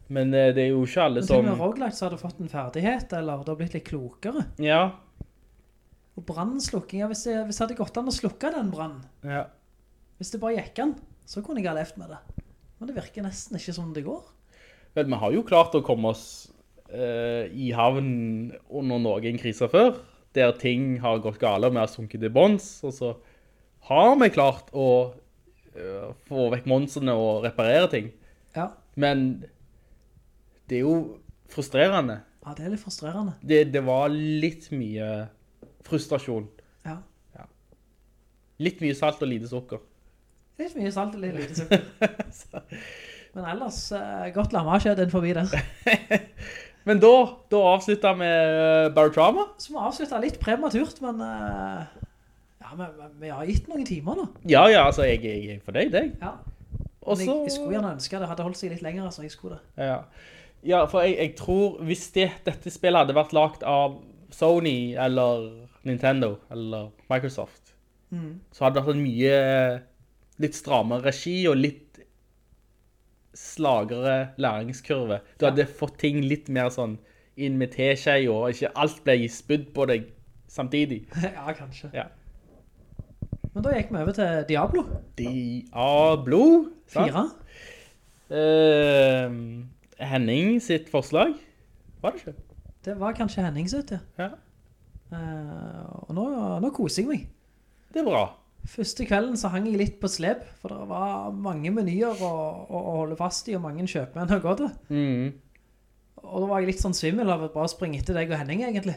Men eh, det er jo ikke alle Men til og med som Roguelite så har du fått en ferdighet, eller du har blitt litt klokere. Ja. Og brannslukking, ja, hvis det, hvis det hadde gått an å slukke den brannen, ja. hvis det bare gikk an, så kunne jeg ha levd med det. Men det virker nesten ikke som det går. Vel, vi har jo klart å komme oss eh, i havn under noen kriser før, der ting har gått gale og vi har sunket til bånds, og så har vi klart å eh, få vekk monstrene og reparere ting. Ja, Men det er jo frustrerende. ja det er litt frustrerende. Det, det var litt mye frustrasjon. Ja. Litt mye salt og lite sukker. Litt mye salt og litt lite sukker. Men ellers, eh, godt lamasje den forbi der. Men da, da avslutta vi Barotrama. Så vi avslutter litt prematurt, men eh, ja, men, men vi har gitt noen timer nå. Ja, ja, altså, jeg, jeg er fornøyd, jeg. Ja. Og Men jeg, jeg skulle så gjerne ønske det hadde holdt seg litt lenger, altså. Jeg skulle det. ja. ja, for jeg, jeg tror hvis det, dette spillet hadde vært lagt av Sony eller Nintendo eller Microsoft, så hadde det vært en mye litt strammere regi og litt slagere læringskurve. Du hadde fått ting litt mer sånn inn med teskje, og ikke alt ble spydd på deg samtidig. ja, kanskje. Ja. Men da gikk vi over til Diablo Diablo, sant? 4. Eh, Henning sitt forslag, var det ikke? Det var kanskje Henning sitt, ja. Ja. Eh, og nå, nå koser jeg meg. Det er bra. Første kvelden så hang jeg litt på slep, for det var mange menyer å, å, å holde fast i, og mange kjøpmenn å gå til. Mm. Og da var jeg litt sånn svimmel av å bare springe etter deg og Henning, egentlig.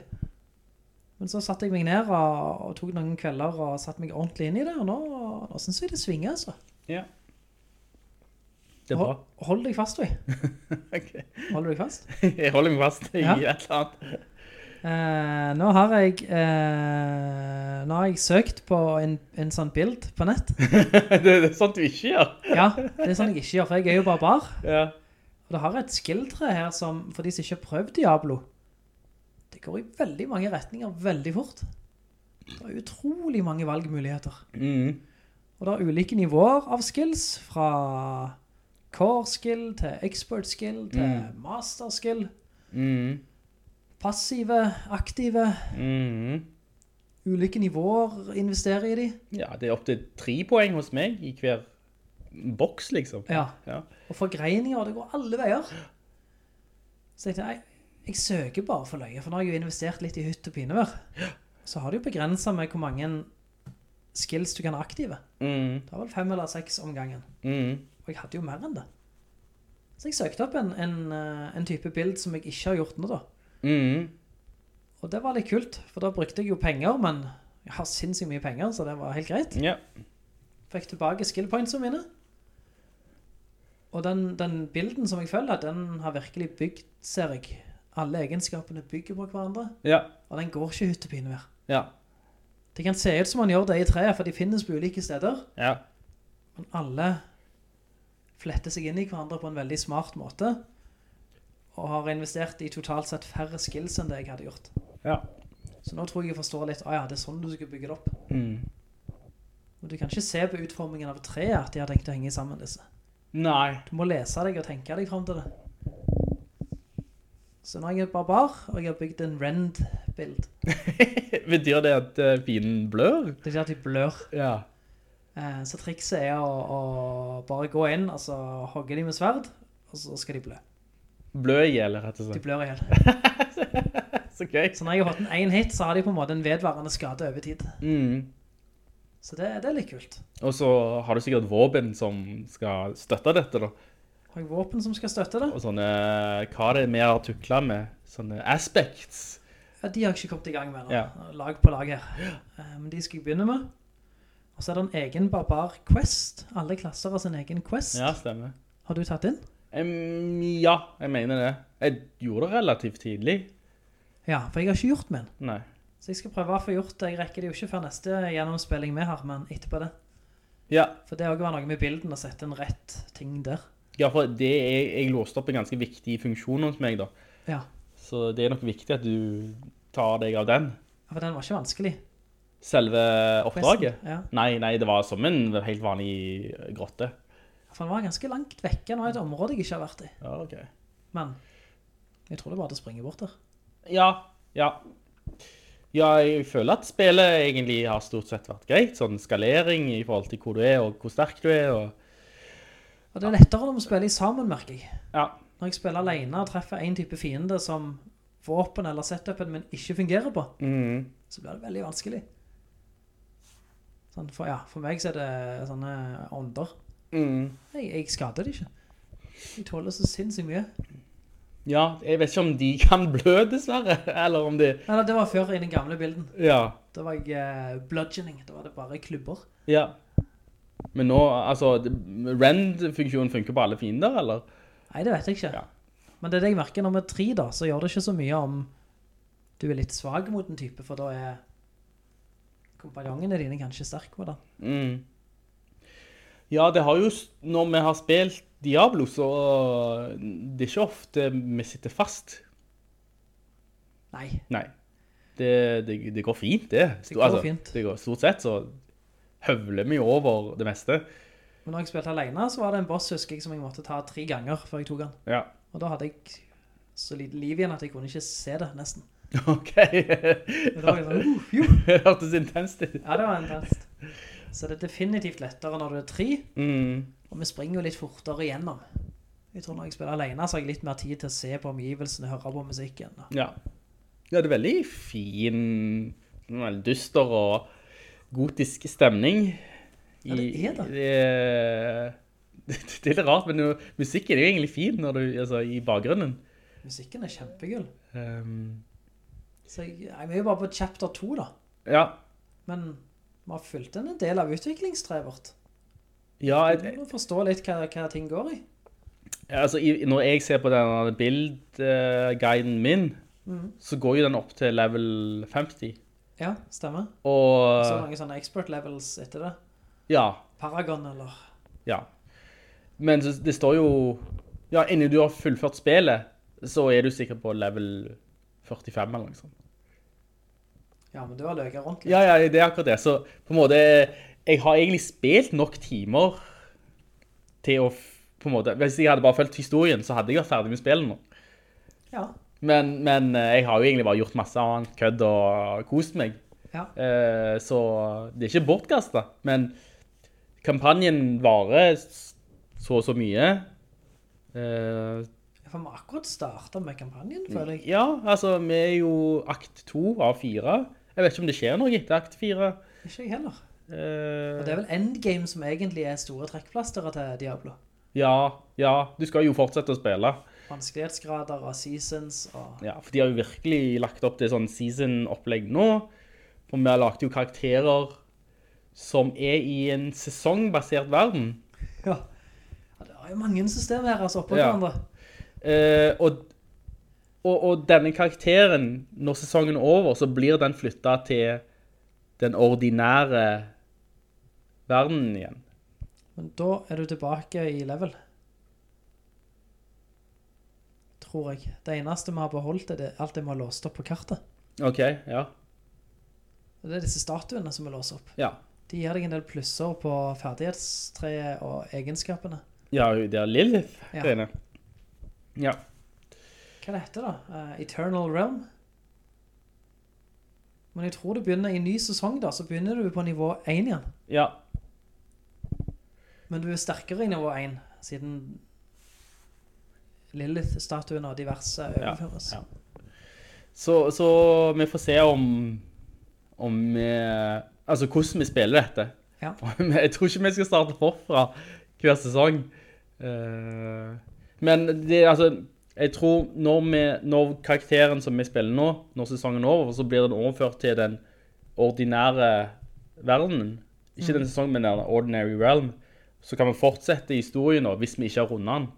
Men så satte jeg meg ned og, og tok noen kvelder og satte meg ordentlig inn i det, og nå, nå synes jeg det svinger, altså. Ja. Det er bra. Hold, hold deg fast, vi. Ok. Hold deg fast. Jeg holder meg fast i Ja. et eller annet. Eh, nå har jeg eh, Nå har jeg søkt på en, en sånn bild på nett. Det det er sånt du ikke gjør. Ja, det er sånn jeg ikke gjør, for jeg er jo bare bar. Ja. Og det har et skilltre her som, for de som ikke har prøvd Diablo, det går i veldig mange retninger veldig fort. Det er utrolig mange valgmuligheter. Mhm. Og det er ulike nivåer av skills, fra core skill til expert skill til master skill. Mhm. Passive, aktive, Mhm. ulike nivåer investerer i de. Ja, det er opp til tre poeng hos meg i hver boks, liksom. Ja. Ja. Og forgreininger, og det går alle veier. Så jeg tenkte, jeg, jeg søker bare for løye, for nå har jeg jo investert litt i hytt og pinevær. Så har det jo begrenset med hvor mange skills du kan ha aktive. Mhm. Det var vel fem eller seks om gangen. Mhm. Og jeg hadde jo mer enn det. Så jeg søkte opp en, en, eh, en type bild som jeg ikke har gjort nå da. Mhm. Og det var litt kult, for da brukte jeg jo penger, men jeg har sinnssykt mye penger, så det var helt greit. Ja. fikk tilbake skill pointsene mine. Og den, den bilden som jeg følger, den har virkelig bygd, ser jeg. Alle egenskapene bygger på hverandre, Ja. og den går ikke hyttepine mer. Ja. Det kan se ut som man gjør det i treet, for de finnes på ulike steder, Ja. men alle fletter seg inn i hverandre på en veldig smart måte, og har investert i totalt sett færre skills enn det jeg hadde gjort. Ja. Så nå tror jeg jeg forstår litt, ah ja, det er sånn du skal bygge det opp. Mm. Og du kan ikke se på utformingen av treet at de har tenkt å henge sammen disse. Nei. Du må lese deg og tenke deg fram til det. Så nå er jeg barbar, og jeg har bygd en rend-bild. Betyr det at eh, pinen blør? Det er ikke at de blør. Ja. Eh, Så trikset er å, å bare gå inn, altså hogge de med sverd, og så skal de blø. Blør i hjel, rett og De slett. blør i hjel. Så gøy. Så når jeg har fått en én hit, så har de på en måte en vedvarende skade over tid. Mhm. Så det, det er litt kult. Og så har du sikkert våpen som skal støtte dette, da. Har jeg våpen som skal støtte det? Og sånne Hva er det vi har tukla med? Sånne aspects. Ja, de har jeg ikke kommet i gang med nå. Ja. Lag på lag her. Eh, Men de skal jeg begynne med. Og så er det en egen barbar quest. Alle klasser har sin egen quest. Ja, stemmer. Har du tatt inn? Em, ja, jeg mener det. Jeg gjorde det relativt tidlig. Ja, for jeg har ikke gjort min. Nei. Så jeg skal prøve å få gjort det. Jeg rekker det jo ikke før neste gjennomspilling vi har, men etterpå det. Ja, For det òg var noe med bilden, å sette en rett ting der. ja for det er, jeg låste opp en ganske viktig funksjon hos meg, da. Ja, Så det er nok viktig at du tar deg av den. For den var ikke vanskelig. Selve oppdraget. Questen, ja. Nei, nei, det var som en helt vanlig grotte. For den var ganske langt vekke. Nå er det et område jeg ikke har vært i. Ja, ok. Men jeg tror det er bare til å springe bort der. Ja, ja. Ja, jeg føler at spillet egentlig har stort sett vært greit. Sånn skalering i forhold til hvor du er, og hvor sterk du er, og Og det er lettere når vi spiller sammen, merker jeg. Ja. Når jeg spiller alene og treffer en type fiende som våpen eller setupen min ikke fungerer på, Mhm. så blir det veldig vanskelig. Sånn, for, ja, for meg så er det sånne ånder. Mhm. Jeg, jeg skader det ikke. De tåler så sinnssykt mye. Ja, jeg vet ikke om de kan blø, dessverre. Eller om de Nei, nei, det var før i den gamle bilden. Ja. Da var jeg eh, bludgeoning. Da var det bare klubber. ja. Men nå, altså det- Rend-funksjonen funker på alle fiender, eller? Nei, det vet jeg ikke. Ja. Men det er det jeg merker når vi er tre, da, så gjør det ikke så mye om du er litt svak mot en type, for da er kompanjongene dine kanskje sterk med det. Mm. Ja, det har jo s- Når vi har spilt Diablo, så Det er ikke ofte vi sitter fast. Nei. Nei. Det, det, det går fint, det. altså, Det går fint. Det går, stort sett så høvler vi over det meste. Men når jeg spilte alene, så var det en boss, husker jeg, som jeg måtte ta tre ganger før jeg tok han. Ja. Og da hadde jeg så lite liv igjen at jeg kunne ikke se det, nesten. OK. Men da var jeg sånn, uh, jo. Det hørtes intenst ut. Ja, det var intenst. Så det er definitivt lettere når du er tre, Mm. og vi springer jo litt fortere igjennom. Jeg tror når jeg spiller alene, så har jeg litt mer tid til å se på omgivelsene, høre på musikken. Ja. ja, det er veldig fin, veldig dyster og gotisk stemning. Ja, det er det. det. eh, Det er litt rart, men jo- musikken er jo egentlig fin når du, altså, i bakgrunnen. Musikken er kjempegull. Ehm, Så jeg, jeg er jo bare på chapter 2 da. ja, Men vi har fulgt en del av utviklingstreet vårt. ja jeg, Vi må forstå litt hva, hva ting går i. Ja, Altså, i, når jeg ser på denne bildguiden min, så går jo den opp til level 50. Ja, stemmer. Og Så mange sånne expert levels etter det. ja, Paragon eller... ja. Men så, det står jo Ja, innen du har fullført spillet, så er du sikkert på level 45 eller noe sånt. Ja, men du har løket rundt litt. Ja, ja, det er akkurat det. Så på en måte Jeg har egentlig spilt nok timer til å f- på en måte, Hvis jeg hadde bare fulgt historien, så hadde jeg vært ferdig med spillet nå. Ja. Men, men eh, jeg har jo egentlig bare gjort masse annet kødd og kost meg. Ja. Eh, Så det er ikke bortkasta. Men kampanjen varer s- så og så mye. Eh, For vi har akkurat startet med kampanjen, føler jeg. Ja, altså, vi er jo akt to av fire. Jeg vet ikke om det skjer noe etter akt fire. Ikke jeg heller. Eh, Og det er vel Endgame som egentlig er store trekkplaster til Diablo. Ja, ja. Du skal jo fortsette å spille. Vanskelighetsgrader og seasons og... Ja, for de har jo virkelig lagt opp til sånn season-opplegg nå. For vi har lagt jo karakterer som er i en sesongbasert verden. Ja. ja det er jo mange systemer her, altså, oppå Ja. hverandre. Eh, og, og, og denne karakteren, når sesongen er over, så blir den flytta til den ordinære verdenen igjen. Men da er du tilbake i level. Tror jeg. Det eneste vi har beholdt, er det, alt det vi har låst opp på kartet. OK, ja. Og det er disse statuene som vi låser opp. Ja, De gir deg en del plusser på ferdighetstreet og egenskapene. ja det er Lilith, Ja. Trine. Ja. Hva det heter det? Eh, Eternal Realm? Men jeg tror det begynner i en ny sesong, da, så begynner du på nivå 1 igjen. ja. Men du er sterkere i nivå 1, siden Lilith-statuen og diverse Ja, overføres. ja. Så, så vi får se om, om vi Altså hvordan vi spiller dette. Ja. Jeg tror ikke vi skal starte forfra hver sesong. Eh, Men det, altså, jeg tror når, vi, når karakteren som vi spiller nå, når sesongen er over, så blir den overført til den ordinære verdenen. Ikke den sesongen, men den ordinary realm. Så kan vi fortsette historien nå, hvis vi ikke har rundet den.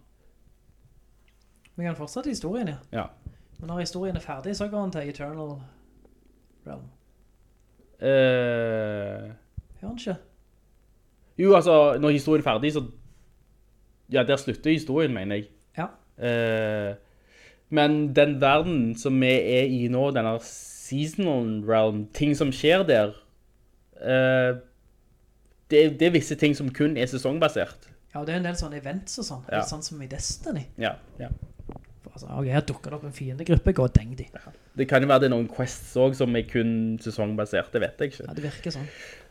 Vi kan fortsette historien, ja. Ja. Men når historien er ferdig, så går han til Eternal Realm. Eh, Gjør han ikke? Jo, altså, når historien er ferdig, så... Ja, der slutter historien, mener jeg. Ja. Eh, men den verden som vi er i nå, denne seasonal realm, ting som skjer der, eh, det, det er visse ting som kun er sesongbasert. Ja, og det er en del sånne events og sånn. Ja. Litt sånn som i Destiny. Ja, ja. For Altså, ok, her dukker det opp en fiendegruppe, gå og deng de. Det kan jo være det er noen quests også som er kun sesongbasert, det vet jeg ikke. Ja, det virker sånn.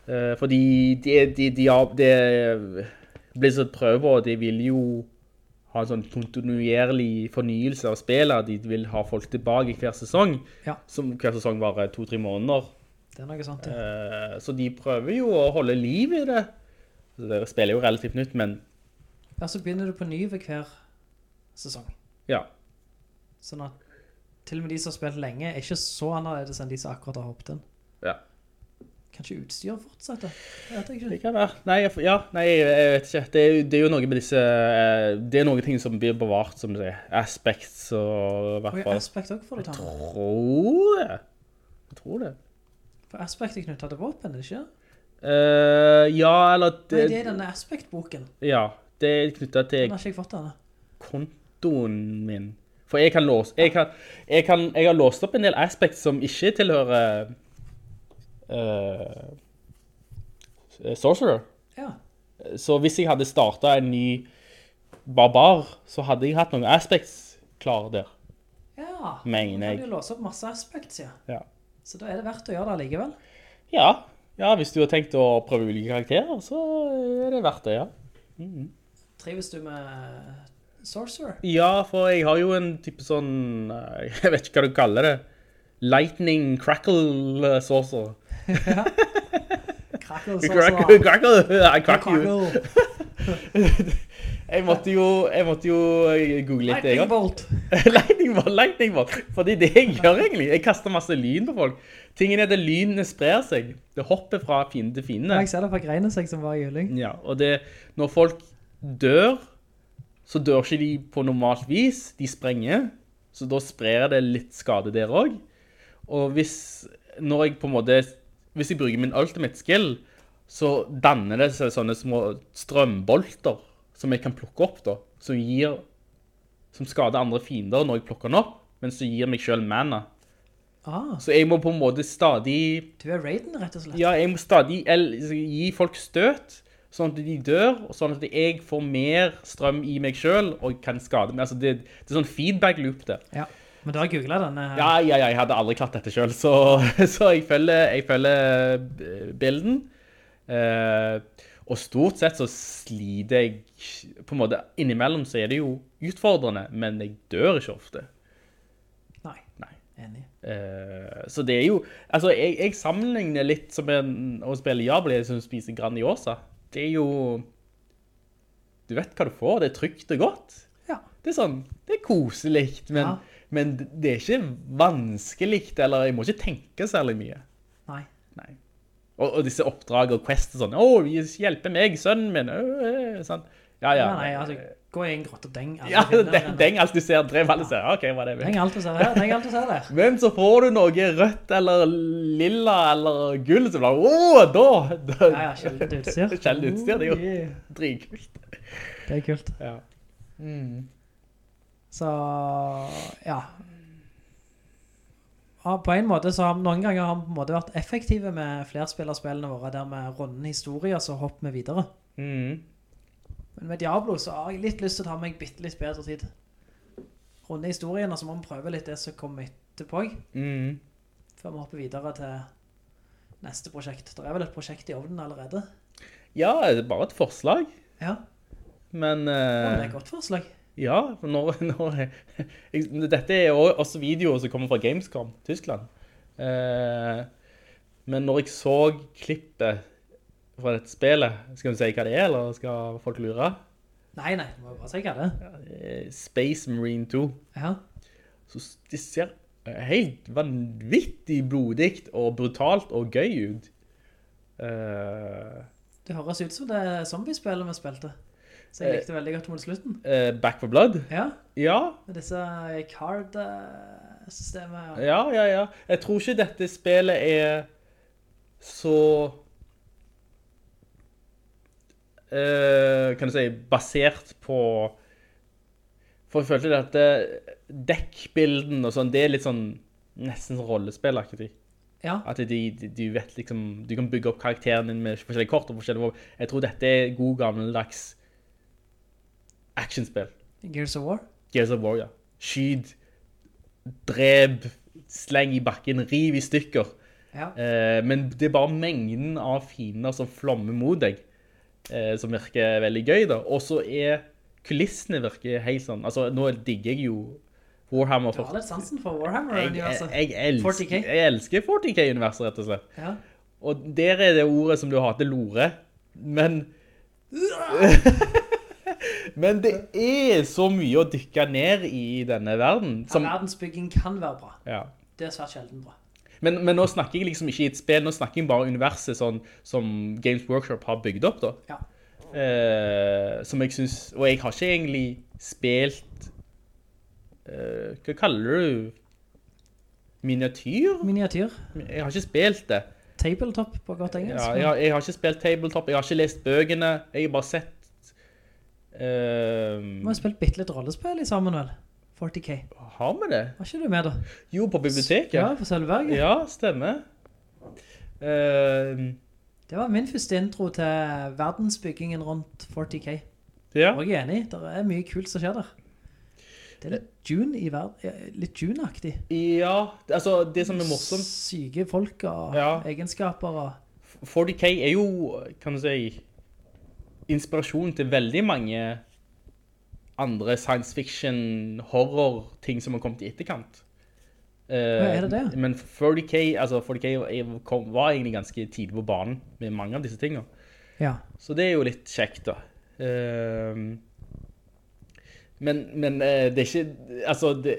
Eh, fordi de, de, de har det- Blizzard prøver, og de vil jo ha en sånn kontinuerlig fornyelse av spillet. De vil ha folk tilbake hver sesong, Ja. som hver sesong varer to-tre måneder. Det er noe sånt, ja. Eh, så de prøver jo å holde liv i det. Så det spiller jo relativt nytt, men Ja, så begynner du på ny ved hver sesong. ja. Sånn at til og med de som har spilt lenge, er ikke så annerledes enn de som akkurat har hoppet inn. ja. Kanskje utstyret fortsetter? Det vet jeg Det ikke. kan være. Nei, jeg- ja, nei jeg, jeg vet ikke. Det er, jo- det er jo noe med disse eh, Det er noen ting som blir bevart, som du sier. Aspects og i Og hvert i fall Aspect også får du ta med. tror det. Jeg tror det. For aspect er knyttet til våpen, er det ikke? Eh, ja, eller Nei, det er det, denne aspect-boken. Ja. Det er knytta Den til har ikke jeg fått av henne. kontoen min. For jeg kan låse jeg, kan, jeg, kan, jeg har låst opp en del aspects som ikke tilhører eh, Sorcerer. Ja. Så hvis jeg hadde starta en ny barbar, så hadde jeg hatt noen aspects klare der. ja. Mener Da jeg. kan du jo låse opp masse aspects, ja. Ja. Så da er det verdt å gjøre det allikevel. ja. Ja, hvis du har tenkt å prøve ulike karakterer, så er det verdt det, ja. Trives du med eh, Sorcerer? Ja, for jeg har jo en type sånn eh, Jeg vet ikke hva du kaller det. Lightning crackle eh, saucer. Crackle Crackle, Sorcerer. crackle, I crack you. Crackle. Jeg måtte jo, jeg måtte jo eh, google litt, Lightning jeg òg. Bolt. Lightning bolt, lightning bolt. Fordi det jeg gjør egentlig, jeg kaster masse lyn på folk. Tingen er at lynene sprer seg. Det hopper fra fiende til fiende. Jeg ser det fra greiene seg som var i juling. Ja, og det, når folk dør, så dør ikke de på normalt vis. De sprenger, så da sprer det litt skade der òg. Og hvis når jeg på en måte Hvis jeg bruker min ultimate skill, så danner det seg sånne små strømbolter som jeg kan plukke opp, da. Som gir Som skader andre fiender når jeg plukker den opp, men som gir meg sjøl mana. Ah, Så jeg må på en måte stadig du er Raiden, rett og slett. ja, jeg må stadig el- gi folk støt, sånn at de dør, og sånn at jeg får mer strøm i meg selv, og kan skade meg. Altså, det, det er sånn feedback-loop der. Ja. Men du har googlet eh, denne. Ja, ja, ja, jeg hadde aldri klart dette selv, så, så jeg følger, jeg følger eh, bilden. Eh, og stort sett så sliter jeg, på en måte, innimellom så er det jo utfordrende, men jeg dør ikke ofte. Nei. Nei. Enig. Eh, så det er jo Altså, jeg, jeg sammenligner litt som en, å spille Jabli som spiser Grandiosa. Det er jo Du vet hva du får. Det er trygt og godt. Ja. Det er sånn Det er koselig, men, Ja. men det er ikke vanskelig, eller jeg må ikke tenke særlig mye. Nei. Nei. Og, og disse oppdrag og quest og sånn Å, hjelpe meg, sønnen min! Øh, øh, sånn. Ja, ja. Nei, nei, altså, gå i en grotte og deng. alle ja finner den, den. den alt du ser, drev alle ser. OK, hva er det? Deng alt du ser her, deng alt du ser der. Men så får du noe rødt eller lilla eller gull, så blir det Åh, da! da. Ja, ja, sjeldent utstyr. Sjeldent utstyr, det er Oh, jo- yeah. Dritkult. Det er kult. Ja. Så, ja. Ja, på en måte så har noen ganger har vi på en måte vært effektive med flerspillerspillene våre, der vi runder historier, så hopper vi videre. Mhm. Men med Diablo så har jeg litt lyst til å ta meg bitte litt bedre tid. Runde historien, og så må vi prøve litt det som kommer etterpå, Mhm. før vi hopper videre til neste prosjekt. Det er vel et prosjekt i ovnen allerede? Ja, det er bare et forslag, Ja, men ja, men det er eh, et godt forslag. Ja, for når, når jeg, Dette er jo også videoer som kommer fra Gamescom, Tyskland. Eh, men når jeg så klippet fra dette spillet Skal vi si hva det er, eller skal folk lure? Nei, nei, må jeg bare si hva det er. Eh, Space Marine 2. Ja. Så s- det ser eh, helt vanvittig blodigt og brutalt og gøy ut. Eh, Det høres ut som det zombiespillet vi spilte. Så jeg likte veldig godt mot slutten. eh, Back for Blood? Ja, Ja, med disse eh, card-systemet. ja, ja, ja. Jeg tror ikke dette spillet er så eh, Kan du si basert på For jeg følte dette dekkbilden og sånn, det er litt sånn nesten sånn rollespillaktig. Ja, At de, de, de vet liksom, du kan bygge opp karakteren din med forskjellige kort og forskjellige våpen. Jeg tror dette er god gammeldags actionspill. Gears of War. Gears of War, ja. Skyt, drep, sleng i bakken, riv i stykker. Ja. Eh, men det er bare mengden av fiender som flommer mot deg, eh, som virker veldig gøy da. Og så er kulissene virker helt sånn, altså nå digger jeg jo Warhammer Du har 40. litt sansen for altså. Jeg, jeg, Warhammer-universet. jeg, elsker, 40K. jeg elsker 40K-universet, rett og slett. Ja. Og der er det ordet som du hater, lore. Men Men det er så mye å dykke ned i denne verden. Ja, Som, verdensbygging kan være bra. ja. Det er svært sjelden bra. men, men nå snakker jeg liksom ikke i et spill, nå snakker jeg bare universet sånn, som Games Workshop har bygd opp. da. Ja. Eh, som jeg syns Og jeg har ikke egentlig spilt eh, Hva kaller du Miniatyr? Miniatyr. Jeg har ikke spilt det. Tabletop på godt engelsk. Ja, jeg, har, jeg har ikke spilt tabletop, jeg har ikke lest bøkene, jeg har bare sett Vi har ehm, spilt bitte litt rollespill i sammen, vel? 40K. Har vi det? Var ikke du med, da? Jo, på biblioteket. Ja, på Sølvberget. Ja, stemmer. Ehm, Det var min første intro til verdensbyggingen rundt 40K. ja. Og jeg er enig, det er mye kult som skjer der. Det er litt Eh. June i verden, ja, litt June-aktig. ja, altså det som er morsomt Syke folk og Ja. egenskaper og... 40K er jo, kan du si, inspirasjon til veldig mange andre science fiction, horror, ting som har kommet i etterkant. Eh, er det det? Men 40K, altså 40K er- kom, var egentlig ganske tidlig på banen med mange av disse tingene. Ja. Så det er jo litt kjekt da. Eh, men men eh, det er ikke, altså, det,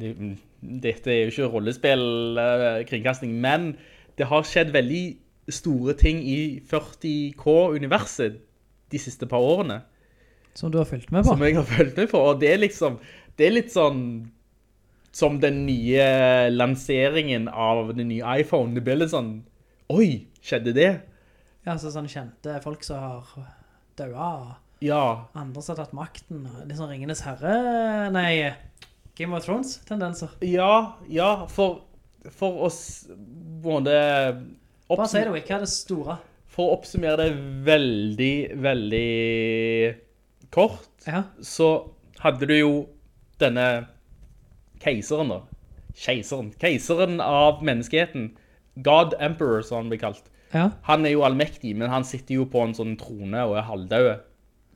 det- dette er jo ikke rollespill, eh, kringkasting, men det har skjedd veldig store ting i 40K-universet de siste par årene, Som du har fulgt med på. som jeg har følt med på, og det er liksom, det er litt sånn, som den nye lanseringen av den nye iPhone, det blir litt sånn, oi, skjedde det? Ja, altså sånn kjente folk som har døa, og Ja, andre som har tatt makten, og litt sånn Ringenes Herre, nei, Game of Thrones-tendenser. Ja, ja, for, for oss både Bare si det, oppsum Wick, hva er det store? For å oppsummere det veldig, veldig kort, Ja, så hadde du jo denne keiseren da. Keiseren. Keiseren av menneskeheten. God Emperor, som han blir kalt. ja, Han er jo allmektig, men han sitter jo på en sånn trone og er halvdød.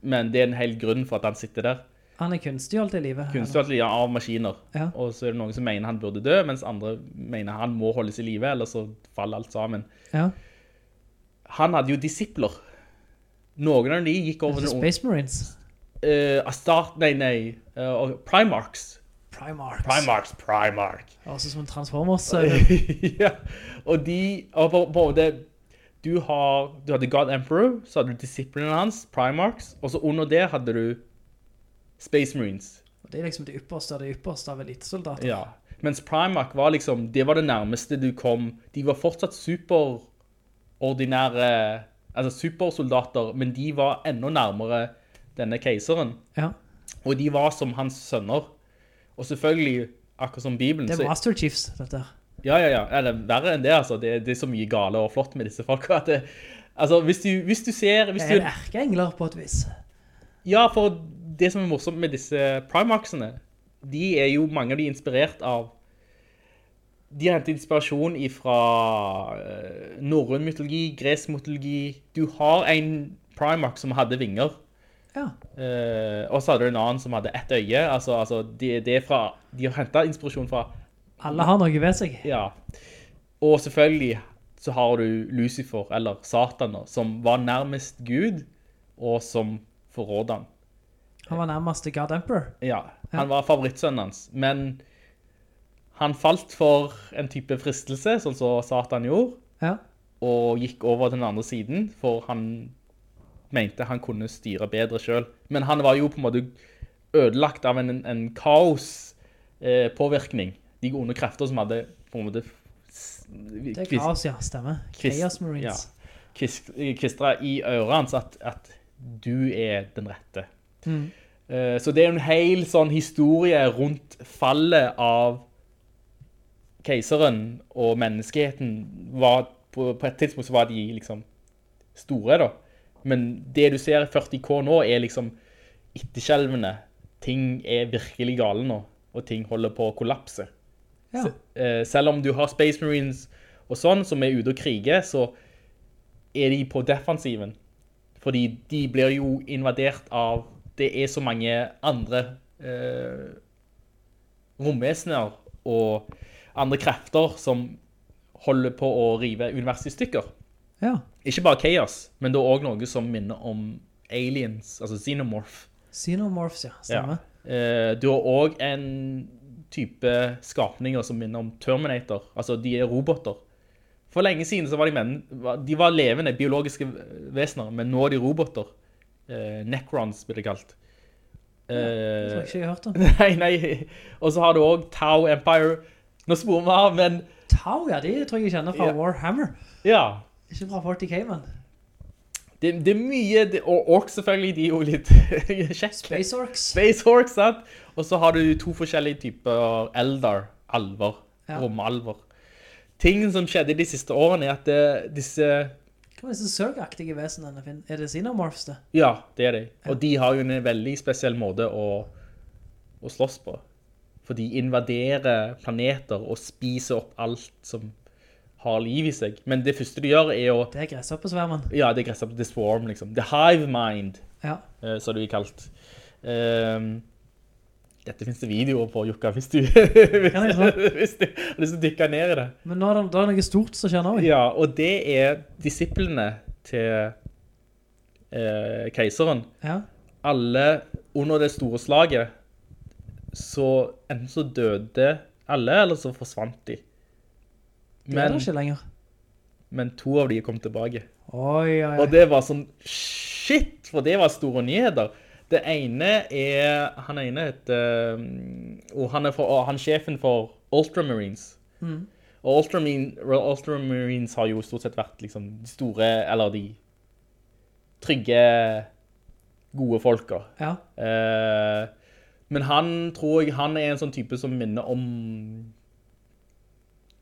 Men det er en hel grunn for at han sitter der. han er kunstig holdt i livet. kunstig at livet av maskiner. Ja. Og så er det noen som mener han burde dø, mens andre mener han må holdes i live, eller så faller alt sammen. Ja, Han hadde jo disipler. Noen av de gikk over altså til Space Marines. Eh, Astart... Nei, nei. eh, og Primarchs. Primarchs. Primarchs, Primarch. Også som en Transformers. så- ja. Og de og på- både du, har, du hadde God Emperor, så hadde du disiplene hans, Primarchs, og så under det hadde du Space Marines. Det er liksom det ypperste av det ypperste av elitesoldater. Ja. Mens Primark var liksom, det var det nærmeste du kom. De var fortsatt superordinære, altså supersoldater, men de var enda nærmere denne keiseren. Ja. Og de var som hans sønner. Og selvfølgelig, akkurat som Bibelen, Det er så... Master Chiefs, dette her. Ja, ja, ja. Eller verre enn det, altså. Det, det er så mye gale og flott med disse folka. at Det, altså, hvis du, hvis du ser... Hvis Det du, er erkeengler på et vis. Ja, for det som er morsomt med disse Primarksene, de er jo mange av de inspirert av De har hentet inspirasjon fra norrøn mytologi, gresk mytologi. Du har en Primark som hadde vinger, Ja. eh, og så hadde du en annen som hadde ett øye. Altså, altså de, det er fra, de har henta inspirasjon fra Alle har noe ved seg. Ja. Og selvfølgelig så har du Lucifer, eller Satan, da, som var nærmest Gud, og som forrådte han. Han var nærmest The God Emperor. Ja, han var favorittsønnen hans, men han falt for en type fristelse, sånn som Satan gjorde, Ja. og gikk over til den andre siden, for han mente han kunne styre bedre selv. Men han var jo på en måte ødelagt av en, en kaospåvirkning. De onde krefter som hadde på en måte s- Det er kvist- kaos, ja. Stemmer. kvist- Chaos Marines. ja, kvist- kvistra i øret hans at, at du er den rette. Mm. Eh, Så det er jo en hel sånn historie rundt fallet av keiseren og menneskeheten. Var, på, på et tidspunkt så var de liksom store da. Men det du ser i 40K nå er liksom etterskjelvende. Ting er virkelig gale nå, og ting holder på å kollapse. Ja. Eh, selv om du har Space Marines og sånn, som er ute og kriger, så er de på defensiven. Fordi de blir jo invadert av Det er så mange andre eh, romvesener og andre krefter som holder på å rive universet i stykker. ja. Ikke bare Chaos, men det er òg noe som minner om aliens, altså xenomorph. Xenomorphs, ja. Stemmer. Eh, du har òg en type skapninger som minner om Terminator. Altså, de er roboter. For lenge siden så var de menn var- De var levende, biologiske vesener, men nå er de roboter. Eh, Necrons blir det kalt. Det tror jeg Eh, ikke jeg har hørt om. nei, nei. Og så har du òg Tau Empire. Nå sporer vi av, men Tau, ja, de tror jeg jeg kjenner fra Ja. Warhammer. ja. Ikke fra 40K, men Det, det er mye, det, og ork selvfølgelig, de er jo litt kjekke. Space Orcs. Space ork, sant? Og så har du to forskjellige typer eldar, alver, Ja. romalver. Tingen som skjedde de siste årene er at det, disse, Hva er disse Zerg-aktige vesenene? Finn? Er det Xenomorphs, det? ja, det er de. Og de har jo en veldig spesiell måte å, å slåss på. For de invaderer planeter og spiser opp alt som har liv i seg. Men det første de gjør er å, Det er gresshoppesvermen. ja, det er gressa the swarm, liksom. The hive mind. Ja. eh, så det blir kalt. Ehm, dette finnes det videoer på, Jukka, hvis du, hvis, Ja, det er du- hvis du har lyst til å dykke ned i det. Men nå er det, da er det noe stort som skjer nå. ikke? Ja, og det er disiplene til eh, keiseren. Ja. Alle, under det store slaget, så enten så døde alle, eller så forsvant de. Det er Men, det ikke lenger. men to av de kom tilbake. Oi, oi, oi. Og det var sånn shit, for det var store nyheter. Det ene er Han ene heter um, Og han er, for, og han er sjefen for Ultramarines. Og Ultramarine, Ultramarines har jo stort sett vært liksom de store Eller de trygge, gode folka. Ja. Eh, men han tror jeg han er en sånn type som minner om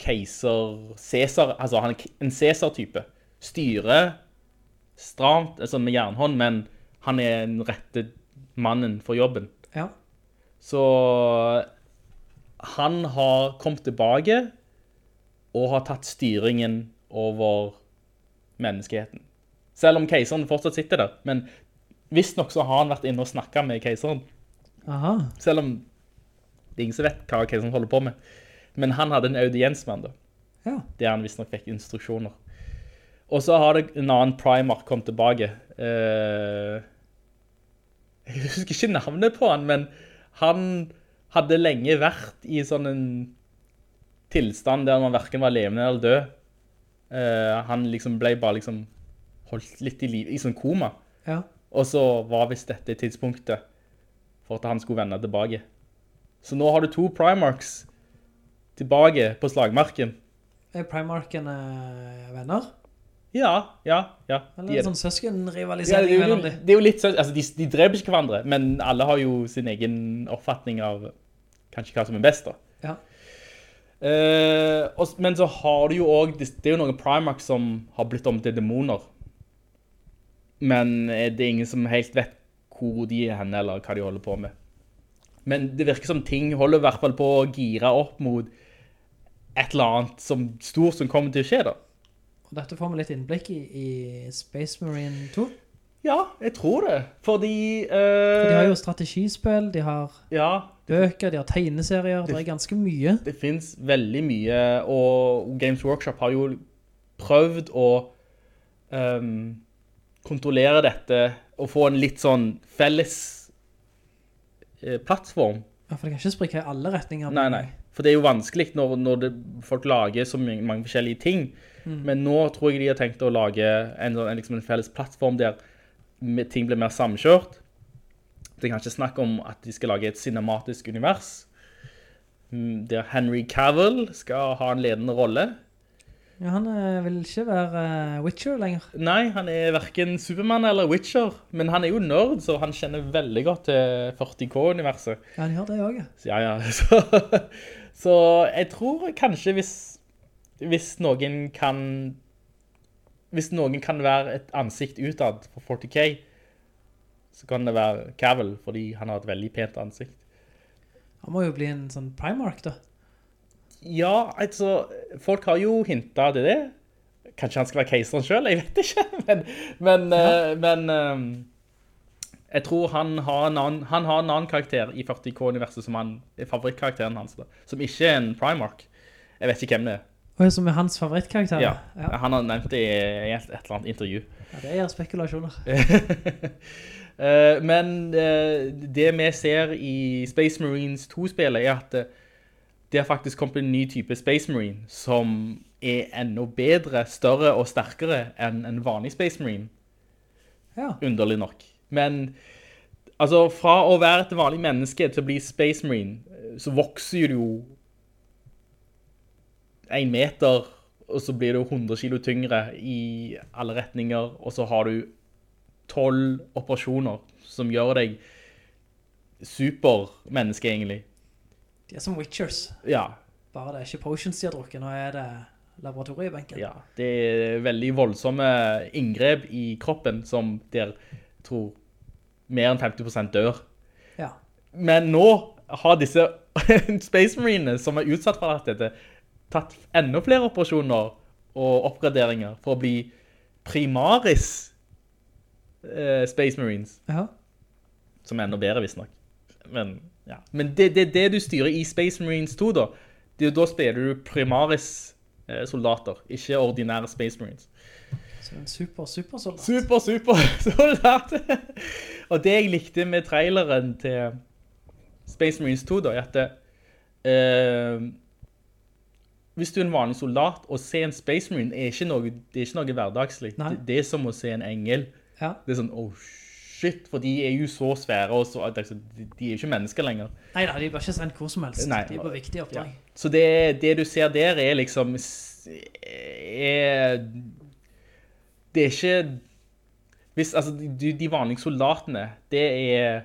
keiser Cæsar. Altså han er k- en Cæsar-type. Styrer stramt, altså med jernhånd, men han er den rette mannen for jobben. ja. Så han har kommet tilbake og har tatt styringen over menneskeheten. Selv om keiseren fortsatt sitter der, men visstnok så har han vært inne og snakka med keiseren. Aha. Selv om det er ingen som vet hva keiseren holder på med. Men han hadde en audiens med han da, Ja. der han visstnok fikk instruksjoner. Og så har det en annen primark kommet tilbake. Eh, jeg husker ikke navnet på han, men han hadde lenge vært i sånn en tilstand der man hverken var levende eller død. Eh, han liksom ble bare liksom holdt litt i liv, i sånn koma. Ja. Og så var visst dette tidspunktet for at han skulle vende tilbake. Så nå har du to Primarchs tilbake på slagmarken. Er Primarken eh, venner? Ja, ja, ja. Eller er de er det det. sånn Ja, søskenrivalisering det, er jo, mellom dem? det er jo litt sånn, altså de, de dreper ikke hverandre, men alle har jo sin egen oppfatning av kanskje hva som er best da. Ja. Eh, og, s- men så har du jo òg Det det er jo noen Primark som har blitt om til demoner. Men eh, det er ingen som helt vet hvor de er hen, eller hva de holder på med. Men det virker som ting holder i hvert fall på å gire opp mot et eller annet som stort som kommer til å skje, da. Og dette får vi litt innblikk i i Space Marine 2. Ja, jeg tror det. Fordi For de har uh, jo strategispill, de har Ja, bøker, de har tegneserier. Det er ganske mye. det finnes veldig mye, og Games Workshop har jo prøvd å ehm, kontrollere dette og få en litt sånn felles eh, plattform. Ja, For det kan ikke sprikke i alle retninger. Nei, nei. For det er jo vanskelig når, når det, folk lager så mange, mange forskjellige ting. Men nå tror jeg de har tenkt å lage en, sånn- en, liksom en felles plattform der me- ting blir mer samkjørt. Det er kanskje snakk om at de skal lage et cinematisk univers. mm, Der Henry Cavill skal ha en ledende rolle. Ja, han eh, vil ikke være eh, Witcher lenger. Nei, han er hverken Superman eller Witcher. Men han er jo nerd, så han kjenner veldig godt til 40K-universet. Ja, han gjør det òg, ja. Så, ja, ja. Så, så jeg tror kanskje hvis, hvis noen kan Hvis noen kan være et ansikt utad for 40K, så kan det være Cavill, fordi han har et veldig pent ansikt. Han må jo bli en sånn Primark, da. Ja, altså Folk har jo hinta til det. Kanskje han skal være keiseren sjøl, jeg vet ikke. Men, men, eh, men eh, jeg tror han har, en annen, han har en annen karakter i 40K-universet som han, er favorittkarakteren hans. Da, som ikke er en Primark. Jeg vet ikke hvem det er. Og som er hans favorittkarakter. Ja, ja. Han har nevnt det i et, et eller annet intervju. Ja, det er spekulasjoner. Eh, men eh, det vi ser i Space Marines 2-spillet er at eh, det har faktisk kommet en ny type Space Marine som er enda bedre, større og sterkere enn en vanlig Space Marine, Ja. underlig nok. Men altså, fra å være et vanlig menneske til å bli Space Marine, eh, så vokser jo du jo én meter, og så blir du 100 kilo tyngre i alle retninger, og så har du tolv operasjoner som gjør deg supermenneske, egentlig. De er som Witchers. Ja, Bare det er ikke potions de har drukket. Nå er det laboratoriebenken. ja. Det er veldig voldsomme inngrep i kroppen som der jeg tror mer enn 50 dør. Ja. Men nå har disse Space Marinene som er utsatt for alt dette, tatt enda flere operasjoner og oppgraderinger for å bli primaris eh, Space Marines, Ja. som er enda bedre visstnok. Men, ja. Men det er det, det du styrer i Space Marines 2 da. Det er jo da spiller du primaris eh, soldater, ikke ordinære Space Marines. Så en super, super soldat. Super, super soldat. Og det jeg likte med traileren til Space Marines 2 da, er at eh, hvis du er en vanlig soldat, å se en Space Marine er ikke noe, det er ikke noe hverdagslig. Nei. Det, det er som å se en engel. Ja. Det er sånn, oh shit, for de er jo så svære, og så, de de er jo ikke mennesker lenger. Nei da, de blir ikke sendt hvor som helst. Nei. De er på viktige Ja. oppdrag. Så det, det du ser der er liksom s- er, Det er ikke hvis, altså, de, de vanlige soldatene, det er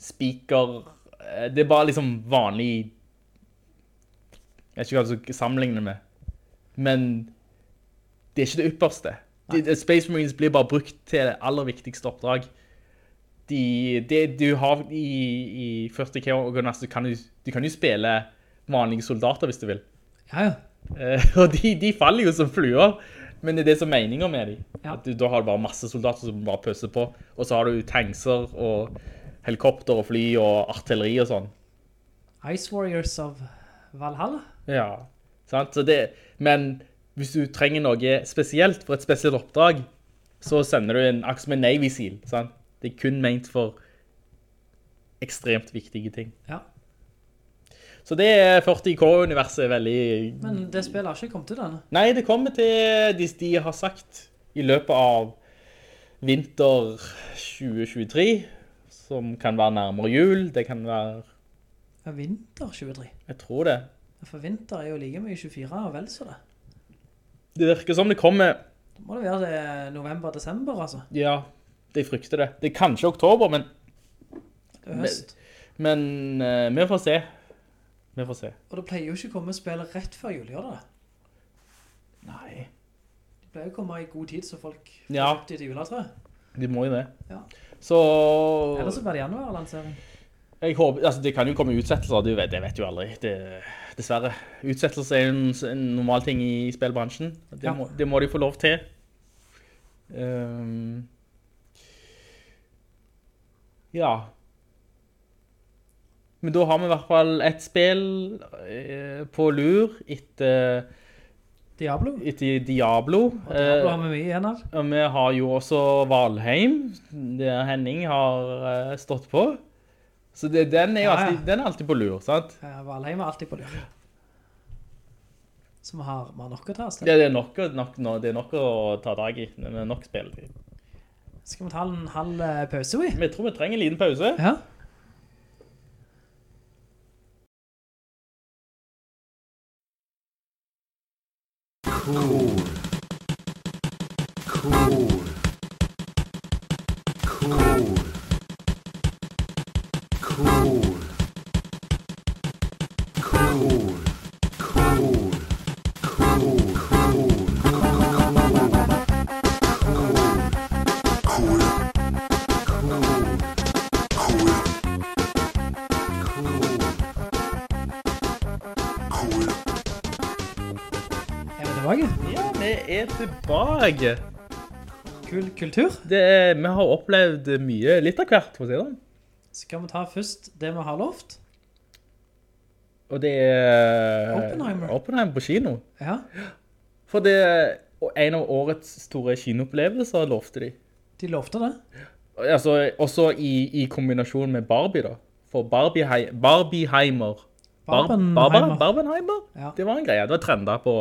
spiker eh, Det er bare liksom vanlig Jeg vet ikke hva jeg skal sammenligne det med. Men det er ikke det ypperste. De, de- Space Marines blir bare brukt til det aller viktigste oppdrag de, det du har i, i 40K Organist, du kan, jo, du kan jo spille vanlige soldater hvis du vil. Ja, ja. Eh, og de, de faller jo som fluer, men det er det som er meningen med dem. Ja. At du, da har du bare masse soldater som bare pøser på, og så har du tankser og helikopter og fly og artilleri og sånn. Ice Warriors of Valhalla. Ja, sant? Så det, men hvis du trenger noe spesielt for et spesielt oppdrag, så sender du en aks med Navy Seal. Sant? Det er kun ment for ekstremt viktige ting. Ja. Så det er 40K-universet veldig... Men det spillet har ikke kommet ut ennå. Nei, det kommer til de, de har sagt i løpet av vinter 2023, som kan være nærmere jul, det kan være... Ja, Vinter 23. Jeg tror det. For vinter er jo like mye 24 og vel så det. Det virker som det kommer... Da må det være det november-desember, altså. Ja, de frykter det. Det er kanskje oktober, men, Det er høst. men eh, vi får se. Vi får se. Og det pleier jo ikke å komme spill rett før jul, gjør det det? Nei. Det pleier å komme i god tid, så folk får Ja. kjøpt de til juletreet. De må jo det. Ja. Så Eller så blir det januar-lansering. jeg håper, altså, Det kan jo komme utsettelser, det vet, det vet jo aldri. Det, dessverre. Utsettelser er jo en, en normal ting i spillbransjen. Det, Ja. må, det må de få lov til. Ehm. ja. Men da har vi i hvert fall ett spill eh, på lur etter Diablo. etter Diablo. Og Diablo har vi mye igjen av. Eh, og vi har jo også Valheim, der Henning har eh, stått på. Så det, den, er jo Ja, ja. alltid, den er alltid på lur, sant? Eh, Valheim er alltid på lur. Så vi har, vi har nok å ta oss til. Det, det, er nok, å- nok, nå- det er nok å ta tak i. Det er nok spill. Skal vi ta en halv eh, pause, vi? Vi tror vi trenger en liten pause. Ja. Cool. Cool. Cool. Er vi tilbake? Ja, vi er tilbake. Kul kultur. Det, er- vi har opplevd mye litt av hvert, for å si det sånn. Skal vi ta først det vi har lovt? Og det er Oppenheimer. Oppenheimer på kino. Ja. For det er en av årets store kinoopplevelser, lovte de. De lovte det. Altså, også i, i kombinasjon med Barbie, da. For Barbiehei- Barbieheimer Bar- Barbenheimer. Barba- Barbenheimer? Ja. Det var en greie. Det var trenda på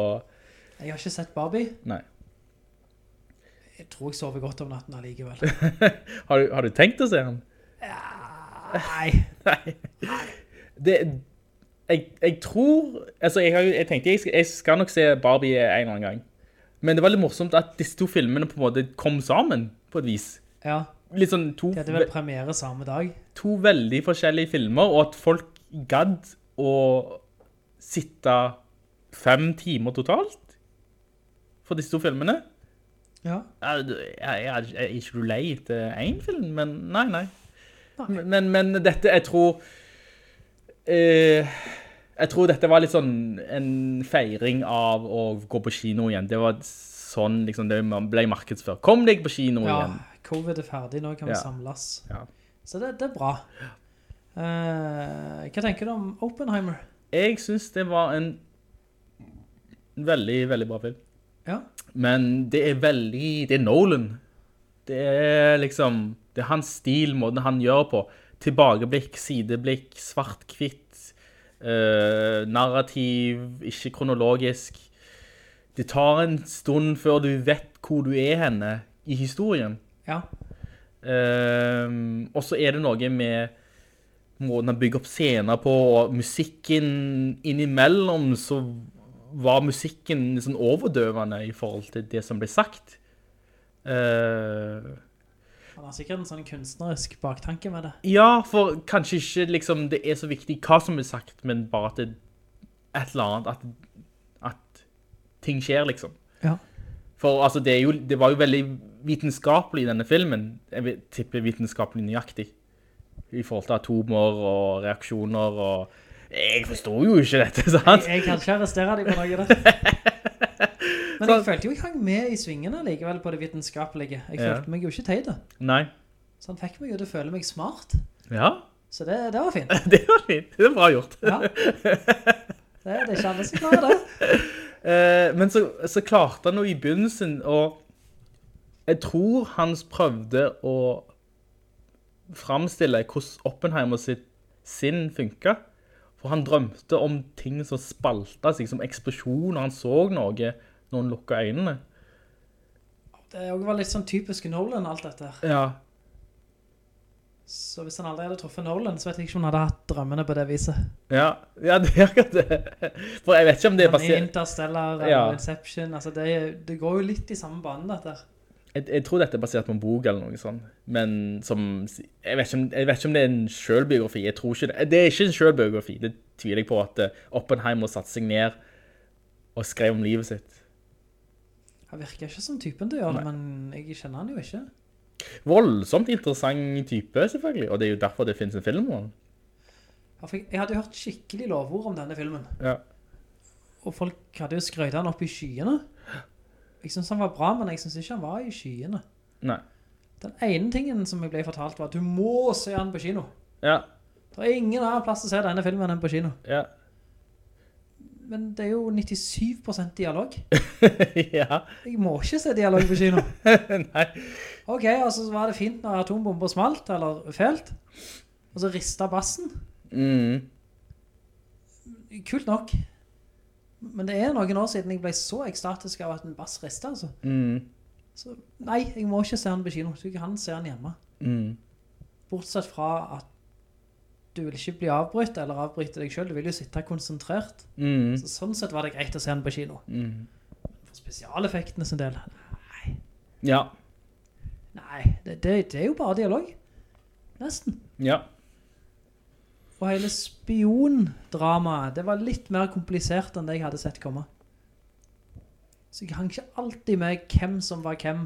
Jeg har ikke sett Barbie. Nei. Jeg tror jeg sover godt om natten allikevel. Har du, har du tenkt å se den? Nei. Nei. Det, jeg, jeg tror Altså, jeg, har, jo- jeg tenkte jeg skal, jeg skal nok se Barbie en eller annen gang. Men det var litt morsomt at disse to filmene på en måte kom sammen, på et vis. Ja, Litt sånn to, de hadde vel premiere samme dag. to veldig forskjellige filmer, og at folk gadd å sitte fem timer totalt for disse to filmene. Ja. Jeg, jeg, jeg, jeg er ikke du lei etter én film, men nei, nei. Men, men dette, jeg tror eh, Jeg tror dette var litt sånn en feiring av å gå på kino igjen. Det var sånn liksom, det man ble markedsført. Kom deg på kino ja. igjen. Covid er ferdig, nå kan vi Ja. samles. Ja. Så det, det er bra. Eh, hva tenker du om Oppenheimer? Jeg syns det var en veldig, veldig bra film. Ja, Men det er veldig Det er Nolan. Det er liksom Det er hans stil, måten han gjør på. Tilbakeblikk, sideblikk, svart-hvitt. eh, narrativ, ikke kronologisk. Det tar en stund før du vet hvor du er henne i historien. ja, Ehm, og så er det noe med måten han bygger opp scener på, og musikken innimellom, så var musikken litt sånn overdøvende i forhold til det som ble sagt. Eh, han har sikkert en sånn kunstnerisk baktanke med det. ja, for kanskje ikke liksom, det er så viktig hva som blir sagt, men bare at det et eller annet, at, at ting skjer, liksom. Ja. For altså, det, er jo, det var jo veldig vitenskapelig i denne filmen. Jeg vil tippe vitenskapelig nøyaktig. I forhold til atomer og reaksjoner og... Jeg forstår jo ikke dette, sant? Jeg kan ikke arrestere deg på noe der. Men jeg følte jo jeg hang med i svingene likevel på det vitenskapelige. Jeg Ja. følte meg jo ikke teide. Nei. Så han fikk meg jo til å føle meg smart. Ja, Så det, det var fint. det var fint. Det var bra gjort. Ja. Det, det er ikke alle som klarer det. Eh, men så, så klarte han jo i begynnelsen å Jeg tror han prøvde å framstille hvordan Oppenheimer sitt sinn funka. For han drømte om ting som spalta seg, som eksplosjoner. Han så noe når han lukka øynene. Det er jo bare litt sånn typisk Nolan, alt dette. her. Ja. Så hvis han aldri hadde truffet Nolan, så vet jeg ikke om han hadde hatt drømmene på det viset. Ja, ja det er akkurat det. For jeg vet ikke om det Han er er basert Interstellar eller Ja. Inception. Altså det, er- det går jo litt i samme bane, dette. her. jeg, jeg tror dette er basert på en bok eller noe sånt. Men som Jeg vet ikke om, jeg vet ikke om det er en sjølbiografi. Jeg tror ikke det. Det er ikke en sjølbiografi. Det tviler jeg på at eh, Oppenheimer satte seg ned og skrev om livet sitt. Han virker ikke som typen til å gjøre det, men jeg kjenner han jo ikke. Voldsomt interessant type, selvfølgelig. Og det er jo derfor det finnes en film om han. Ja, for Jeg jeg hadde jo hørt skikkelig lovord om denne filmen. Ja. Og folk hadde jo skrøyta han opp i skyene. Jeg syns han var bra, men jeg syns ikke han var i skyene. Nei. Den ene tingen som jeg ble fortalt, var at du må se han på kino. Ja. Det er ingen annen plass å se denne filmen enn på kino. Ja. Men det er jo 97 dialog. ja. Jeg må ikke se dialog på kino. Nei. Ok, altså så var det fint når atombomber smalt, eller felt, og så ristet bassen. Mm. Kult nok. Men det er noen år siden jeg ble så ekstatisk av at en bass ristet, altså. Mm. Så nei, jeg må ikke se han på kino. Du kan se han hjemme. Mm. Bortsett fra at du vil ikke bli avbrytet eller avbryte deg selv. Du vil jo sitte konsentrert. Mm. Så sånn sett var det greit å se han på kino. For spesialeffektene sin del. Nei, Ja. nei det, det, det er jo bare dialog. Nesten. Ja. Og hele spiondramaet, det var litt mer komplisert enn det jeg hadde sett komme. Så jeg hang ikke alltid med hvem som var hvem,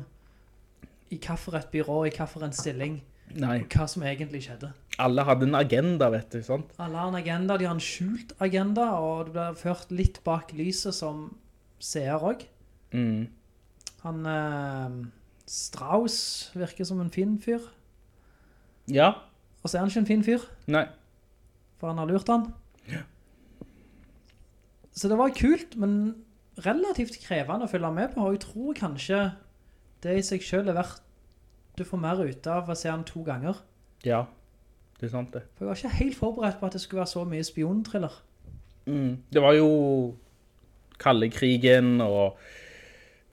i hva for et byrå, i hva for en stilling, Nei. og hva som egentlig skjedde. Alle hadde en agenda, vet du. sant? Alle har en agenda, de har en skjult agenda, og det blir ført litt bak lyset som seer òg. Mm. Han eh, Strauss virker som en fin fyr, Ja. og så er han ikke en fin fyr. Nei. For han har lurt han. Så det var kult, men relativt krevende å følge med på. Og jeg tror kanskje det i seg selv er verdt du får mer ut av å se han to ganger. Ja. Det er sant, det. For jeg var ikke helt forberedt på at det skulle være så mye spionthriller. Mm. Det var jo kalde krigen og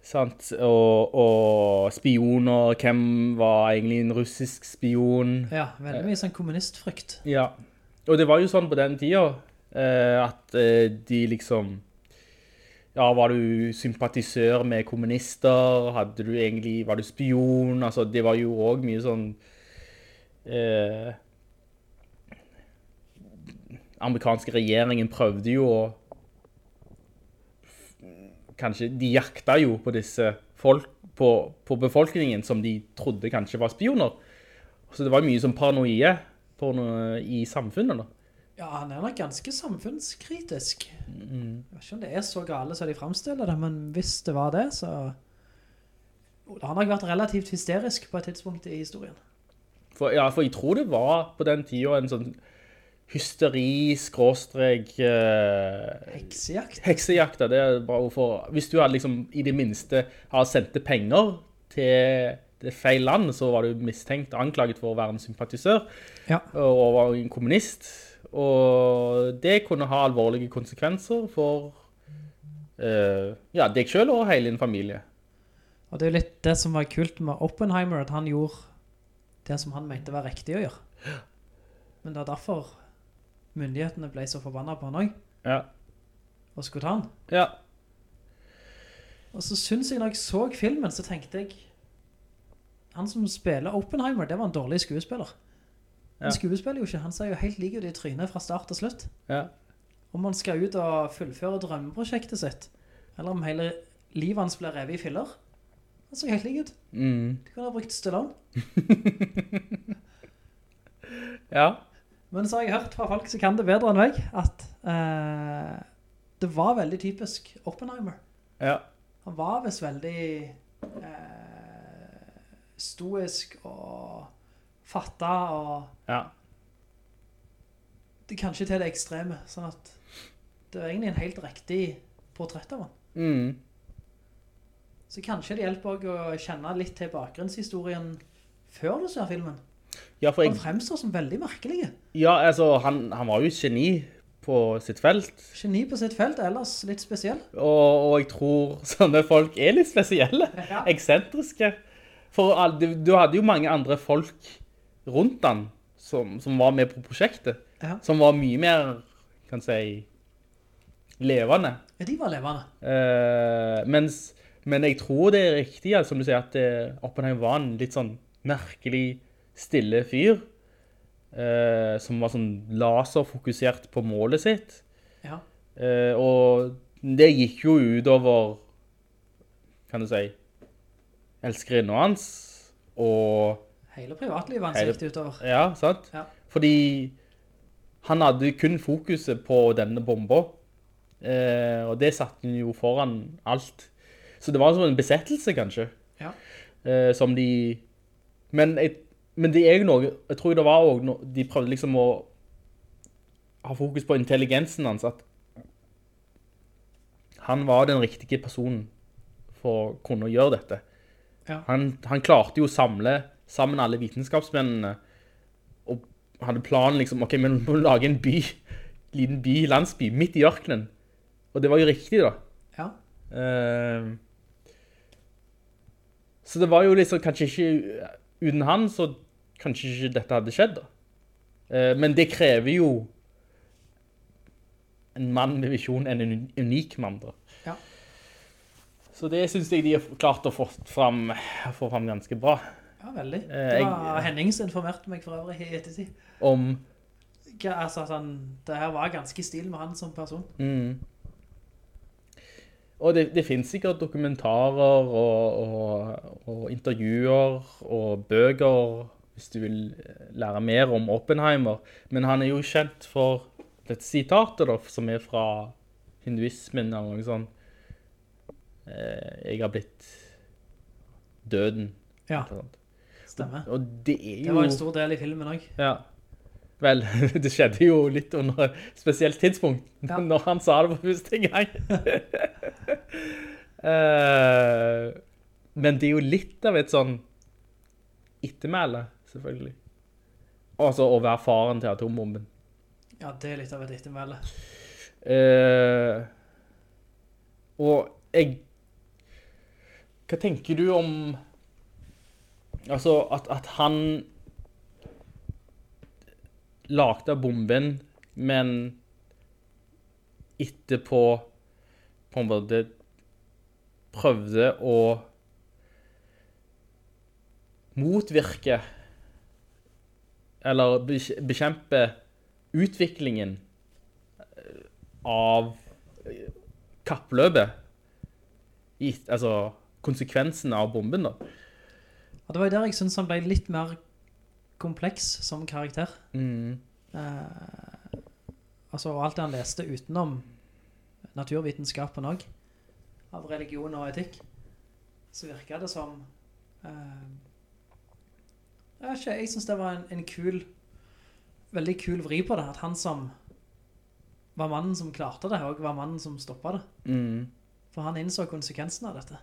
sant og, og spioner, hvem var egentlig en russisk spion? Ja, veldig mye sånn kommunistfrykt. Ja. Og det var jo sånn på den tida Eh, at eh, de liksom Ja, var du sympatisør med kommunister? Hadde du egentlig Var du spion? Altså, det var jo òg mye sånn eh, Amerikanske regjeringen prøvde jo å Kanskje De jakta jo på disse folk på, på befolkningen som de trodde kanskje var spioner. Så det var mye sånn paranoie porno- i samfunnet, da. Ja, han er nok ganske samfunnskritisk. Jeg vet ikke om det er så gale som de fremstiller det, men hvis det var det, så... Jo, Det har nok vært relativt hysterisk på et tidspunkt i historien. For, ja, for jeg tror det var på den tida en sånn hysteri, skråstrek eh, Heksejakt? Heksejakt, da, det er bra ord for Hvis du hadde liksom i det minste har sendte penger til det feil land, så var du mistenkt og anklaget for å være en sympatisør Ja. og var en kommunist. Og det kunne ha alvorlige konsekvenser for eh, ja, deg sjøl og hele din familie. Og det er jo litt det som var kult med Oppenheimer, at han gjorde det som han mente var riktig å gjøre. Men det er derfor myndighetene ble så forbanna på han òg, Ja. og skulle ta han. ja. Og så syns jeg når jeg så filmen, så tenkte jeg Han som spiller Oppenheimer, det var en dårlig skuespiller. Han Ja. skuespiller jo ikke, han ser jo helt lik ut i trynet fra start til slutt. ja. Om han skal ut og fullføre drømmeprosjektet sitt, eller om hele livet hans blir revet i filler. Han ser helt lik ut. Mm. Du kunne ha brukt Stallone. ja. Men så har jeg hørt fra folk som kan det bedre enn meg, at eh, det var veldig typisk Oppenheimer. Ja. Han var visst veldig eh, stoisk og fatta og Ja. det, kanskje til det ekstreme. Sånn at det er egentlig en helt riktig portrett av han. Mm. Så kanskje det hjelper også å kjenne litt til bakgrunnshistorien før du ser filmen. Ja, for Han jeg, fremstår som veldig merkelig. ja, altså, han, han var jo et geni på sitt felt, Geni på sitt felt, ellers litt spesiell. og, og jeg tror sånne folk er litt spesielle, Ja. eksentriske. For all- du, du hadde jo mange andre folk rundt han som, som var med på prosjektet, Ja. som var mye mer, kan si, levende. Ja, de var levende. Eh, mens, men jeg tror det er riktig, altså, som du sier, at eh, Oppenheim var en litt sånn merkelig stille fyr, eh, som var sånn laserfokusert på målet sitt. Ja. Eh, og det gikk jo utover, kan du si, elskerinnen hans, og Hele privatlivet hans Hele- gikk det utover. ja, sant? Ja. Fordi han hadde kun fokuset på denne bomba, eh, og det satte han jo foran alt. Så det var som en besettelse, kanskje, Ja. eh, som de... Men, jeg, men det er jo noe, jeg tror det var også, no- de prøvde liksom å ha fokus på intelligensen hans, at han var den riktige personen for å kunne gjøre dette. Ja. Han, han klarte jo å samle sammen alle vitenskapsmennene, og hadde planen liksom, ok, men vi må lage en by, liten by, landsby, midt i ørkenen. Og det var jo riktig da. Ja. Ehm. så det var jo liksom, kanskje ikke, uten han, så kanskje ikke dette hadde skjedd da. Eh, men det krever jo en mann med visjon, en uni- unik mann da. Ja. Så det synes jeg de har klart å få fram, få fram ganske bra. Ja, veldig. Eh, Det jeg- var Hennings informerte meg for øvrig i ettertid. Om, Ga- Altså, at han, det her var ganske i stil med han som person. Mm. Og det, det finnes sikkert dokumentarer og, og, og intervjuer og bøker hvis du vil eh, lære mer om Oppenheimer. Men han er jo kjent for dette sitatet da, som er fra hinduismen eller noe sånt. Eh, Jeg har blitt døden. Ja, eller noe sånt. stemmer. Og det er jo... Det var en stor del i filmen òg. Ja. Vel, det skjedde jo litt under et spesielt tidspunkt, Ja. når han sa det for første gang. Eh, men det er jo litt av et sånn ettermæle, selvfølgelig. Altså å være faren til atombomben. Ja, det er litt av et ettermæle. Eh, og jeg Hva tenker du om Altså at, at han lagde bomben, men etterpå på en måte prøvde å motvirke eller bekj- bekjempe utviklingen eh, av eh, kappløpet. I, altså konsekvensen av bomben, da. Og det var jo der jeg synes han ble litt mer kompleks som karakter. Eh, altså, og alt det han leste utenom naturvitenskapen også, av religion og etikk, så virket det som... eh, jeg vet ikke, jeg synes det var en, en kul, veldig kul vri på det, at han som var mannen som klarte det, og var mannen som stoppet det. Mm, For han innså konsekvensen av dette.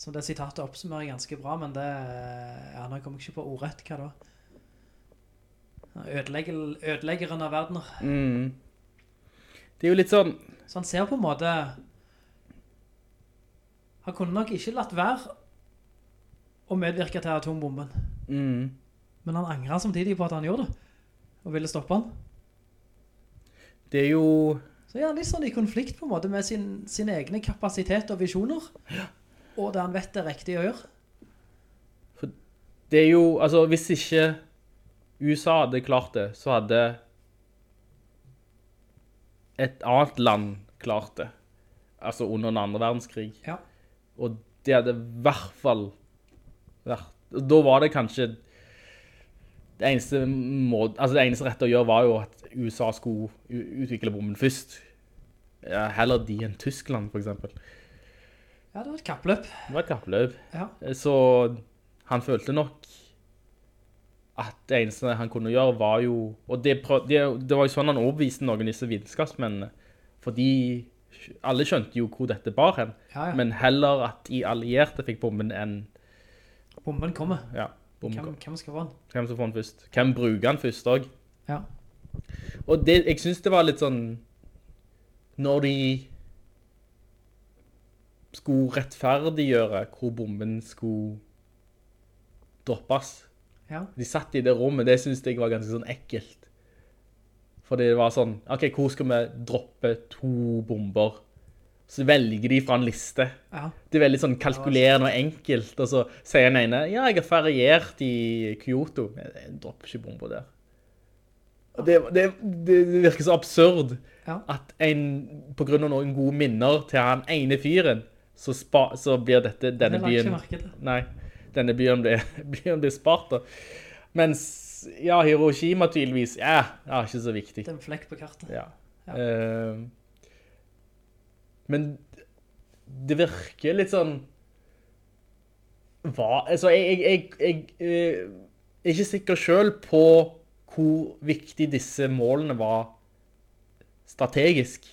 Så det sitatet oppsummerer ganske bra, men det ja, Nå kommer jeg ikke på ordrett, hva da? Ødelegger, ødeleggeren av verdener. mm. Det er jo litt sånn Så han ser på en måte Han kunne nok ikke latt være å medvirke til atombomben. mm, Men han angrer samtidig på at han gjorde det, og ville stoppe han. Det er jo Så er han litt sånn i konflikt på en måte med sin, sin egne kapasitet og visjoner, og det han vet er riktig å gjøre. Det er jo Altså, hvis ikke USA hadde klart det, så hadde et annet land klart det. Altså under den andre verdenskrig. Ja. Og det hadde i hvert fall vært og Da var det kanskje det eneste, må, altså det eneste rette å gjøre var jo at USA skulle u- utvikle bomben først. Ja, heller de enn Tyskland, for eksempel. Ja, det var et kappløp. Det var et kappløp. Ja. Så han følte nok at det eneste han kunne gjøre var jo Og det, prøv, det, det var jo sånn han overbeviste noen av disse vitenskapsmennene. Fordi alle skjønte jo hvor dette bar hen. Ja, ja. Men heller at de allierte fikk bomben enn Bomben kommer. ja, bomben Hvem, kom. hvem skal få den? Hvem som får den først? Hvem bruker den først òg? Ja. Og det, jeg syns det var litt sånn Når de skulle rettferdiggjøre hvor bomben skulle droppes Ja. De satt i det rommet, det syns jeg var ganske sånn ekkelt. Fordi det var sånn OK, hvor skal vi droppe to bomber? Så velger de fra en liste. ja. Det er veldig sånn kalkulerende og enkelt. Og så sier den ene ja, jeg har feriert i Kyoto. Men jeg dropper ikke bomber der. Og det, det, det virker så absurd Ja. at en, på grunn av noen gode minner til han ene fyren, så, spa, så blir dette, Det denne la jeg byen ikke merke til. Nei, denne byen blir, byen blir spart. Da. Mens ja, Hiroshima tydeligvis ja, det er ikke så viktig. Det er en flekk på kartet. Ja. Ja. Eh, men det virker litt sånn Hva Altså, jeg, jeg, jeg, jeg eh, er ikke sikker sjøl på hvor viktig disse målene var strategisk.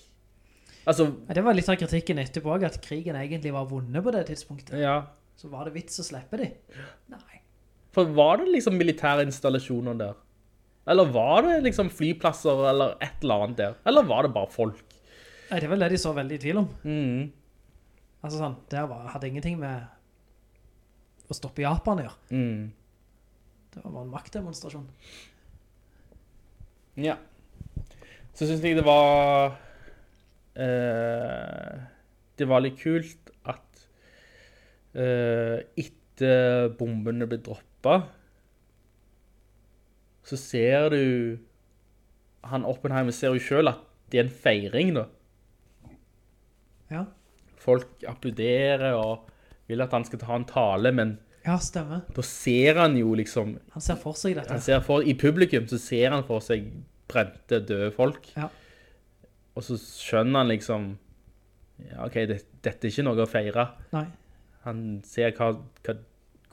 Altså Ja, det var litt av kritikken etterpå, også, at krigen egentlig var vunnet på det tidspunktet. Ja. Så var det vits å slippe de. Nei. For var det liksom militære installasjoner der? Eller var det liksom flyplasser eller et eller annet der? Eller var det bare folk? Nei, det er vel det de så veldig i tvil om. Mm. Altså sånn, det var, hadde ingenting med å stoppe Japan å gjøre. Mm. Det var bare en maktdemonstrasjon. Ja. Så syns jeg det var eh, Det var litt kult at eh, etter bombene ble droppa, så ser du Han Oppenheimer ser jo sjøl at det er en feiring, da. Ja, Folk applauderer og vil at han skal ta en tale, men ja stemmer. da ser han jo liksom Han ser for seg han dette. ser for, I publikum så ser han for seg brente, døde folk. Ja. Og så skjønner han liksom ja, OK, det, dette er ikke noe å feire. Nei. Han ser hva, hva,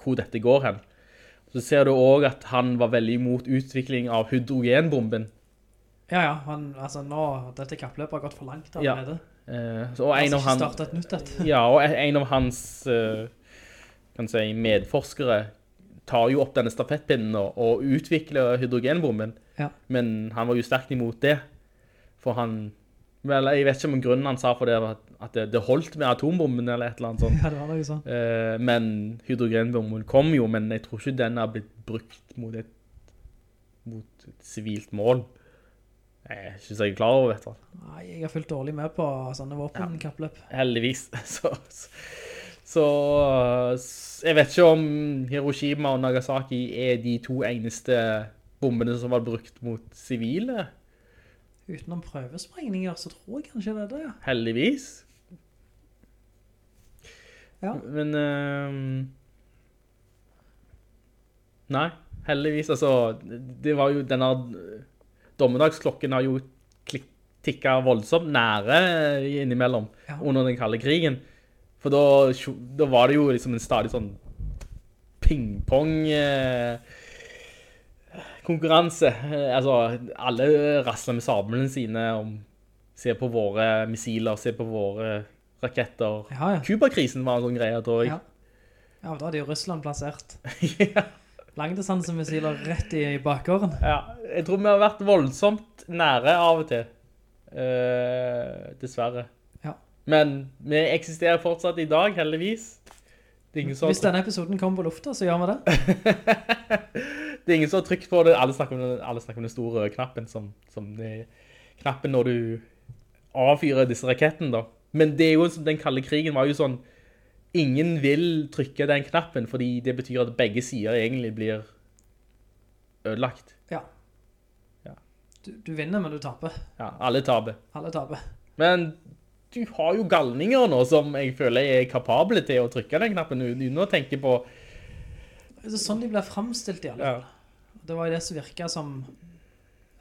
hvor dette går hen. Så ser du òg at han var veldig imot utvikling av hydrogenbomben. Ja, ja, han, altså nå, dette kappløpet har gått for langt Ja. allerede. Eh, så- og Han en skal Altså av ikke han, starte et nytt et. ja, og en av hans eh, kan si, medforskere tar jo opp denne stafettpinnen og, og utvikler hydrogenbomben. Ja. Men han var jo sterkt imot det. For han Vel, jeg vet ikke om grunnen han sa for det, var at- at det, det holdt med atombomben eller et eller annet sånt. ja, det var noe sånn. Eh, men hydrogenbomben kom jo, men jeg tror ikke den har blitt brukt mot et, mot et sivilt mål. Jeg synes jeg er klar over, vet du. Nei, jeg har fulgt dårlig med på sånne våpenkappløp. Heldigvis. Så, så, så s- Jeg vet ikke om Hiroshima og Nagasaki er de to eneste bombene som var brukt mot sivile. Utenom prøvesprengninger, så tror jeg kanskje det er det. ja. Heldigvis. Ja. Men ehm, Nei, heldigvis. Altså, det var jo denne Dommedagsklokken har jo klik- tikka voldsomt nære eh, innimellom Ja. under den kalde krigen. For da, sjo- da var det jo liksom en stadig sånn eh, ping-pong-konkurranse. altså, alle rasler med sablene sine om Se på våre missiler, se på våre raketter. Ja, ja. Kuba-krisen var en sånn greie, tror jeg. Ja. Ja, da hadde jo Russland plassert Ja. langdistansemissiler rett i bakgården. Ja, Jeg tror vi har vært voldsomt nære av og til. Eh, dessverre. Ja. Men vi eksisterer fortsatt i dag, heldigvis. Det er ingen som Hvis denne episoden kommer på lufta, så gjør vi det. Det er ingen som har trykt på det. Alle snakker om den, alle snakker om den store røde knappen, som, som det, knappen når du avfyrer disse rakettene, da. Men det er jo som den kalde krigen var jo sånn, ingen vil trykke den knappen, fordi det betyr at begge sider egentlig blir ødelagt. Ja. Ja. Du, du vinner, men du taper. Ja, alle taber. Alle taper. Men du har jo galninger nå som jeg føler er kapable til å trykke den knappen uten å tenke på Det er sånn de blir framstilt, i alle ja, fall. Det var jo det som virka som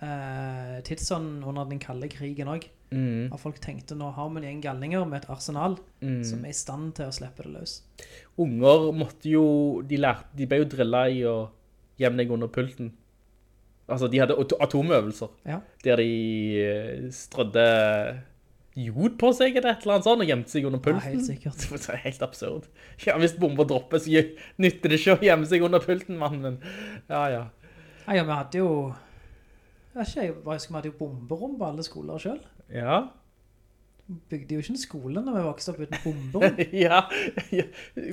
eh, tidsånden under den kalde krigen òg. mm, At folk tenkte nå har vi en gjeng galninger med et arsenal mm. som er i stand til å slippe det løs. unger måtte jo De, lærte, de ble jo drilla i å gjemme deg under pulten. Altså, de hadde ato- atomøvelser Ja. der de eh, strødde jod på seg eller et eller annet sånt og gjemte seg under Ja, pulten. helt sikkert. Det var helt absurd. Ja, hvis bomber dropper, så gjø- nytter det ikke å gjemme seg under pulten, mann. Men ja, ja. Nei, ja, vi hadde jo jeg vet ikke, jeg bare husker Vi hadde jo bomberom på alle skoler sjøl. Ja. Bygde jo ikke en skole når vi vokste opp uten bomberom. ja. ja.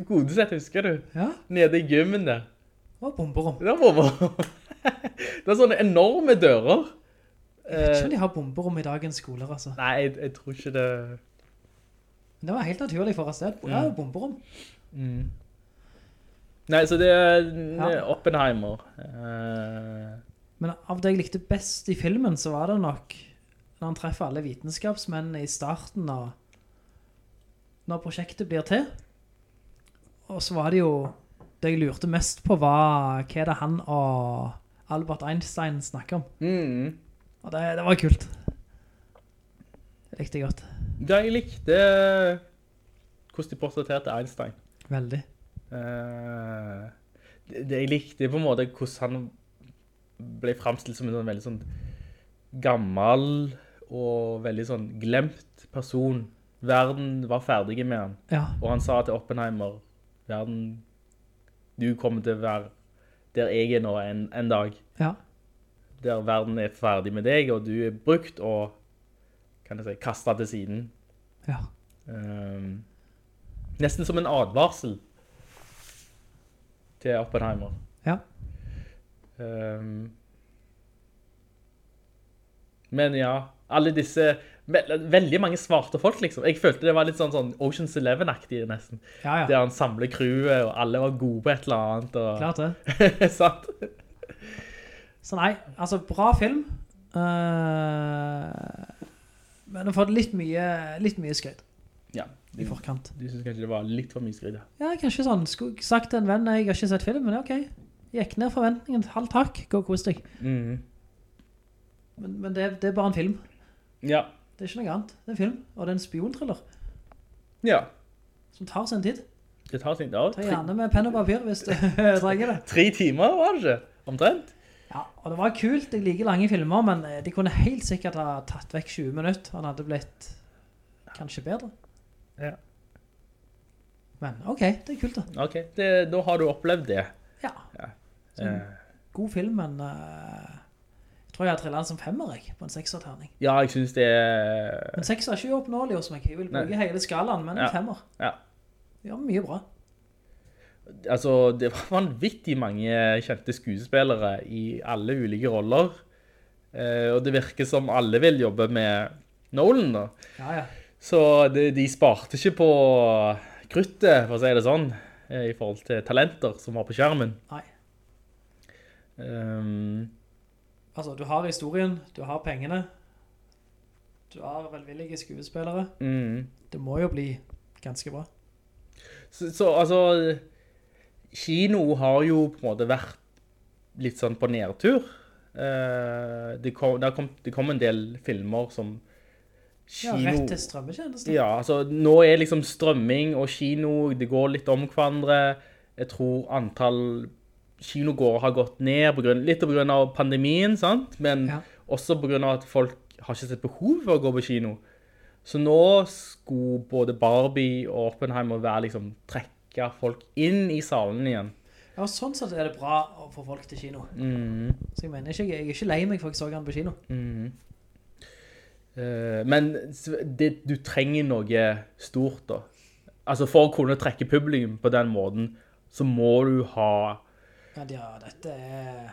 Godesett, husker du? Ja, Nede i gymmen der. det var bomberom. Der bomber. Det er sånne enorme dører. Eh, Jeg vet ikke om de har bomberom i dagens skoler, altså. Nei, jeg, jeg tror ikke det Men det var helt naturlig for oss. Det er jo bomberom. Nei, så det er Ja. Oppenheimer. Eh, Men av det jeg likte best i filmen, så var det nok når han treffer alle vitenskapsmennene i starten av når prosjektet blir til. Og så var det jo Det jeg lurte mest på, var hva er det han og Albert Einstein snakker om. mm. Og det, det var kult. Det likte jeg godt. Ja, jeg likte hvordan de portretterte Einstein. Veldig. Eh, det, det jeg likte på en måte hvordan han ble fremstilt som en sånn veldig sånn gammel og veldig sånn glemt person. Verden var ferdig med han. Ja. Og han sa til Oppenheimer, verden, du kommer til å være der jeg er nå en, en dag. ja. Der verden er ferdig med deg, og du er brukt og, kan jeg si, kastet til siden. ja. Ehm, nesten som en advarsel til Oppenheimer. Ja. Ehm, men ja, alle disse, ve- veldig mange svarte folk liksom. Jeg følte det var litt sånn, sånn Ocean's Eleven-aktig nesten. Ja, ja. Der han samler crewet, og alle var gode på et eller annet. Og... Klart det. Sant? Så nei, altså bra film. Eh, men den har fått litt mye, litt mye skryt Ja, i forkant. du synes kanskje det var litt for mye skryt. ja. Ja, kanskje sånn, skulle jeg sagt til en venn, jeg har ikke sett filmen, ja, ok. Gikk ned forventningen, halvt hakk, gå og kos deg. Mhm. Men, men det, det er bare en film. Ja, Det er ikke noe annet. Det er en film, og det er en spionthriller ja. som tar sin tid. Det tar sin dag. Ta Tre, gjerne med penn og papir hvis du trenger det. tre timer var det ikke, omtrent. Ja, og det var kult, jeg liker lange filmer, men eh, de kunne helt sikkert ha tatt vekk 20 minutter, han hadde blitt kanskje bedre. Ja. Men ok, det er kult da. Ok, det, da har du opplevd det. Ja, Så en Eh, god film, men eh, jeg tror jeg har trillet den som femmer, jeg, på en sekserterning. ja, jeg synes det er... Men seks er ikke uoppnåelig hos meg. Jeg vil bruke hele skalaen, men en Ja. femmer. Ja. Ja, mye bra. Altså, det var vanvittig mange kjente skuespillere i alle ulike roller. Eh, og det virker som alle vil jobbe med Nolan, da. Ja, ja. Så de, de sparte ikke på kruttet, for å si det sånn, eh, i forhold til talenter som var på skjermen. Nei. Ehm, Altså, du har historien, du har pengene, du har velvillige skuespillere. mm. Det må jo bli ganske bra. så, så altså Kino har jo på en måte vært litt sånn på nedtur. Eh, det, kom, det, har kommet- det kom en del filmer som Ja, kino rett til strømmetjeneste. Ja, altså nå er liksom strømming og kino, det går litt om hverandre. Jeg tror antall kinogårder har gått ned, på grunn, litt på grunn av pandemien, sant? Men Ja. også på grunn av at folk har ikke sett behov for å gå på kino. Så nå skulle både Barbie og Oppenheimer være liksom trekke folk inn i salen igjen. Ja, og sånn sett er det bra å få folk til kino. Mm. Så jeg mener ikke, jeg er ikke lei meg for jeg så han på kino. Eh, Men s- det, du trenger noe stort da. Altså for å kunne trekke publikum på den måten, så må du ha Ja, de har, dette er...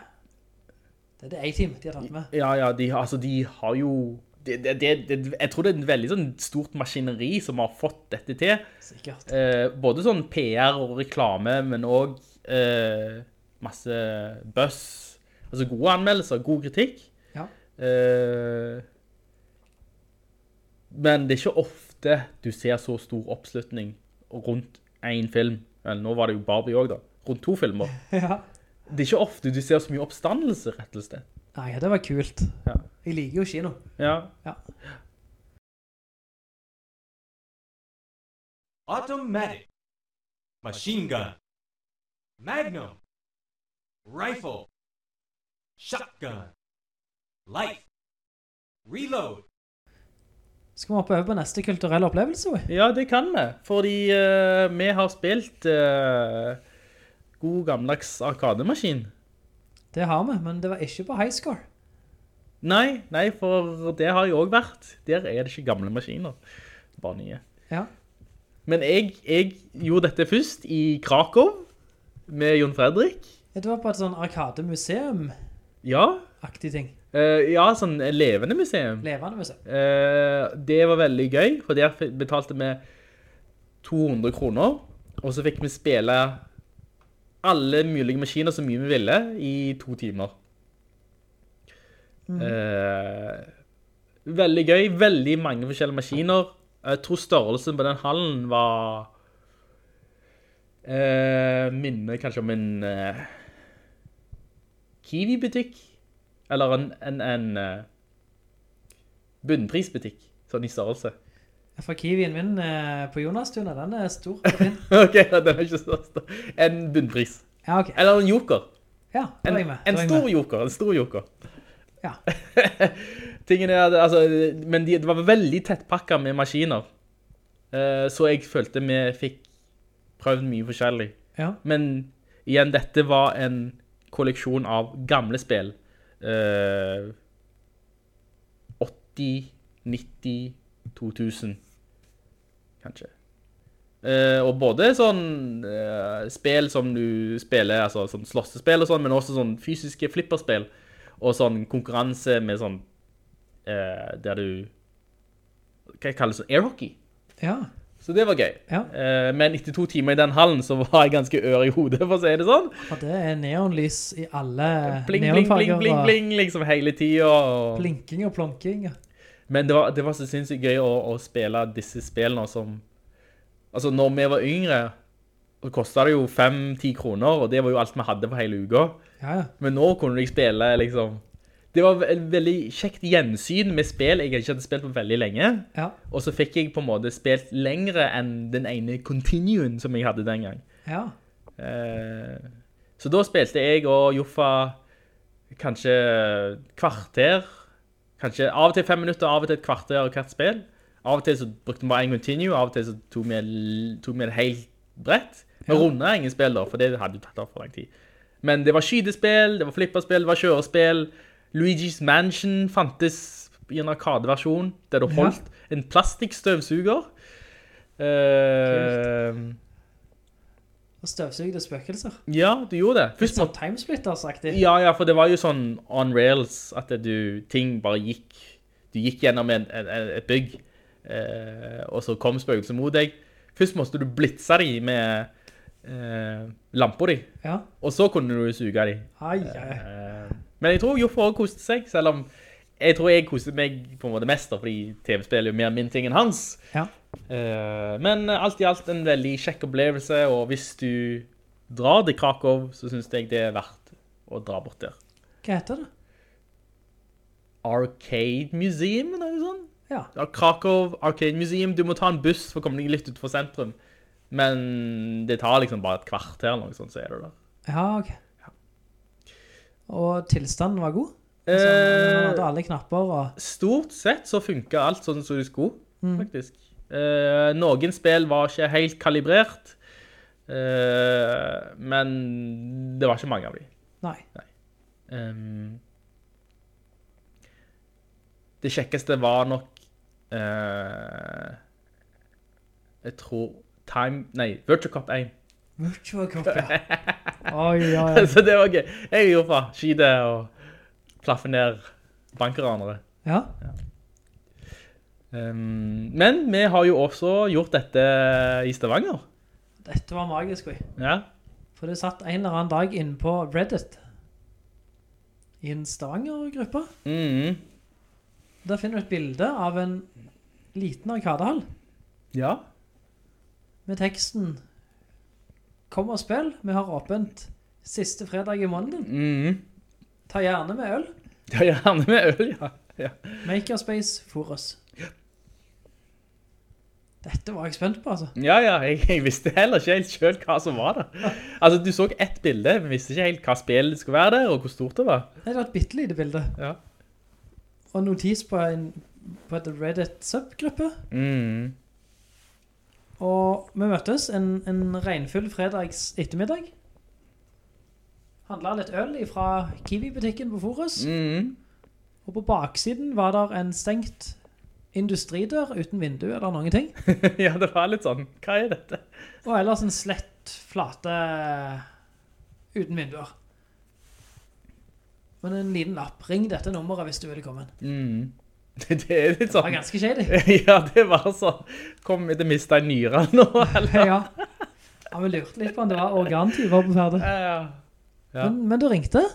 Dette er A-team de har tatt med. Ja, ja, de, altså, de har jo det, det, det, det, Jeg tror det er et veldig sånn stort maskineri som har fått dette til. Sikkert. Eh, både sånn PR og reklame, men òg eh, masse buzz. Altså gode anmeldelser, god kritikk. Ja. Eh, men det er ikke ofte du ser så stor oppslutning rundt én film. Vel, nå var det jo Barbie òg, da. Rundt to filmer. ja. Det er ikke ofte du ser så mye oppstandelse, rett og slett. Nei, det var kult. Ja. Jeg liker jo kino. Ja. Automatic. Machine gun. Magnum. Rifle. Shotgun. Life. Reload. Skal vi hoppe over på neste kulturelle opplevelse? Oi? Ja, det kan vi. Fordi eh, vi har spilt eh, god gammeldags arkademaskin. Det har vi, men det var ikke på high score. Nei, nei, for det har jeg òg vært. Der er det ikke gamle maskiner. Bare nye. Ja. Men jeg, jeg gjorde dette først i Krakow med Jon Fredrik. Det var på et sånn arkademuseum-aktig Ja. ting. eh, ja, sånn levende museum. Levende museum. Eh, det var veldig gøy, for der f- betalte vi 200 kroner, og så fikk vi spille alle mulige maskiner så mye vi ville i to timer. Eh, veldig gøy, veldig mange forskjellige maskiner. Jeg tror størrelsen på den hallen var eh, minner kanskje om en eh, Kiwi-butikk, eller en, en, en eh, bunnprisbutikk, sånn i størrelse. For kiwien min eh, på Jonas-tunet, den er stor og fin. Ok, ja, den er ikke største. En bunnpris. Ja, ok. Eller en joker. Ja, da En, var jeg med. Da en var jeg stor med. joker, en stor joker. Ja. Tingen er, at, altså, men de, det var veldig tettpakket med maskiner. Eh, Så jeg følte vi fikk prøvd mye forskjellig. Ja. Men igjen, dette var en kolleksjon av gamle spill. Eh, 80, 90, 2000, kanskje. Eh, og både sånn eh, spill som du spiller, altså sånn slåssespill og sånn, men også sånn fysiske flipperspill, og sånn konkurranse med sånn, eh, der du, hva jeg kaller det sånn, air hockey. ja. Så det var gøy. Ja. Eh, men etter to timer i den hallen så var jeg ganske ør i hodet, for å si det sånn. Og det er neonlys i alle Bling, bling, neonfarger. bling, bling, og bling, liksom hele tiden. og- Blinking og plonking. ja. Men det var, det var så sinnssykt gøy å, å spille disse spillene som... Altså, når vi var yngre, så kostet det jo 5-10 kroner, og det var jo alt vi hadde for hele uka. Ja, ja. Men nå kunne jeg spille, liksom... Det var et veldig kjekt gjensyn med spill jeg ikke hadde spilt på veldig lenge. Ja, Og så fikk jeg på en måte spilt lengre enn den ene continuen som jeg hadde den gang. ja. Eh, Så da spilte jeg og Joffa kanskje kvarter, kanskje av og til fem minutter, av og til et kvarter av hvert spill. Av og til så brukte vi bare en continue, av og til så tok vi, l- tok vi det helt bredt. Vi rundet ingen spill da, for det hadde jo tatt av for lang tid. Men det var skydespill, det var flipperspill, det var kjørespill. Luigi's Mansion fantes i en arkadeversjon, der du Ja. holdt en plastikkstøvsuger. Eh, Og støvsugde spøkelser. Ja, du gjorde det. Først Sånn måtte... Timesplitters-aktig. Ja, ja, for det var jo sånn on rails, at du, ting bare gikk, du gikk gjennom en, en, en- et bygg, eh, og så kom spøkelser mot deg. Først måtte du blitse dem med eh, lamper dem, Ja. og så kunne du suge dem. Ai, ai. Eh, Men jeg tror Joffe også koste seg, selv om jeg tror jeg koste meg på en måte mest, da, fordi TV-spill er jo mer min ting enn hans. Ja. Eh, Men alt i alt en veldig kjekk opplevelse, og hvis du drar til Krakow, så synes jeg det er verdt å dra bort der. Hva heter det? Arcade Museum, eller noe sånt? Ja. Ja, Krakow Arcade Museum, du må ta en buss for å komme deg litt ut for sentrum. Men det tar liksom bare et kvarter eller noe sånt, så er du der. Ja, ok. Og tilstanden var god? Altså, han Eh, hadde alle knapper og stort sett så funka alt sånn som det skulle, faktisk. Eh, noen spill var ikke helt kalibrert, eh, men det var ikke mange av dem. Nei. Ehm, det kjekkeste var nok eh, Jeg tror Time Nei, Virtual Cop 1. Virtua Cop, ja. Oi, oi, oi. så det var gøy. Jeg gjorde fra skyte og plaffe ned bankeranere. Ja. Um, men vi har jo også gjort dette i Stavanger. Dette var magisk, vi. Ja. For det satt en eller annen dag inne på Reddit. I en Stavanger-gruppe. Mhm. Der finner du et bilde av en liten arkadehall ja. med teksten Kom og spill, vi har åpent siste fredag i måneden. Mhm. Ta gjerne med øl. Ja, gjerne med øl, ja. ja. Makerspace Forus. Dette var jeg spent på, altså. Ja, ja, jeg, jeg visste heller ikke helt selv hva som var der. Altså, du så ett bilde, men visste ikke helt hva spillet skulle være der, og hvor stort det var. Det var et bitte lite bilde. Ja. Og notis på en på et Reddit-subgruppe. Mhm. Og vi møttes en, en regnfull fredags ettermiddag. Handla litt øl fra Kiwi-butikken på Forus. Mhm. Og på baksiden var der en stengt industridør uten vindu eller noen ting. ja, det var litt sånn, hva er dette? Og ellers en slett flate uten vinduer. Men en liten lapp. Ring dette nummeret hvis du vil komme. inn. Mhm. Det er litt Det var sånn, ganske shady. ja, det var sånn, kommer vi til å miste en nyre nå, eller? Ja. ja, vi lurte litt på om det var organtyver på ferde. Ja. Ja. Men, men du ringte.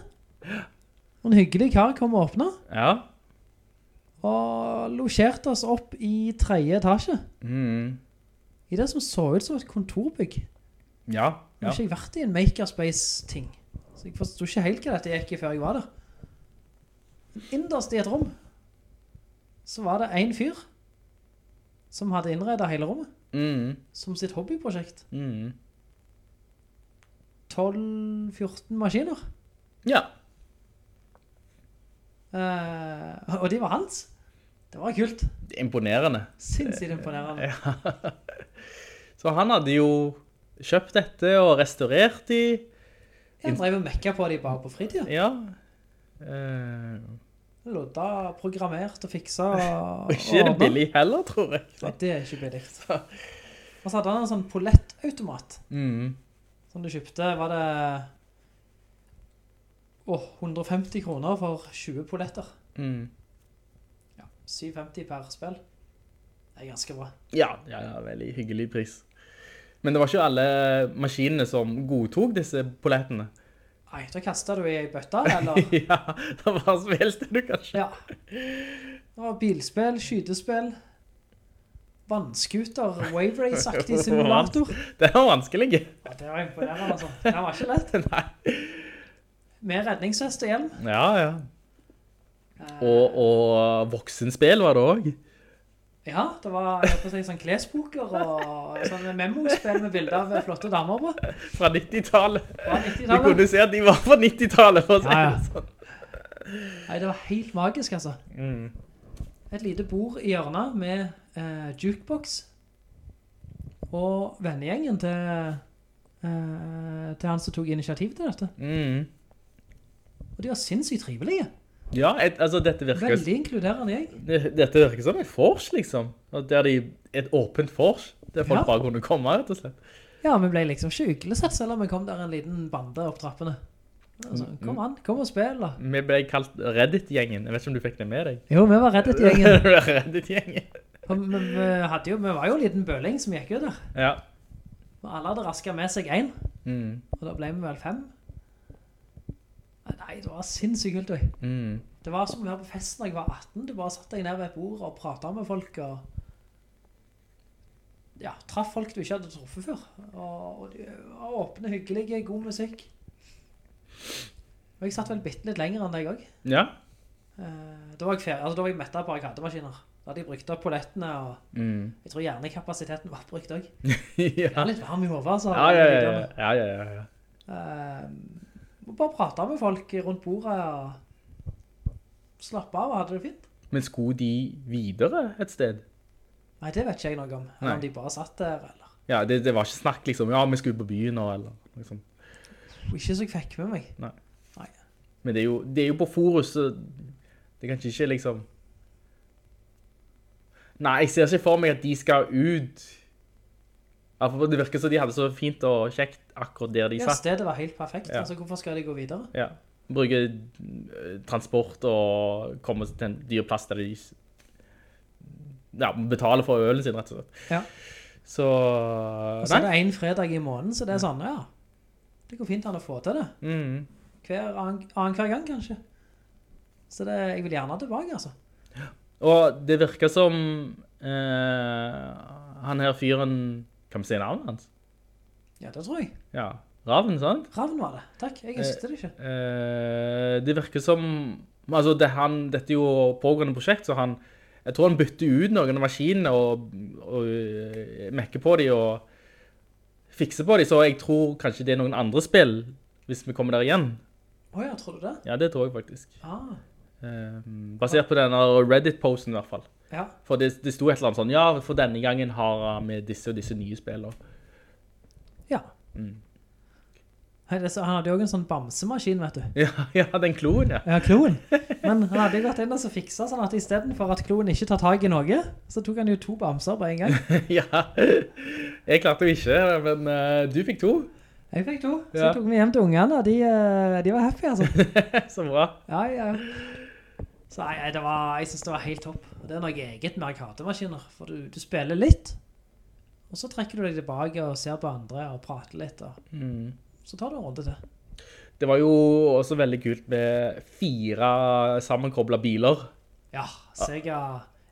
Og En hyggelig kar kom og åpna, Ja. og losjerte oss opp i tredje etasje. Mhm. I det som så ut som et kontorbygg. Ja, Jeg ja. har ikke vært i en makerspace-ting. Så jeg forsto ikke helt hva dette gikk i før jeg var der. Men innerst i et rom så var det en fyr som hadde innreda hele rommet Mhm. som sitt hobbyprosjekt. Mhm. 12-14 maskiner. Ja. Eh, og de var hans. Det var kult. Imponerende. Sinnssykt Eh, imponerende. Så han hadde jo kjøpt dette og restaurert de. Jeg drev og mekka på de bare på fritida. Ja. Eh, Lodda, programmert og fiksa. og ikke er det billig heller, tror jeg. Nei, det er ikke billig. Og så hadde han en sånn pollettautomat. Mm. som du kjøpte, var det åh, 150 kroner for 20 poletter. Mm. 750 per spill. Det er ganske bra. Ja, ja, ja, veldig hyggelig pris. Men det var ikke alle maskinene som godtok disse pollettene. Nei, da kastet du i ei bøtte, eller? ja, da bare spilte du kanskje. Ja. Det var bilspill, skytespill, vannskuter, wave race-aktig simulator. Det var vanskelig. Ja, det var imponerende, altså. Det var ikke lett. Nei. Med redningsvest og hjelm. Ja, ja. Og, og voksenspill var det også. Ja, det var jeg holdt på å si, sånn klespoker og sånn memospill med bilder av flotte damer på. Det Fra 90-tallet. var Du 90-tallet. kunne se at de var fra 90-tallet, for å si Ja, ja. det sånn. Nei, det var helt magisk, altså. Et lite bord i hjørnet med eh, jukebox. Og vennegjengen til, eh, til han som tok initiativ til dette. Mm. Og de var sinnssykt trivelige. Ja, et, altså dette virker, Veldig inkluderende gjeng. dette virker som en fors, liksom. Og Der de, et åpent fors, der folk Ja. bare kunne komme, rett og slett. Ja, vi ble liksom ikke uglesett, selv om vi kom der en liten bande opp trappene. Altså, kom an, kom og spill, da. Vi ble kalt Reddit-gjengen. Jeg vet ikke om du fikk det med deg? Jo, vi var reddet gjengen. Reddit-gjengen. Og Vi, vi, hadde jo, vi var jo en liten bøling som gikk jo der. Ja. Og alle hadde rasket med seg en, Mm. og da ble vi vel fem. Nei, det var sinnssykt kult, du. Mm. Det var som å være på fest da jeg var 18. Du bare satt deg ned ved et bord og pratet med folk, og ja, traff folk du ikke hadde truffet før. Og, og de var åpne, hyggelige, god musikk. Og jeg satt vel bitte litt lenger enn deg også. Ja. Eh, Da var jeg, fer- altså, da var jeg mettet på arkademaskiner. Da hadde jeg brukt opp pollettene, og Mm. jeg tror hjernekapasiteten var oppbrukt også. Jeg ja. var litt varm i hodet, altså. Ja, ja, ja, ja. ja, ja, ja, ja. Eh, og bare pratet med folk rundt bordet, og slappet av og hadde det fint. Men skulle de videre et sted? Nei, det vet ikke jeg noe om. Eller om Nei. de bare satt der, eller. Ja, det, det var ikke snakk liksom, ja, vi skulle på byen nå, eller liksom. Ikke så jeg fikk med meg. Nei. Nei. Men det er jo, det er jo på forus, så det kan ikke liksom... Nei, jeg ser ikke for meg at de skal ut. Ja, for det virker som de hadde så fint og kjekt akkurat der de Ja, satt. stedet var helt perfekt, Ja. altså hvorfor skal de gå videre? Ja. Bruke eh, transport og komme til en dyr plass der de s- ja, betaler for ølen sin, rett og slett. Ja. Så, Og så er nei. det en fredag i måneden, så det er sånn, ja. Det går fint an å få til det. Mm. Hver annen, annen hver gang, kanskje. Så det, jeg vil gjerne tilbake, altså. Og det virker som eh, han her fyren Kan vi si navnet hans? Ja, det tror jeg. Ja. Ravn, sant? Ravn var det. Takk, jeg husker det ikke. Eh, det virker som Altså, det, han, dette er jo pågående prosjekt, så han Jeg tror han bytter ut noen av maskinene og, og eh, mekker på de og fikser på de, så jeg tror kanskje det er noen andre spill hvis vi kommer der igjen. Åja, tror du det? Ja, det tror jeg faktisk. Ah, Eh, basert på denne Reddit-posten, i hvert fall. ja. For det, det sto et eller annet sånn, ja, for denne gangen har vi disse og disse nye spillene. Ja. Mm. Nei, det, er så, han hadde jo også en sånn bamsemaskin, vet du. Ja, ja, den kloen, ja. Ja, kloen. Men han hadde jo vært en som fiksa sånn at i stedet for at kloen ikke tar tag i noe, så tok han jo to bamser på en gang. ja. Jeg klarte jo ikke, men eh, du fikk to. Jeg fikk to, så Ja. tok vi hjem til ungene, og de, eh, de var happy, altså. Så bra. Ja, ja. Så nei, nei, det var, jeg synes det var helt topp. Og det er noe eget med arkademaskiner, for du, du spiller litt, og så trekker du deg tilbake og ser på andre og prater litt, og Mm. så tar du en runde til. Det var jo også veldig kult med fire sammenkoblet biler. Ja, Ah. Sega,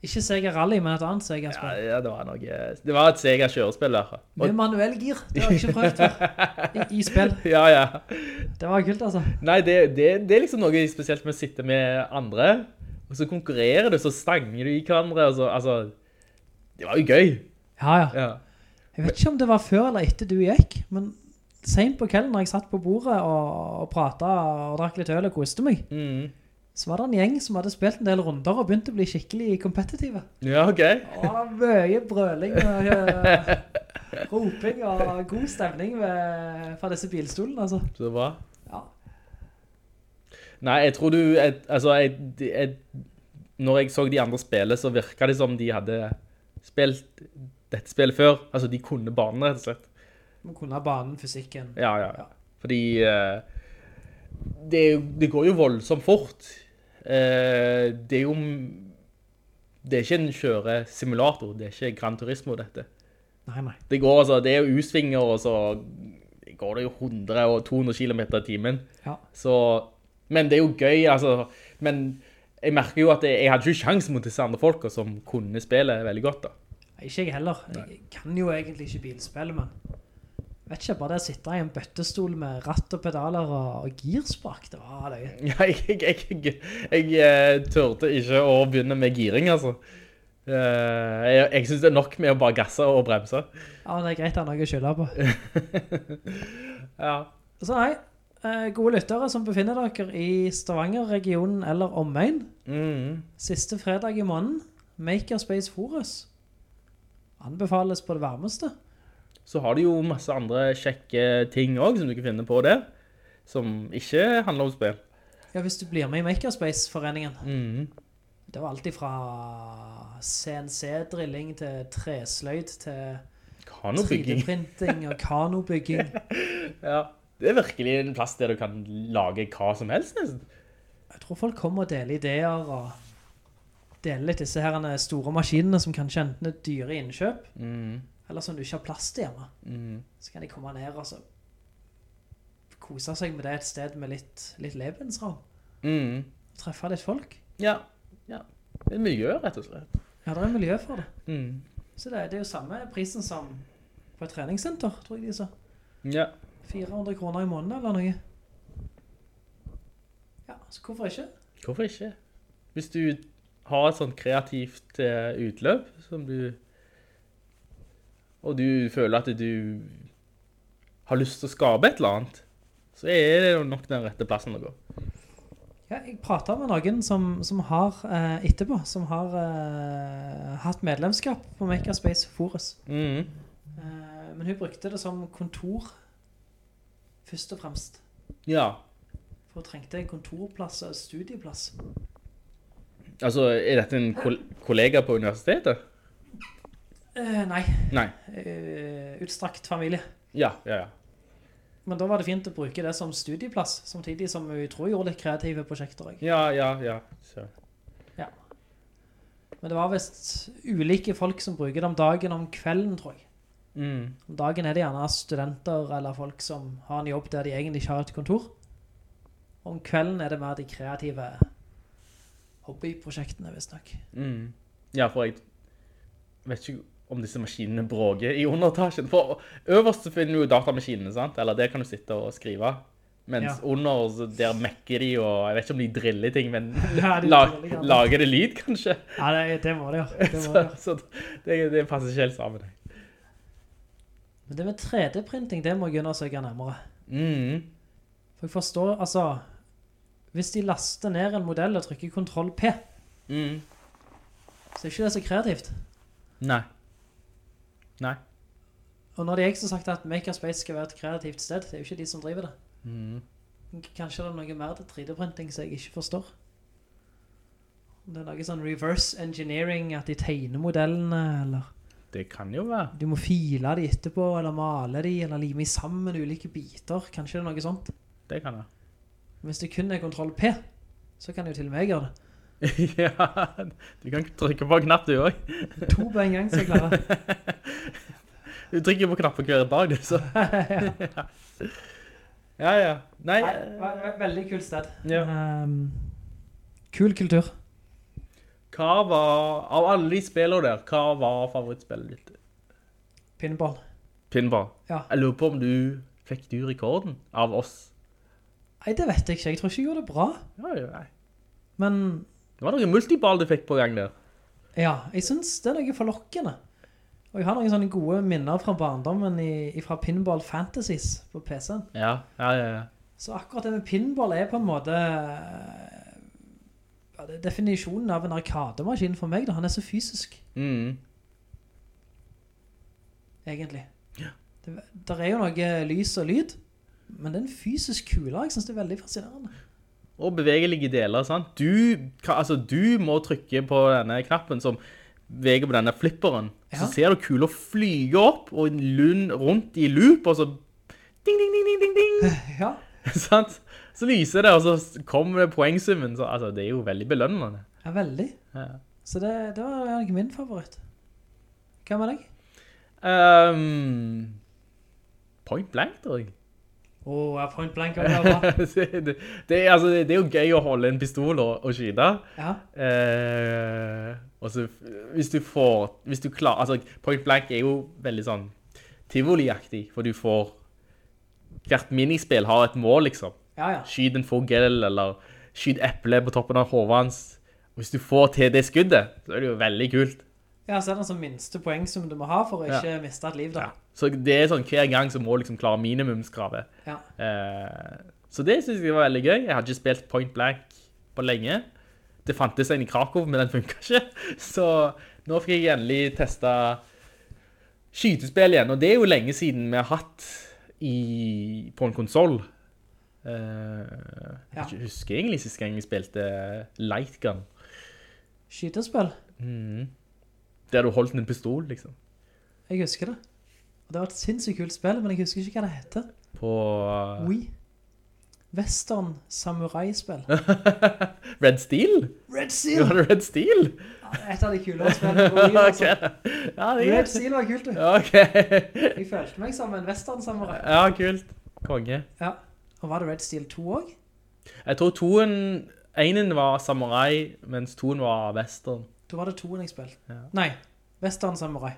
ikke Sega Rally, men et annet Ja, Sega-spill. ja, det var noe... Det var et Sega kjørespill, der. Med manuell gir, det har jeg ikke prøvd før, i, i spill. Ja, ja. Det var kult, altså. Nei, det, det, det er liksom noe spesielt med å sitte med andre, og så konkurrerer du, så stanger du i hverandre, og så, altså... Det var jo gøy. Ja, ja. Ja. Jeg vet ikke om det var før eller etter du gikk, men sent på kvelden når jeg satt på bordet og, og pratet og drakk litt øl og koste meg, Mhm. så var det en gjeng som hadde spilt en del runder og begynt å bli skikkelig kompetitive. Ja, ok. Og det var mye brøling og eh, roping og god stemning ved, fra disse bilstolene, altså. Så bra. Ja. Nei, jeg tror du jeg, Altså, jeg, jeg Når jeg så de andre spille, så virka det som de hadde spilt dette spillet før. Altså, de kunne banene, rett og slett. Vi kunne ha banen, fysikken. Ja, ja. ja. Fordi eh, det, er jo- det går jo voldsomt fort. Eh, det er jo Det er ikke en kjøresimulator. Det er ikke Gran Turismo, dette. Nei, nei. Det går altså Det er jo U-svinger, og så går det jo 100 og 200 km i timen. Ja. Så, men det er jo gøy, altså. Men jeg merker jo at jeg, jeg hadde ikke sjans mot disse andre folka som kunne spillet veldig godt, da. Ikke jeg heller. Jeg kan jo egentlig ikke bilspill, men vet ikke, bare det å sitte i en bøttestol med ratt og pedaler og, og girspak, det var løye. Ja, Jeg, jeg, jeg, jeg, eh, turte ikke å begynne med giring, altså. Eh, Jeg, jeg syns det er nok med å bare gasse og bremse. Ja, men det er greit å ha noe å skylde på. Ja. Så nei, eh, gode lyttere som befinner dere i Stavanger-regionen eller omegn, Mhm. siste fredag i måneden, Makerspace Forus. Anbefales på det varmeste. Så har du jo masse andre kjekke ting òg som du kan finne på der, som ikke handler om spill. Ja, hvis du blir med i Makerspace-foreningen. Mhm. Det var alltid fra CNC-drilling til tresløyd til Kanobygging. 3D-printing og kanobygging. Ja. Det er virkelig en plass der du kan lage hva som helst, nesten. Jeg tror folk kommer og deler ideer og deler litt disse her store maskinene som kanskje enten er dyre i innkjøp, eller som du ikke har plass til hjemme. Så kan de komme ned og så kose seg med det et sted med litt, litt levensram. Mm. Treffe litt folk. Ja. ja. Det er mye å gjøre, rett og slett. Ja, det er miljø for det. Mm. Så det, er- det er jo samme prisen som på et treningssenter, tror jeg de sa. Ja. 400 kroner i måneden eller noe. Ja, så hvorfor ikke? Hvorfor ikke? Hvis du har et sånt kreativt eh, utløp som du Og du føler at du har lyst til å skape et eller annet, så er det nok den rette plassen å gå. Ja, jeg prata med noen som, som har eh, etterpå, som har eh, hatt medlemskap på Makerspace Forus. Mhm. Eh, men hun brukte det som kontor først og fremst. Ja. For hun trengte en kontorplass og studieplass. Altså, er dette en kol kollega på universitetet? Eh, nei, Nei. eh, utstrakt familie. Ja, ja, ja. Men da var det fint å bruke det som studieplass, samtidig som hun tror gjorde litt kreative prosjekter òg. Ja, ja, ja. Så. Ja. Men det var visst ulike folk som bruker det om dagen og om kvelden, tror jeg. Mm. Om dagen er det gjerne studenter eller folk som har en jobb der de egentlig ikke har et kontor. Om kvelden er det mer de kreative hobbyprosjektene, visstnok. Mm. Ja, for jeg vet ikke om disse maskinene bråker i underetasjen. For øverst så finner du jo datamaskinene, sant? Eller der kan du sitte og skrive. Mens Ja. under, så der mekker de, og jeg vet ikke om de driller ting, men Ja, de la, driller gjerne. lager det lyd, kanskje? Ja, det, det må det gjøre. Det må det Så, gjøre. så det, det passer ikke helt sammen. jeg. Men det med 3D-printing, det må jeg undersøke nærmere. Mm. For jeg forstår, altså Hvis de laster ned en modell og trykker kontroll P, Mm. så er ikke det så kreativt. Nei. Nei. Og når de ikke har sagt at Makerspace skal være et kreativt sted, det er jo ikke de som driver det. Kanskje det er noe mer til 3D-printing som jeg ikke forstår. Om det er noe sånn reverse engineering, at de tegner modellene, eller Det kan jo være. du må file de etterpå, eller male de, eller lime sammen ulike biter. Kanskje det er noe sånt. Det kan det. Men Hvis det kun er kontroll P, så kan jo til og med jeg gjøre det. ja, du kan trykke på en knapp du òg. To på en gang, så jeg klarer. Du trykker på knapper hver dag, du, så. ja, ja. Nei, Nei, det var- det var et veldig kult sted. Ja. Ehm, kul kultur. hva var, av alle de spillene der, hva var favorittspillet ditt? Pinball. Pinball. Ja. Jeg lurer på om du fikk du rekorden av oss. Nei, det vet jeg ikke. Jeg tror ikke jeg gjorde det bra. Ja, ja, nei. Men Det var noen multiball du fikk på gang der. Ja, jeg syns det er noe forlokkende. Og jeg har noen sånne gode minner fra barndommen i, fra Pinball Fantasies på PC-en. Ja, ja, ja. ja. Så akkurat det med pinball er på en måte eh, ja, det er definisjonen av en arkademaskin for meg. da. Han er så fysisk, Mm. egentlig. Det, der er jo noe lys og lyd, men det er en fysisk kule. Jeg syns det er veldig fascinerende. Og bevegelige deler, sant? Du, ka- altså, du må trykke på denne knappen som veger på denne flipperen. Ja. Så ser du kula flyge opp og en lund rundt i loop, og så ding, ding, ding, ding, ding, ding. Ja, sant? Så lyser det, og så kommer det poengsummen. Så, altså, det er jo veldig belønnende. ja veldig. Ja. Så det, det var nok min favoritt. Hva med deg? Ehm, point blank, tror jeg. Å, oh, Point Blank var bra. det, det, er- altså, det er jo gøy å holde en pistol og, og skyte. Ja. Eh, og så f- hvis du får Hvis du klarer Altså, point blank er jo veldig sånn tivoliaktig, for du får Hvert minispill har et mål, liksom. ja, ja. Skyt en fugl, eller skyt eple på toppen av hodet hans. Hvis du får til det skuddet, så er det jo veldig kult. Ja, så er det altså minste poeng som du må ha for å Ja. ikke miste et liv, da. Så det er sånn hver gang så må du liksom klare minimumskravet. Ja. Eh, så det synes jeg var veldig gøy. Jeg hadde ikke spilt Point Blank på lenge. Det fantes en i Krakow, men den funket ikke. Så nå fikk jeg endelig testet skytespill igjen, og det er jo lenge siden vi har hatt i, på en konsol. Eh, jeg Ja. kan ikke husker egentlig siste gang jeg spilte Lightgun, Skytespill. der du holdt en pistol, liksom. Jeg husker det. Og det var et sinnssykt kult spill, men jeg husker ikke hva det heter. På eh, Wii. Western Samurai-spill. Red Steel? Red Du Seal! hadde Red Steel? Et av de kulere spillene på Wii, altså. Ja, det er Red greit. Seal var kult, du. Ja, OK. Jeg følte meg som en Western Samurai. Ja, kult. Konge. Ja. Og var det Red Seal 2 òg? Jeg tror toen Einen var samurai, mens toen var western. Da var det toen jeg spilte. Ja. Nei, Western Samurai.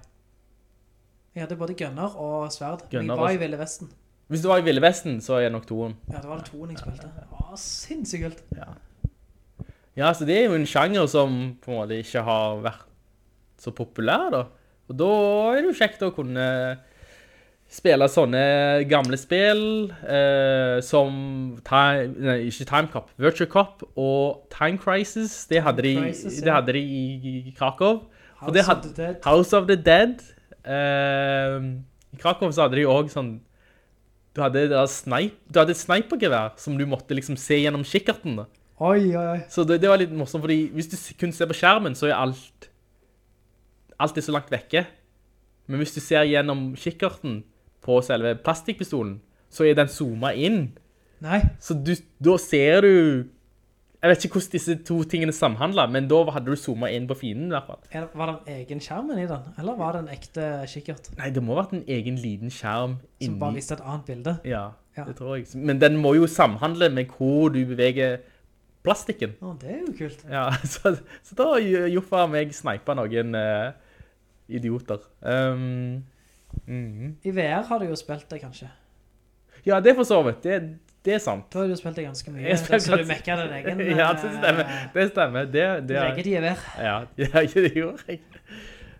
Jeg hadde både gunner og sverd. men Gunner jeg var i og- Ville Vesten. Hvis du var i Ville Vesten, så er det nok toen. Ja, da var det toen jeg spilte. Å, sinnssykt kult. Ja, så det er jo en sjanger som på en måte ikke har vært så populær, da. Og da er det jo kjekt å kunne spille sånne gamle spill eh, som time, nei, ikke Time Cop, Virtual Cop og Time Crisis. Det hadde de, Crisis, ja. det hadde de i, i Krakow. Og House det of hadde- the Dead. House of the Dead. Eh, I Krakow så hadde de også sånn Du hadde, det der snipe, du hadde et snipergevær som du måtte liksom se gjennom kikkerten. da. Oi, oi, oi. Så det, det var litt morsomt, fordi hvis du s- kun ser på skjermen, så er alt Alt er så langt vekke. Men hvis du ser gjennom kikkerten på selve plastikkpistolen, så er den zooma inn. Nei. Så du, da ser du Jeg vet ikke hvordan disse to tingene samhandla, men da hadde du zooma inn på fienden. i hvert fall. Er det- Var det en egen skjermen i den? Eller var det en ekte kikkert? Nei, det må ha vært en egen liten skjerm Som bare inni viste et annet bilde? ja, Ja. det tror jeg. Men den må jo samhandle med hvor du beveger plastikken. Å, det er jo kult. Ja, så, så da har Jo- Joffa og meg sneipa noen eh, idioter. Um, mhm. I VR har du jo spilt det, kanskje. Ja, det er for så vidt. Det, det er sant. Da har du jo spilt det ganske mye. Jeg spilte Så du ganske- mekka din egen eh, Ja, det stemmer. Det stemmer. Det, det Din er- Eh. eget gevær. ja, ja, det gjorde jeg.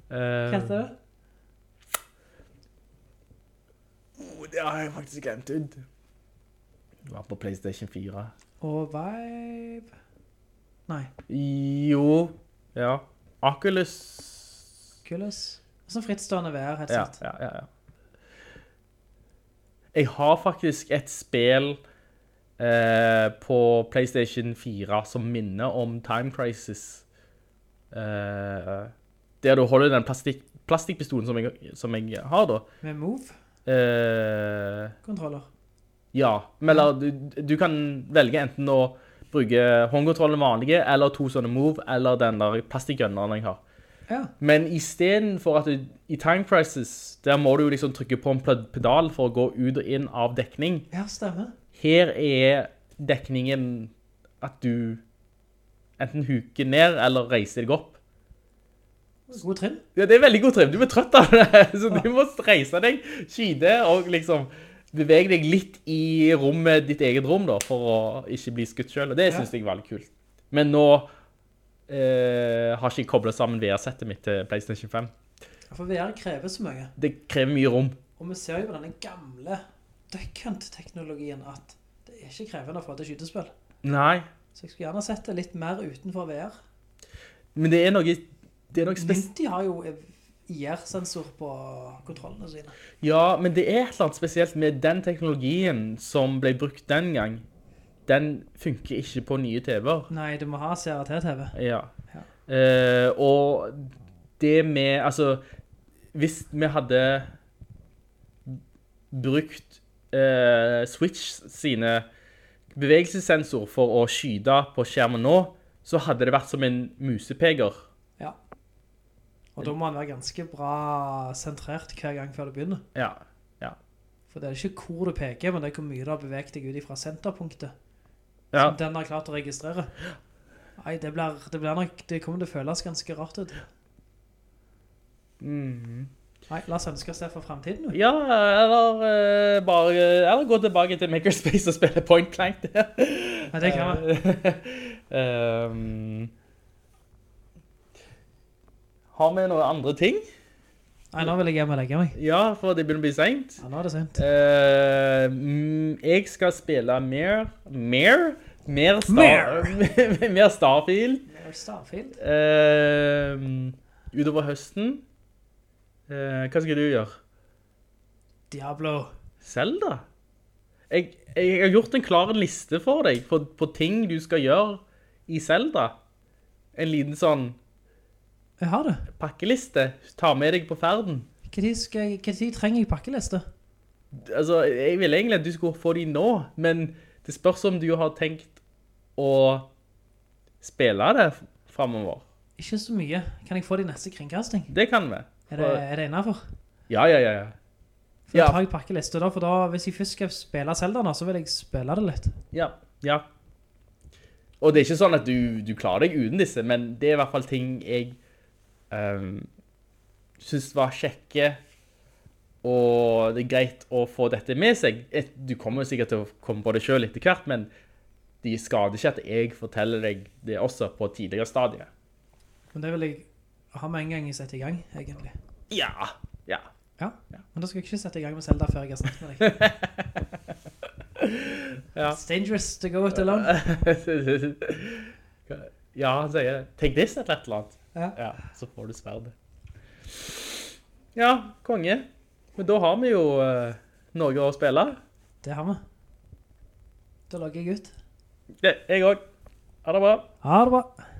Hva Um, heter det? oh, det har jeg faktisk glemt ut. Det var på PlayStation 4. Og Vibe Nei, Jo Ja. Oculus Kulus. Sånn frittstående VR, helt Ja, sett. ja, ja, ja. Jeg har faktisk et spill eh, på PlayStation 4 som minner om Time Crisis. Eh, der du holder den plastikk, plastikkpistolen som jeg, som jeg har, da. Med Move-kontroller. Eh, ja, men eller du, du kan velge enten å bruke håndkontrollen vanlige, eller to sånne move, eller den der plastikkgønneren jeg har. Ja. Men istedenfor at du, i Time Crisis der må du jo liksom trykke på en ped- pedal for å gå ut og inn av dekning. ja, stemmer. Her er dekningen at du enten huker ned eller reiser deg opp. God trim. Ja, det er veldig god trim. Du blir trøtt av det, så du må reise deg, skyte og liksom bevege deg litt i rommet, ditt eget rom, da, for å ikke bli skutt sjøl. Og det syns jeg var litt kult. Men nå eh, har ikke jeg kobla sammen VR-settet mitt til PlayStation 5. Ja, For VR krever så mye. Det krever mye rom. Og vi ser jo på denne gamle Duck Hunt-teknologien at det er ikke krevende å få til skytespill. Nei, Så jeg skulle gjerne sett det litt mer utenfor VR. men det er noe, det er noe spes- Ninty har jo IR-sensor på kontrollene sine. Ja, men det er et eller annet spesielt med den teknologien som ble brukt den gang. Den funker ikke på nye TV-er. Nei, du må ha CRT-TV. Ja. Ja. Eh, og det med Altså, hvis vi hadde brukt eh, Switch sine bevegelsessensor for å skyte på skjermen nå, så hadde det vært som en musepeker. Ja. Og da må han være ganske bra sentrert hver gang før du begynner. Ja. For det er ikke hvor du peker, men det er hvor mye du har beveget deg ut ifra senterpunktet. ja. Som den har klart å registrere. Nei, det, blir, det, blir nok, det kommer til å føles ganske rart ut. Mhm. Nei, la oss ønske oss det for fremtiden. jo. Ja, eller eh, bare Eller gå tilbake til Makerspace og spille Point Clank der. Nei, det Eh, kan være. Ehm, har vi noen andre ting? Nei, nå vil jeg hjem og legge meg. Ja, for det begynner å bli seint. Ja, nå er det sent. Eh. mm, jeg skal spille mer Mer? Mer, Mer. star, mer Starfield. Mare Starfield. Ehm, utover høsten. Eh, hva skal du gjøre? Diablo. Zelda? Jeg, jeg har gjort en klar liste for deg på, på ting du skal gjøre i Zelda. En liten sånn Jeg har det. pakkeliste. Ta med deg på ferden. Når skal jeg- hva tid trenger jeg pakkeliste? Altså, jeg ville egentlig at du skulle få de nå, men det spørs om du har tenkt å spille det fremover. Ikke så mye. Kan jeg få det i neste kringkasting? Det kan vi. Er det, er det innafor? Ja, ja, ja, ja. For da Ja. tar jeg pakkeliste, da, for da, hvis jeg først skal spille Zelda nå, så vil jeg spille det litt. Ja, ja. Og det er ikke sånn at du, du klarer deg uten disse, men det er i hvert fall ting jeg um, synes var kjekke, og det er greit å få dette med seg. Et- Du kommer jo sikkert til å komme på det selv etter hvert, men de skader ikke at jeg forteller deg det også på et tidligere stadier. Men det vil jeg ha med en gang jeg setter i gang, egentlig. Ja, ja. Ja, men da skal jeg ikke sette i gang med Zelda før jeg har snakket med deg. It's dangerous to go it alone. ja, han sier Take this eller et eller annet. Ja. Ja, så får du sverdet. Ja, konge. Men da har vi jo eh, noe å spille. Det har vi. Da logger jeg ut. Det, jeg òg. Ha det bra. Ha det bra.